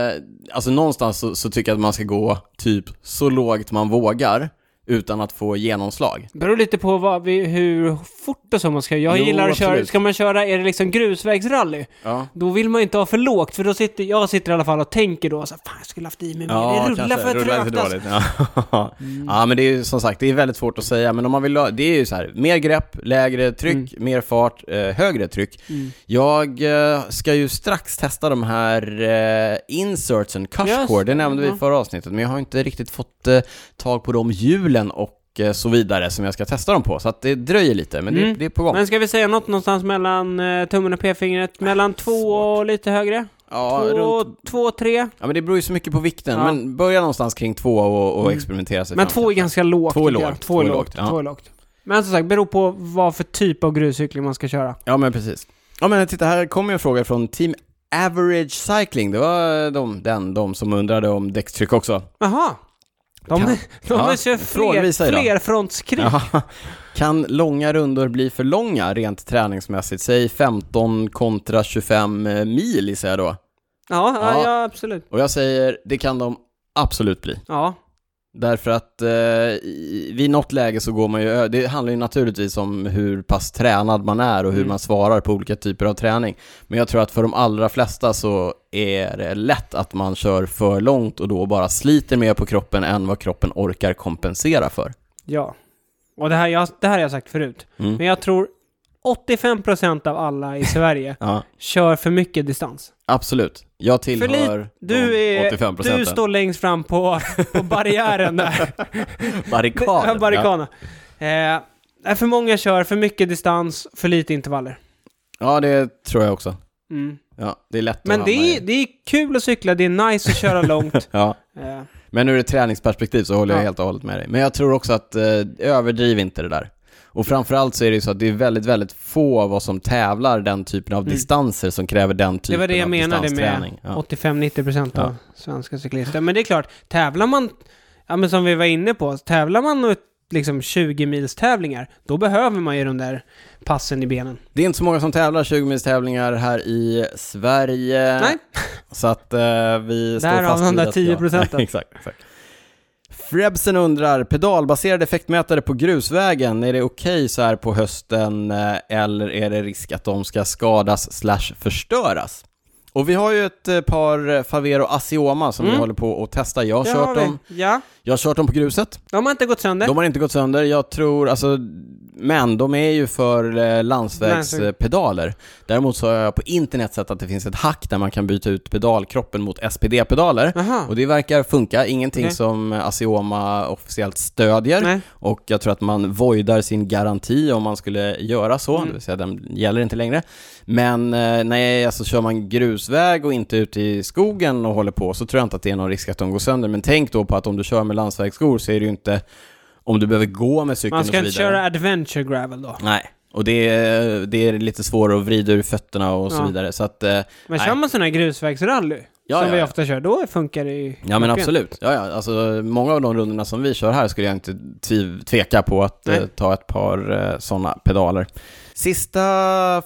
Speaker 1: alltså någonstans så, så tycker jag att man ska gå typ så lågt man vågar utan att få genomslag.
Speaker 2: Beror lite på vad vi, hur fort och så man ska. Jag
Speaker 1: Jo,
Speaker 2: gillar att köra,
Speaker 1: absolut.
Speaker 2: ska man köra, är det liksom grusvägsrally?
Speaker 1: Ja.
Speaker 2: Då vill man ju inte ha för lågt, för då sitter, jag sitter i alla fall och tänker då så här, fan jag skulle haft i mig mer. det rullar
Speaker 1: kanske.
Speaker 2: för Mm.
Speaker 1: Rullar
Speaker 2: trögt alltså.
Speaker 1: dåligt. [laughs] Ja. ja, men det är ju som sagt, det är väldigt svårt att säga. Men om man vill ha, det är ju så här, mer grepp, lägre
Speaker 2: Mm.
Speaker 1: tryck, mer fart, eh, högre tryck. Jag eh, ska ju strax testa de här eh, insertsen,
Speaker 2: Just
Speaker 1: cashcore,
Speaker 2: det,
Speaker 1: det nämnde vi
Speaker 2: ja.
Speaker 1: i förra avsnittet. Men jag har inte riktigt fått eh, tag på de hjulen och eh, så vidare som jag ska testa dem på. Så att det dröjer lite, men det,
Speaker 2: Mm.
Speaker 1: det är på gång.
Speaker 2: Men ska vi säga något någonstans mellan eh, tummen och p-fingret? Mellan två och lite högre?
Speaker 1: ja,
Speaker 2: två,
Speaker 1: runt,
Speaker 2: två, tre?
Speaker 1: ja, men det beror ju så mycket på vikten.
Speaker 2: Ja. Mm.
Speaker 1: Men börja någonstans kring två och, och experimentera sig
Speaker 2: Men
Speaker 1: fram
Speaker 2: två är
Speaker 1: kanske.
Speaker 2: ganska lågt.
Speaker 1: Två är
Speaker 2: tycker jag.
Speaker 1: lågt,
Speaker 2: Två är lågt.
Speaker 1: ja.
Speaker 2: Två är lågt. Men som sagt, beror på vad för typ av gruscykling man ska köra.
Speaker 1: Ja men precis. Ja men titta, här kommer en fråga från Team Average Cycling. Det var eh, de, den, de som undrade om däckstryck också.
Speaker 2: Jaha! De,
Speaker 1: Kan-
Speaker 2: [laughs] de,
Speaker 1: Ja,
Speaker 2: kör fler,
Speaker 1: frågvisa idag.
Speaker 2: flerfrontskrig.
Speaker 1: Ja. Kan långa rundor bli för långa rent träningsmässigt? Säg 15 kontra 25 mil gissar jag då.
Speaker 2: Ja, ja,
Speaker 1: Ja.
Speaker 2: ja, absolut.
Speaker 1: Och jag säger, det kan de absolut bli.
Speaker 2: Ja.
Speaker 1: Därför att eh, i- vid något läge så går man ju, ö- det handlar ju naturligtvis om hur pass tränad man är och hur
Speaker 2: Mm.
Speaker 1: man svarar på olika typer av träning. Men jag tror att för de allra flesta så är det lätt att man kör för långt och då bara sliter mer på kroppen än vad kroppen orkar kompensera för.
Speaker 2: Ja. Och det här, jag, det här har jag sagt förut.
Speaker 1: Mm.
Speaker 2: Men jag tror 85% av alla i [laughs] Sverige
Speaker 1: Ja,
Speaker 2: kör för mycket distans.
Speaker 1: absolut. Jag
Speaker 2: För lite-
Speaker 1: tillhör
Speaker 2: Du,
Speaker 1: de
Speaker 2: är,
Speaker 1: 85
Speaker 2: du står längst fram på, på barriären [laughs] där.
Speaker 1: barrikaden.
Speaker 2: [laughs] Ja, Barrikaden. Eh, nej, för många kör för mycket distans, för lite intervaller.
Speaker 1: Ja. ja, det tror jag också.
Speaker 2: Mm.
Speaker 1: Ja, det är lätt
Speaker 2: Men
Speaker 1: att
Speaker 2: det
Speaker 1: hamna
Speaker 2: är,
Speaker 1: i.
Speaker 2: det är kul att cykla, det är nice att köra [laughs] långt.
Speaker 1: Ja.
Speaker 2: Eh,
Speaker 1: Men ur ett träningsperspektiv så håller jag
Speaker 2: Ja.
Speaker 1: helt och hållet med dig. Men jag tror också att eh, överdriv inte det där. Och framförallt så är det ju så att det är väldigt, väldigt få av oss som tävlar den typen av
Speaker 2: Mm.
Speaker 1: distanser som kräver den
Speaker 2: det
Speaker 1: typen
Speaker 2: var det jag
Speaker 1: av
Speaker 2: menade med
Speaker 1: distansträning. Ja.
Speaker 2: 85-90% av
Speaker 1: Ja.
Speaker 2: svenska cyklister. Men det är klart, tävlar man, ja, men som vi var inne på, tävlar man ut liksom 20 mils tävlingar, då behöver man ju de där passen i benen.
Speaker 1: Det är inte så många som tävlar 20 mils tävlingar här i Sverige.
Speaker 2: Nej.
Speaker 1: Så att eh, vi står
Speaker 2: Därav
Speaker 1: fast
Speaker 2: de
Speaker 1: vid
Speaker 2: där
Speaker 1: att jag- [laughs]
Speaker 2: 10%.
Speaker 1: exakt, exakt. Frebsen undrar, pedalbaserad effektmätare på grusvägen, är det okej så här på hösten eh, eller är det risk att de ska skadas slash förstöras? Och vi har ju ett eh, par Favero Asioma som vi håller på att testa. Jag har,
Speaker 2: Mm. Det
Speaker 1: kört
Speaker 2: vi.
Speaker 1: dem,
Speaker 2: Ja,
Speaker 1: jag har kört dem på gruset.
Speaker 2: de har inte gått sönder.
Speaker 1: De har inte gått sönder. Jag tror, alltså, men de är ju för eh, landsvägspedaler. Däremot så har jag på internet sett att det finns ett hack där man kan byta ut pedalkroppen mot SPD-pedaler.
Speaker 2: Aha.
Speaker 1: Och det verkar funka, ingenting
Speaker 2: Okej.
Speaker 1: som Asioma officiellt stödjer.
Speaker 2: Nej.
Speaker 1: Och jag tror att man voidar sin garanti om man skulle göra så,
Speaker 2: Mm.
Speaker 1: det vill säga den gäller inte längre. Men eh, nej, alltså kör man grusväg och inte ute i skogen och håller på så tror jag inte att det är någon risk att de går sönder. Men tänk då på att om du kör med landsvägsskor så är det ju inte om du behöver gå med cykeln
Speaker 2: Man ska
Speaker 1: och
Speaker 2: inte
Speaker 1: så vidare.
Speaker 2: köra adventure gravel då.
Speaker 1: Nej, och det är, det är lite svårare att vrida ur fötterna och så
Speaker 2: Ja.
Speaker 1: vidare. Så att, eh,
Speaker 2: Men
Speaker 1: Nej.
Speaker 2: kör man sån här grusvägsrally,
Speaker 1: Ja,
Speaker 2: som
Speaker 1: ja,
Speaker 2: vi
Speaker 1: ja.
Speaker 2: ofta kör, då funkar det ju.
Speaker 1: Ja men
Speaker 2: klockrent.
Speaker 1: absolut. Ja, ja. Alltså, många av de rundorna som vi kör här skulle jag inte tv- tveka på att
Speaker 2: Nej.
Speaker 1: eh, ta ett par eh, sådana pedaler. Sista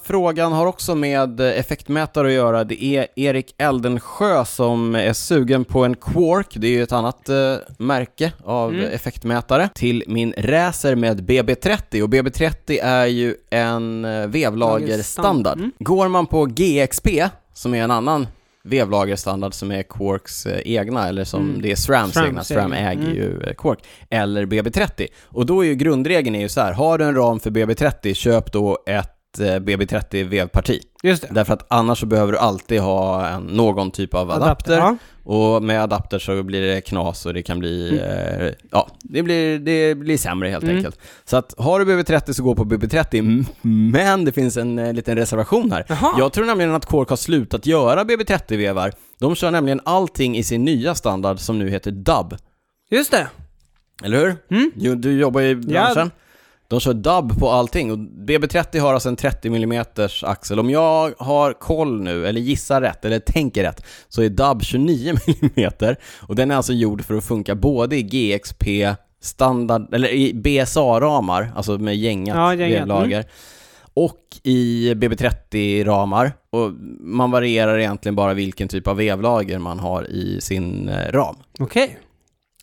Speaker 1: frågan har också med eh, effektmätare att göra. Det är Erik Eldensjö som är sugen på en Quark. Det är ju ett annat eh, märke av
Speaker 2: Mm.
Speaker 1: eh, effektmätare. Till min racer med BB30 och BB30 är ju en eh, vevlagerstandard.
Speaker 2: Mm.
Speaker 1: Går man på GXP, som är en annan vevlagerstandard som är Quarks eh, egna, eller som
Speaker 2: Mm.
Speaker 1: det är SRAMs
Speaker 2: SRAMs
Speaker 1: egna, SRAM
Speaker 2: egna.
Speaker 1: äger
Speaker 2: Mm.
Speaker 1: ju eh, Quark, eller BB30. Och då är ju grundregeln är ju så här, har du en ram för BB30, köp då ett eh, BB30 vevparti.
Speaker 2: Just det.
Speaker 1: Därför att annars så behöver du alltid ha en, någon typ av adapter.
Speaker 2: Ja.
Speaker 1: Och med adapter så blir det knas och det kan bli, eh, ja, det blir, det blir sämre helt
Speaker 2: Mm.
Speaker 1: enkelt. Så att har du BB30 så gå på BB30, m- men det finns en eh, liten reservation här.
Speaker 2: Jaha.
Speaker 1: Jag tror nämligen att Cork har slutat göra BB30-vevar. De kör nämligen allting i sin nya standard som nu heter DUB.
Speaker 2: Just det.
Speaker 1: Eller hur?
Speaker 2: Mm.
Speaker 1: Jo, Du jobbar i branschen. De kör dubb på allting och BB30 har alltså en 30 mm axel. Om jag har koll nu, eller gissar rätt, eller tänker rätt, så är dubb [laughs] 29 mm och den är alltså gjord för att funka både i GXP standard, eller i BSA-ramar, alltså med gängat,
Speaker 2: Ja, gängat, Mm.
Speaker 1: vevlager, och i BB30-ramar. Och man varierar egentligen bara vilken typ av vevlager man har i sin eh, ram.
Speaker 2: Okej.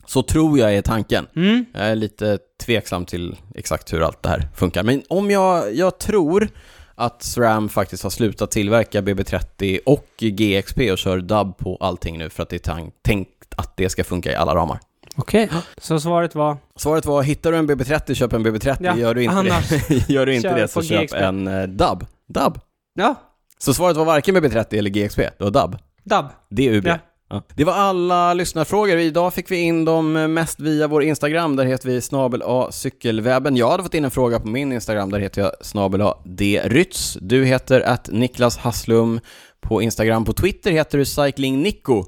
Speaker 1: Så tror jag är tanken.
Speaker 2: Mm.
Speaker 1: Jag är lite tveksam till exakt hur allt det här funkar. Men om jag, jag tror att SRAM faktiskt har slutat tillverka BB30 och GXP och kör DUB på allting nu för att det är tan- tänkt att det ska funka i alla ramar.
Speaker 2: Okej. Så svaret var?
Speaker 1: Svaret var, hittar du en BB30, köp en BB30.
Speaker 2: Ja,
Speaker 1: gör du inte
Speaker 2: annars,
Speaker 1: det, [laughs] gör du inte
Speaker 2: kör
Speaker 1: det så
Speaker 2: på
Speaker 1: köp
Speaker 2: GXP.
Speaker 1: en eh, DUB. DUB.
Speaker 2: Ja.
Speaker 1: Så svaret var varken BB30 eller GXP, det var DUB.
Speaker 2: Dab.
Speaker 1: Det är UB.
Speaker 2: Ja.
Speaker 1: Ja. Det var alla lyssnarfrågor. Idag fick vi in dem mest via vår Instagram. Där heter vi snabel A cykelwebben. Jag hade fått in en fråga på min Instagram. Där heter jag snabel A D Rytz. Du heter att Niklas Hasslum på Instagram. På Twitter heter du Cycling Nico.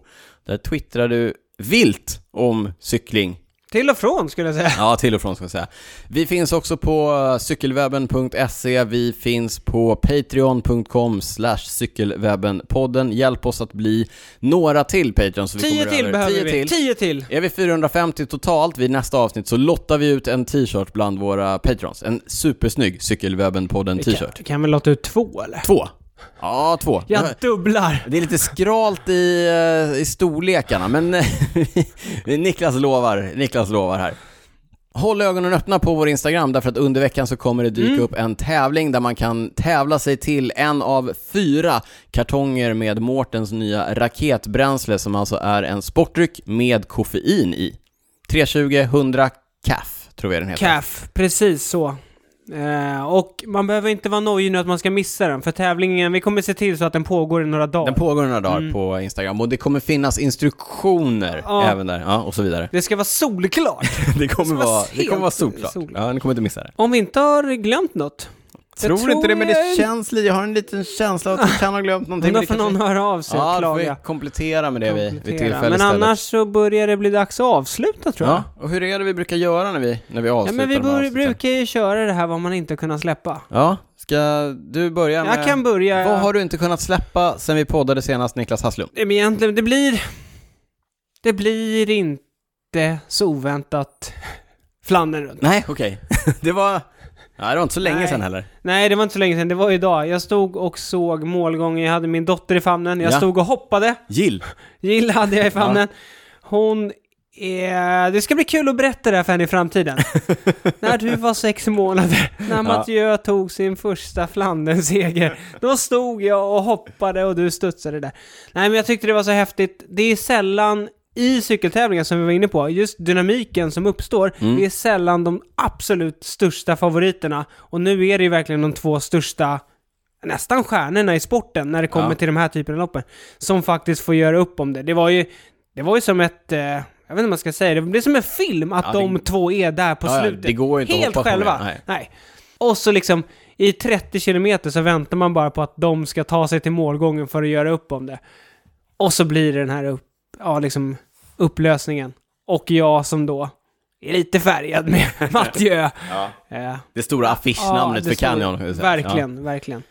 Speaker 1: Där twittrar du vilt om cykling.
Speaker 2: Till och från skulle jag säga.
Speaker 1: Ja, till och från ska jag säga. Vi finns också på eh, cykelwebben.se. Vi finns på patreon.com slash cykelwebbenpodden. Hjälp oss att bli några till Patreons. Vi
Speaker 2: Tio
Speaker 1: kommer
Speaker 2: till
Speaker 1: över.
Speaker 2: behöver
Speaker 1: Tio
Speaker 2: vi.
Speaker 1: Till.
Speaker 2: Tio till.
Speaker 1: Är vi 450 totalt vid nästa avsnitt så lottar vi ut en t-shirt bland våra Patreons. En supersnygg cykelwebben-podden
Speaker 2: Vi
Speaker 1: t-shirt.
Speaker 2: Kan, kan vi låta ut två eller?
Speaker 1: Två. Ja, två.
Speaker 2: Jag dubblar.
Speaker 1: Det är lite skralt i, eh, i storlekarna, men eh, [laughs] Niklas lovar, Niklas lovar här. Håll ögonen öppna på vår Instagram, därför att under veckan så kommer det dyka upp en tävling där man kan tävla sig till en av fyra kartonger med Mårtens nya raketbränsle, som alltså är en sportdryck med koffein i. 320 100 CAF, tror jag den heter.
Speaker 2: Calf, precis så. Eh, och man behöver inte vara nojig nu att man ska missa den, för tävlingen, vi kommer se till så att den pågår i några dagar.
Speaker 1: Den pågår några dagar på Instagram och det kommer finnas instruktioner
Speaker 2: Ja.
Speaker 1: även där, ja, och så vidare.
Speaker 2: det ska
Speaker 1: [laughs]
Speaker 2: vara solklart!
Speaker 1: Det kommer
Speaker 2: Det var
Speaker 1: vara, det
Speaker 2: helt
Speaker 1: kommer vara solklart.
Speaker 2: sol.
Speaker 1: Ja, ni kommer inte missa det.
Speaker 2: Om vi inte har glömt något.
Speaker 1: Tror, inte det, men
Speaker 2: jag-
Speaker 1: det känns lite, jag har en liten känsla att vi kan ha glömt någonting.
Speaker 2: Men då
Speaker 1: Det
Speaker 2: får
Speaker 1: kanske-
Speaker 2: någon höra av sig och
Speaker 1: Ja, då får vi
Speaker 2: klaga.
Speaker 1: komplettera med det vid, vid tillfälle
Speaker 2: Komplettera. Men
Speaker 1: istället.
Speaker 2: annars så börjar det bli dags att avsluta tror jag.
Speaker 1: Ja, och hur är det vi brukar göra när vi, när vi
Speaker 2: Ja,
Speaker 1: avslutar
Speaker 2: men vi
Speaker 1: de här
Speaker 2: bör,
Speaker 1: avsnitten?
Speaker 2: brukar ju köra det här vad man inte kunnat släppa.
Speaker 1: Ja, ska du börja med...
Speaker 2: Jag kan börja...
Speaker 1: Vad har du inte kunnat släppa sen vi poddade senast, Niklas Hasslum?
Speaker 2: Nej, Men egentligen, det blir... Det blir inte så oväntat [laughs] Flandern runt.
Speaker 1: Nej, okej. [laughs] det var... Ja, det var inte så länge
Speaker 2: Nej.
Speaker 1: sedan heller.
Speaker 2: Nej, det var inte så länge sedan. Det var idag. Jag stod och såg målgången. Jag hade min dotter i famnen. Jag
Speaker 1: Ja.
Speaker 2: stod och hoppade.
Speaker 1: Jill.
Speaker 2: Jill hade jag i famnen. Hon är, det ska bli kul att berätta det här för henne i framtiden. när du var sex månader, när Mathieu tog sin första Flandernseger, då stod jag och hoppade och du studsade där. Nej, men jag tyckte det var så häftigt. Det är sällan i cykeltävlingar som vi var inne på, just dynamiken som uppstår,
Speaker 1: Mm.
Speaker 2: det är sällan de absolut största favoriterna. Och nu är det ju verkligen de två största nästan stjärnorna i sporten när det kommer
Speaker 1: Ja.
Speaker 2: till de här typerna av loppen. Som faktiskt får göra upp om det. Det var ju, det var ju som ett, eh, jag vet inte vad man ska säga, det blev som en film att
Speaker 1: Ja, det-
Speaker 2: de två är där på
Speaker 1: Ja, ja,
Speaker 2: slutet.
Speaker 1: det går ju inte att
Speaker 2: Helt
Speaker 1: hoppa från
Speaker 2: själva.
Speaker 1: det,
Speaker 2: nej.
Speaker 1: nej.
Speaker 2: Och så liksom, i 30 kilometer så väntar man bara på att de ska ta sig till målgången för att göra upp om det. Och så blir det den här upp, ja, liksom, upplösningen. Och jag som då är lite färgad med [laughs] Mathieu. Eh,
Speaker 1: Det stora affischnamnet
Speaker 2: det
Speaker 1: för
Speaker 2: står-
Speaker 1: Canyon. kan vi säga.
Speaker 2: Verkligen, verkligen.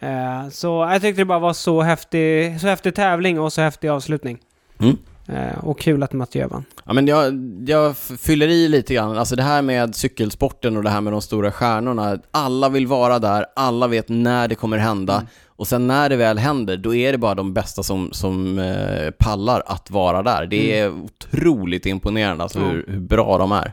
Speaker 2: Eh, så jag tyckte det bara var så häftig, så häftig tävling och så häftig avslutning.
Speaker 1: Ja. Mm.
Speaker 2: Eh, och kul att Mattias vann.
Speaker 1: Ja, men jag, jag f- fyller i lite grann. Alltså det här med cykelsporten och det här med de stora stjärnorna. Alla vill vara där, alla vet när det kommer hända.
Speaker 2: Mm.
Speaker 1: Och sen när det väl händer, då är det bara de bästa som, som eh, pallar att vara där. Det är otroligt imponerande alltså,
Speaker 2: Mm. Ja.
Speaker 1: hur, hur bra de är.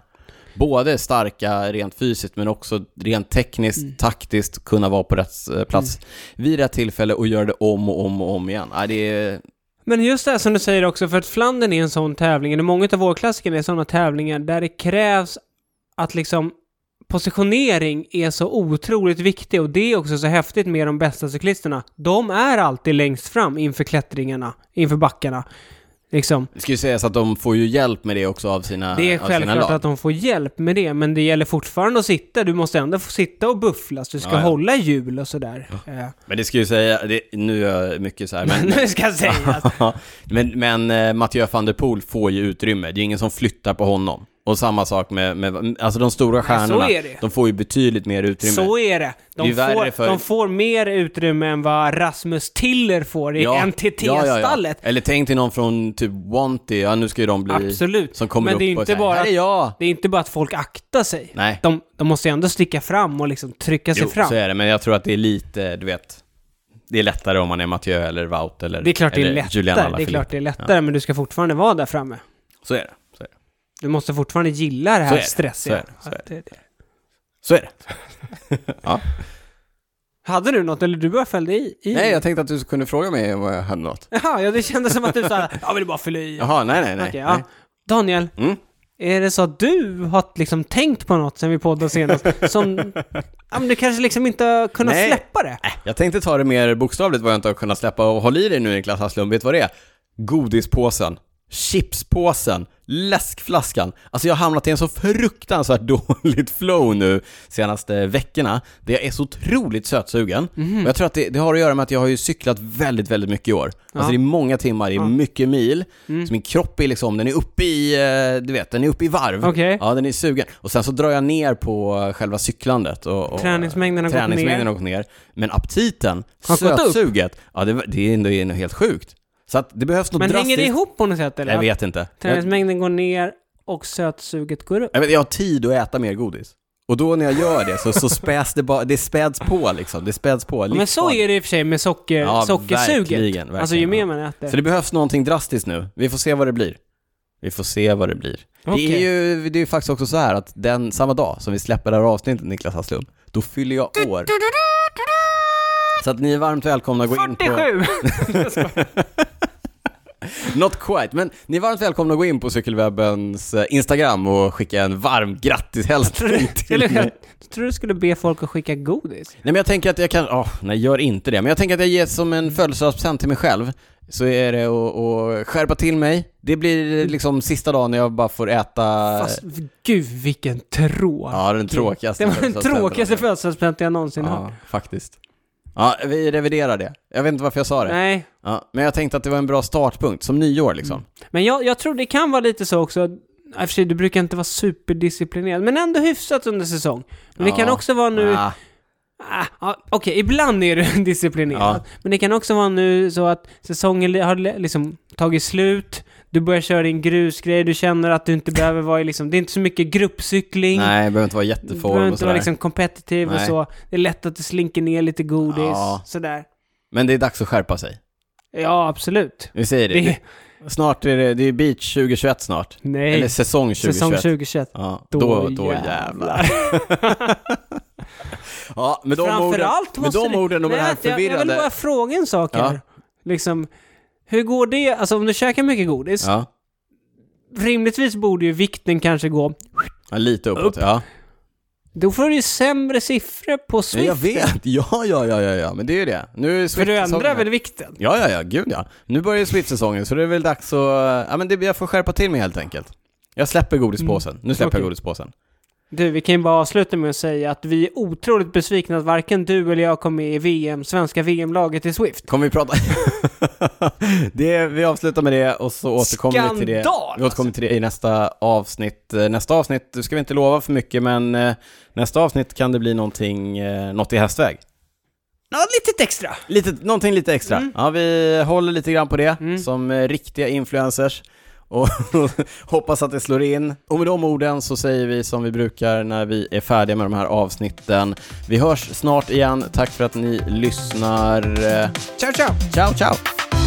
Speaker 1: Både starka rent fysiskt, men också rent tekniskt,
Speaker 2: Mm.
Speaker 1: taktiskt, kunna vara på rätt eh, plats vid rätt tillfälle och göra det om och om och om igen. Ja, det är...
Speaker 2: Men just det här som du säger också, för att Flandern är en sån tävling, eller många av vårklassikerna är sådana tävlingar där det krävs att liksom positionering är så otroligt viktig och det är också så häftigt med de bästa cyklisterna. De är alltid längst fram inför klättringarna, inför backarna. Liksom.
Speaker 1: Det ska ju sägas att de får ju hjälp med det också av sina
Speaker 2: Det är
Speaker 1: av sina lag.
Speaker 2: självklart att de får hjälp med det, men det gäller fortfarande att sitta. Du måste ändå få sitta och bufflas. Du ska
Speaker 1: Ja, ja.
Speaker 2: hålla hjul och sådär. Eh, [laughs]
Speaker 1: Men det ska ju säga, det, nu gör jag mycket så här, men,
Speaker 2: nu ska sägas.
Speaker 1: men, men eh, Mathieu van der Poel får ju utrymme, det är ingen som flyttar på honom. Och samma sak med, med alltså de stora stjärnorna,
Speaker 2: är det.
Speaker 1: de får ju betydligt mer utrymme.
Speaker 2: Så är det.
Speaker 1: Det är
Speaker 2: De,
Speaker 1: ju värre
Speaker 2: får,
Speaker 1: för-
Speaker 2: de får mer utrymme än vad Rasmus Tiller får i
Speaker 1: ja, ja, ja.
Speaker 2: NTT-stallet.
Speaker 1: Eller tänk dig någon från typ Wanty, ja nu ska ju de bli...
Speaker 2: Absolut.
Speaker 1: Som kommer
Speaker 2: Men
Speaker 1: upp
Speaker 2: det är
Speaker 1: och
Speaker 2: inte
Speaker 1: säger,
Speaker 2: bara
Speaker 1: här är jag!
Speaker 2: Det är inte bara att folk aktar sig.
Speaker 1: Nej,
Speaker 2: De, de måste ju ändå sticka fram och liksom trycka sig
Speaker 1: jo,
Speaker 2: fram.
Speaker 1: så är det, men jag tror att det är lite, du vet, det är lättare om man är Mathieu eller Wout eller
Speaker 2: Det är klart det är
Speaker 1: eller Julian
Speaker 2: lättare, det är
Speaker 1: Alaphilippe.
Speaker 2: klart det är lättare men du ska fortfarande vara där framme.
Speaker 1: Så är det. Så är det.
Speaker 2: Du måste fortfarande gilla det
Speaker 1: Så är
Speaker 2: här
Speaker 1: det,
Speaker 2: stressiga.
Speaker 1: så är det, så är det.
Speaker 2: Att det-
Speaker 1: Så är det.
Speaker 2: [laughs]
Speaker 1: ja.
Speaker 2: Hade du något eller du bara fällde i? i?
Speaker 1: Nej, jag tänkte att du kunde fråga mig om jag hade något.
Speaker 2: Jaha, ja, det kändes som att du sa jag vill bara fylla i.
Speaker 1: Jaha, nej, nej, nej.
Speaker 2: Okej, ja. Daniel,
Speaker 1: nej. Mm.
Speaker 2: är det så att du har liksom tänkt på något sen vi poddade senast
Speaker 1: [laughs]
Speaker 2: som... ja, men du kanske liksom inte har kunnat
Speaker 1: Nej.
Speaker 2: släppa det?
Speaker 1: Jag tänkte ta det mer bokstavligt vad jag inte har kunnat släppa och håll i dig nu Niklas Hasslum, vet du vad det är? Godispåsen, chipspåsen, läskflaskan. Alltså jag har hamnat i en så fruktansvärt [laughs] dåligt flow nu senaste veckorna, där jag är så otroligt sötsugen.
Speaker 2: Mhm.
Speaker 1: Och jag tror att det, det har att göra med att jag har ju cyklat väldigt, väldigt mycket i år. Alltså det är många timmar, det är mycket mil,
Speaker 2: Mm.
Speaker 1: så min kropp är liksom, den är uppe i, eh, du vet, den är uppe i varv.
Speaker 2: Okej.
Speaker 1: Ja, den är sugen. Och sen så drar jag ner på själva cyklandet och, och
Speaker 2: Träningsmängden har gått
Speaker 1: träningsmängden
Speaker 2: ner.
Speaker 1: har gått ner. Men aptiten,
Speaker 2: Har gått upp.
Speaker 1: sötsuget, ja, det, det är ändå det är nog helt sjukt. Så att det behövs något
Speaker 2: Men
Speaker 1: drastiskt.
Speaker 2: hänger det ihop på något sätt eller?
Speaker 1: Jag vet inte. Jag,
Speaker 2: Träningsmängden går ner och sötsuget går upp.
Speaker 1: jag, vet, jag har tid att äta mer godis. Och då när jag gör det så, så späds det bara, det späds på liksom. Det späds på.
Speaker 2: Ja, men så är det i och för sig med socker,
Speaker 1: Ja,
Speaker 2: sockersuget.
Speaker 1: verkligen, verkligen,
Speaker 2: alltså ju mer
Speaker 1: ja.
Speaker 2: man
Speaker 1: Så
Speaker 2: äter.
Speaker 1: det behövs någonting drastiskt nu. Vi får se vad det blir. Vi får se vad det blir. Det är
Speaker 2: Okej.
Speaker 1: ju det är ju faktiskt också så här att den samma dag som vi släpper det här avsnittet, Niklas Hasslum, då fyller jag år. Så att ni är varmt välkomna att gå in på...
Speaker 2: 47!
Speaker 1: [laughs] Not quite, men ni är varmt välkomna att gå in på cykelwebbens eh, Instagram och skicka en varm
Speaker 2: [laughs]
Speaker 1: grattishälsning till
Speaker 2: [laughs] Eller
Speaker 1: mig.
Speaker 2: jag tror du skulle be folk att skicka godis.
Speaker 1: Nej men jag tänker att jag kan, åh, nej gör inte det, men jag tänker att jag ger som en födelsedagspresent till mig själv. Så är det att- att skärpa till mig. Det blir liksom sista dagen när jag bara får äta...
Speaker 2: Fast gud vilken tråk.
Speaker 1: ja, den tråkigaste
Speaker 2: Det var den
Speaker 1: födelsedagspresenten.
Speaker 2: tråkigaste födelsedagspresenten jag någonsin har.
Speaker 1: Ja, faktiskt. Ja, vi reviderar det. Jag vet inte varför jag sa det.
Speaker 2: Nej,
Speaker 1: Ja, men jag tänkte att det var en bra startpunkt, som nyår liksom.
Speaker 2: men jag, jag tror det kan vara lite så också. I och för sig, du brukar inte vara superdisciplinerad, men ändå hyfsat under säsong. Men det
Speaker 1: Ja.
Speaker 2: kan också vara Mm, nu...
Speaker 1: Ah,
Speaker 2: Ah, ah, Okej, ibland är du [laughs] disciplinerad.
Speaker 1: Ja.
Speaker 2: Men det kan också vara nu så att säsongen li- har li- liksom tagit slut, du börjar köra din grusgrej, du känner att du inte behöver vara i liksom, det är inte så mycket gruppcykling.
Speaker 1: nej, behöver inte vara
Speaker 2: Du
Speaker 1: jätteform
Speaker 2: behöver
Speaker 1: och
Speaker 2: inte
Speaker 1: sådär.
Speaker 2: vara liksom competitive och
Speaker 1: Nej.
Speaker 2: så. Det är lätt att det slinker ner lite godis,
Speaker 1: Ja.
Speaker 2: sådär.
Speaker 1: Men det är dags att skärpa sig.
Speaker 2: Ja, absolut.
Speaker 1: Vi säger det.
Speaker 2: Det,
Speaker 1: Snart är det, det är beach 2021 snart.
Speaker 2: Nej,
Speaker 1: Eller säsong 2021.
Speaker 2: säsong 2021.
Speaker 1: Ja,
Speaker 2: Då
Speaker 1: då, då, jävlar.
Speaker 2: jävlar.
Speaker 1: Ja, med de orden,
Speaker 2: Framförallt
Speaker 1: med
Speaker 2: måste
Speaker 1: de
Speaker 2: det-
Speaker 1: orden och med det här
Speaker 2: vänta, jag, jag vill
Speaker 1: förvirrade...
Speaker 2: bara fråga en sak här.
Speaker 1: Ja.
Speaker 2: Liksom, hur går det? Alltså om du käkar mycket godis,
Speaker 1: Ja,
Speaker 2: rimligtvis borde ju vikten kanske gå...
Speaker 1: ja, lite uppåt. Ja.
Speaker 2: Då får du ju sämre siffror på
Speaker 1: Men
Speaker 2: Swift.
Speaker 1: jag vet, ja, ja, ja, ja, ja, men det är ju det. Nu är
Speaker 2: För du
Speaker 1: Swift-säsongen
Speaker 2: ändrar
Speaker 1: här.
Speaker 2: väl vikten?
Speaker 1: Ja, ja, ja, gud ja. Nu börjar ju Swift-säsongen, så det är väl dags att... Ja, men det, jag får skärpa till mig helt enkelt. Jag släpper godispåsen. Nu släpper
Speaker 2: Okej.
Speaker 1: jag godispåsen.
Speaker 2: Du, vi kan ju bara avsluta med att säga att vi är otroligt besvikna att varken du eller jag kom med i VM, svenska VM-laget i Swift.
Speaker 1: Kommer vi prata... [laughs] det, vi avslutar med det och så återkommer vi till det.
Speaker 2: Skandal, alltså.
Speaker 1: Vi återkommer till det i nästa avsnitt. Eh, Nästa avsnitt, du ska vi inte lova för mycket, men eh, nästa avsnitt kan det bli någonting, eh, något i hästväg.
Speaker 2: Ja, lite extra.
Speaker 1: Lite, någonting lite extra. Ja, vi håller lite grann på det
Speaker 2: Mm.
Speaker 1: som eh, riktiga influencers [laughs] och hoppas att det slår in. Och med de orden så säger vi som vi brukar när vi är färdiga med de här avsnitten. Vi hörs snart igen. Tack för att ni lyssnar. Eh,
Speaker 2: Ciao, ciao!
Speaker 1: Ciao, ciao!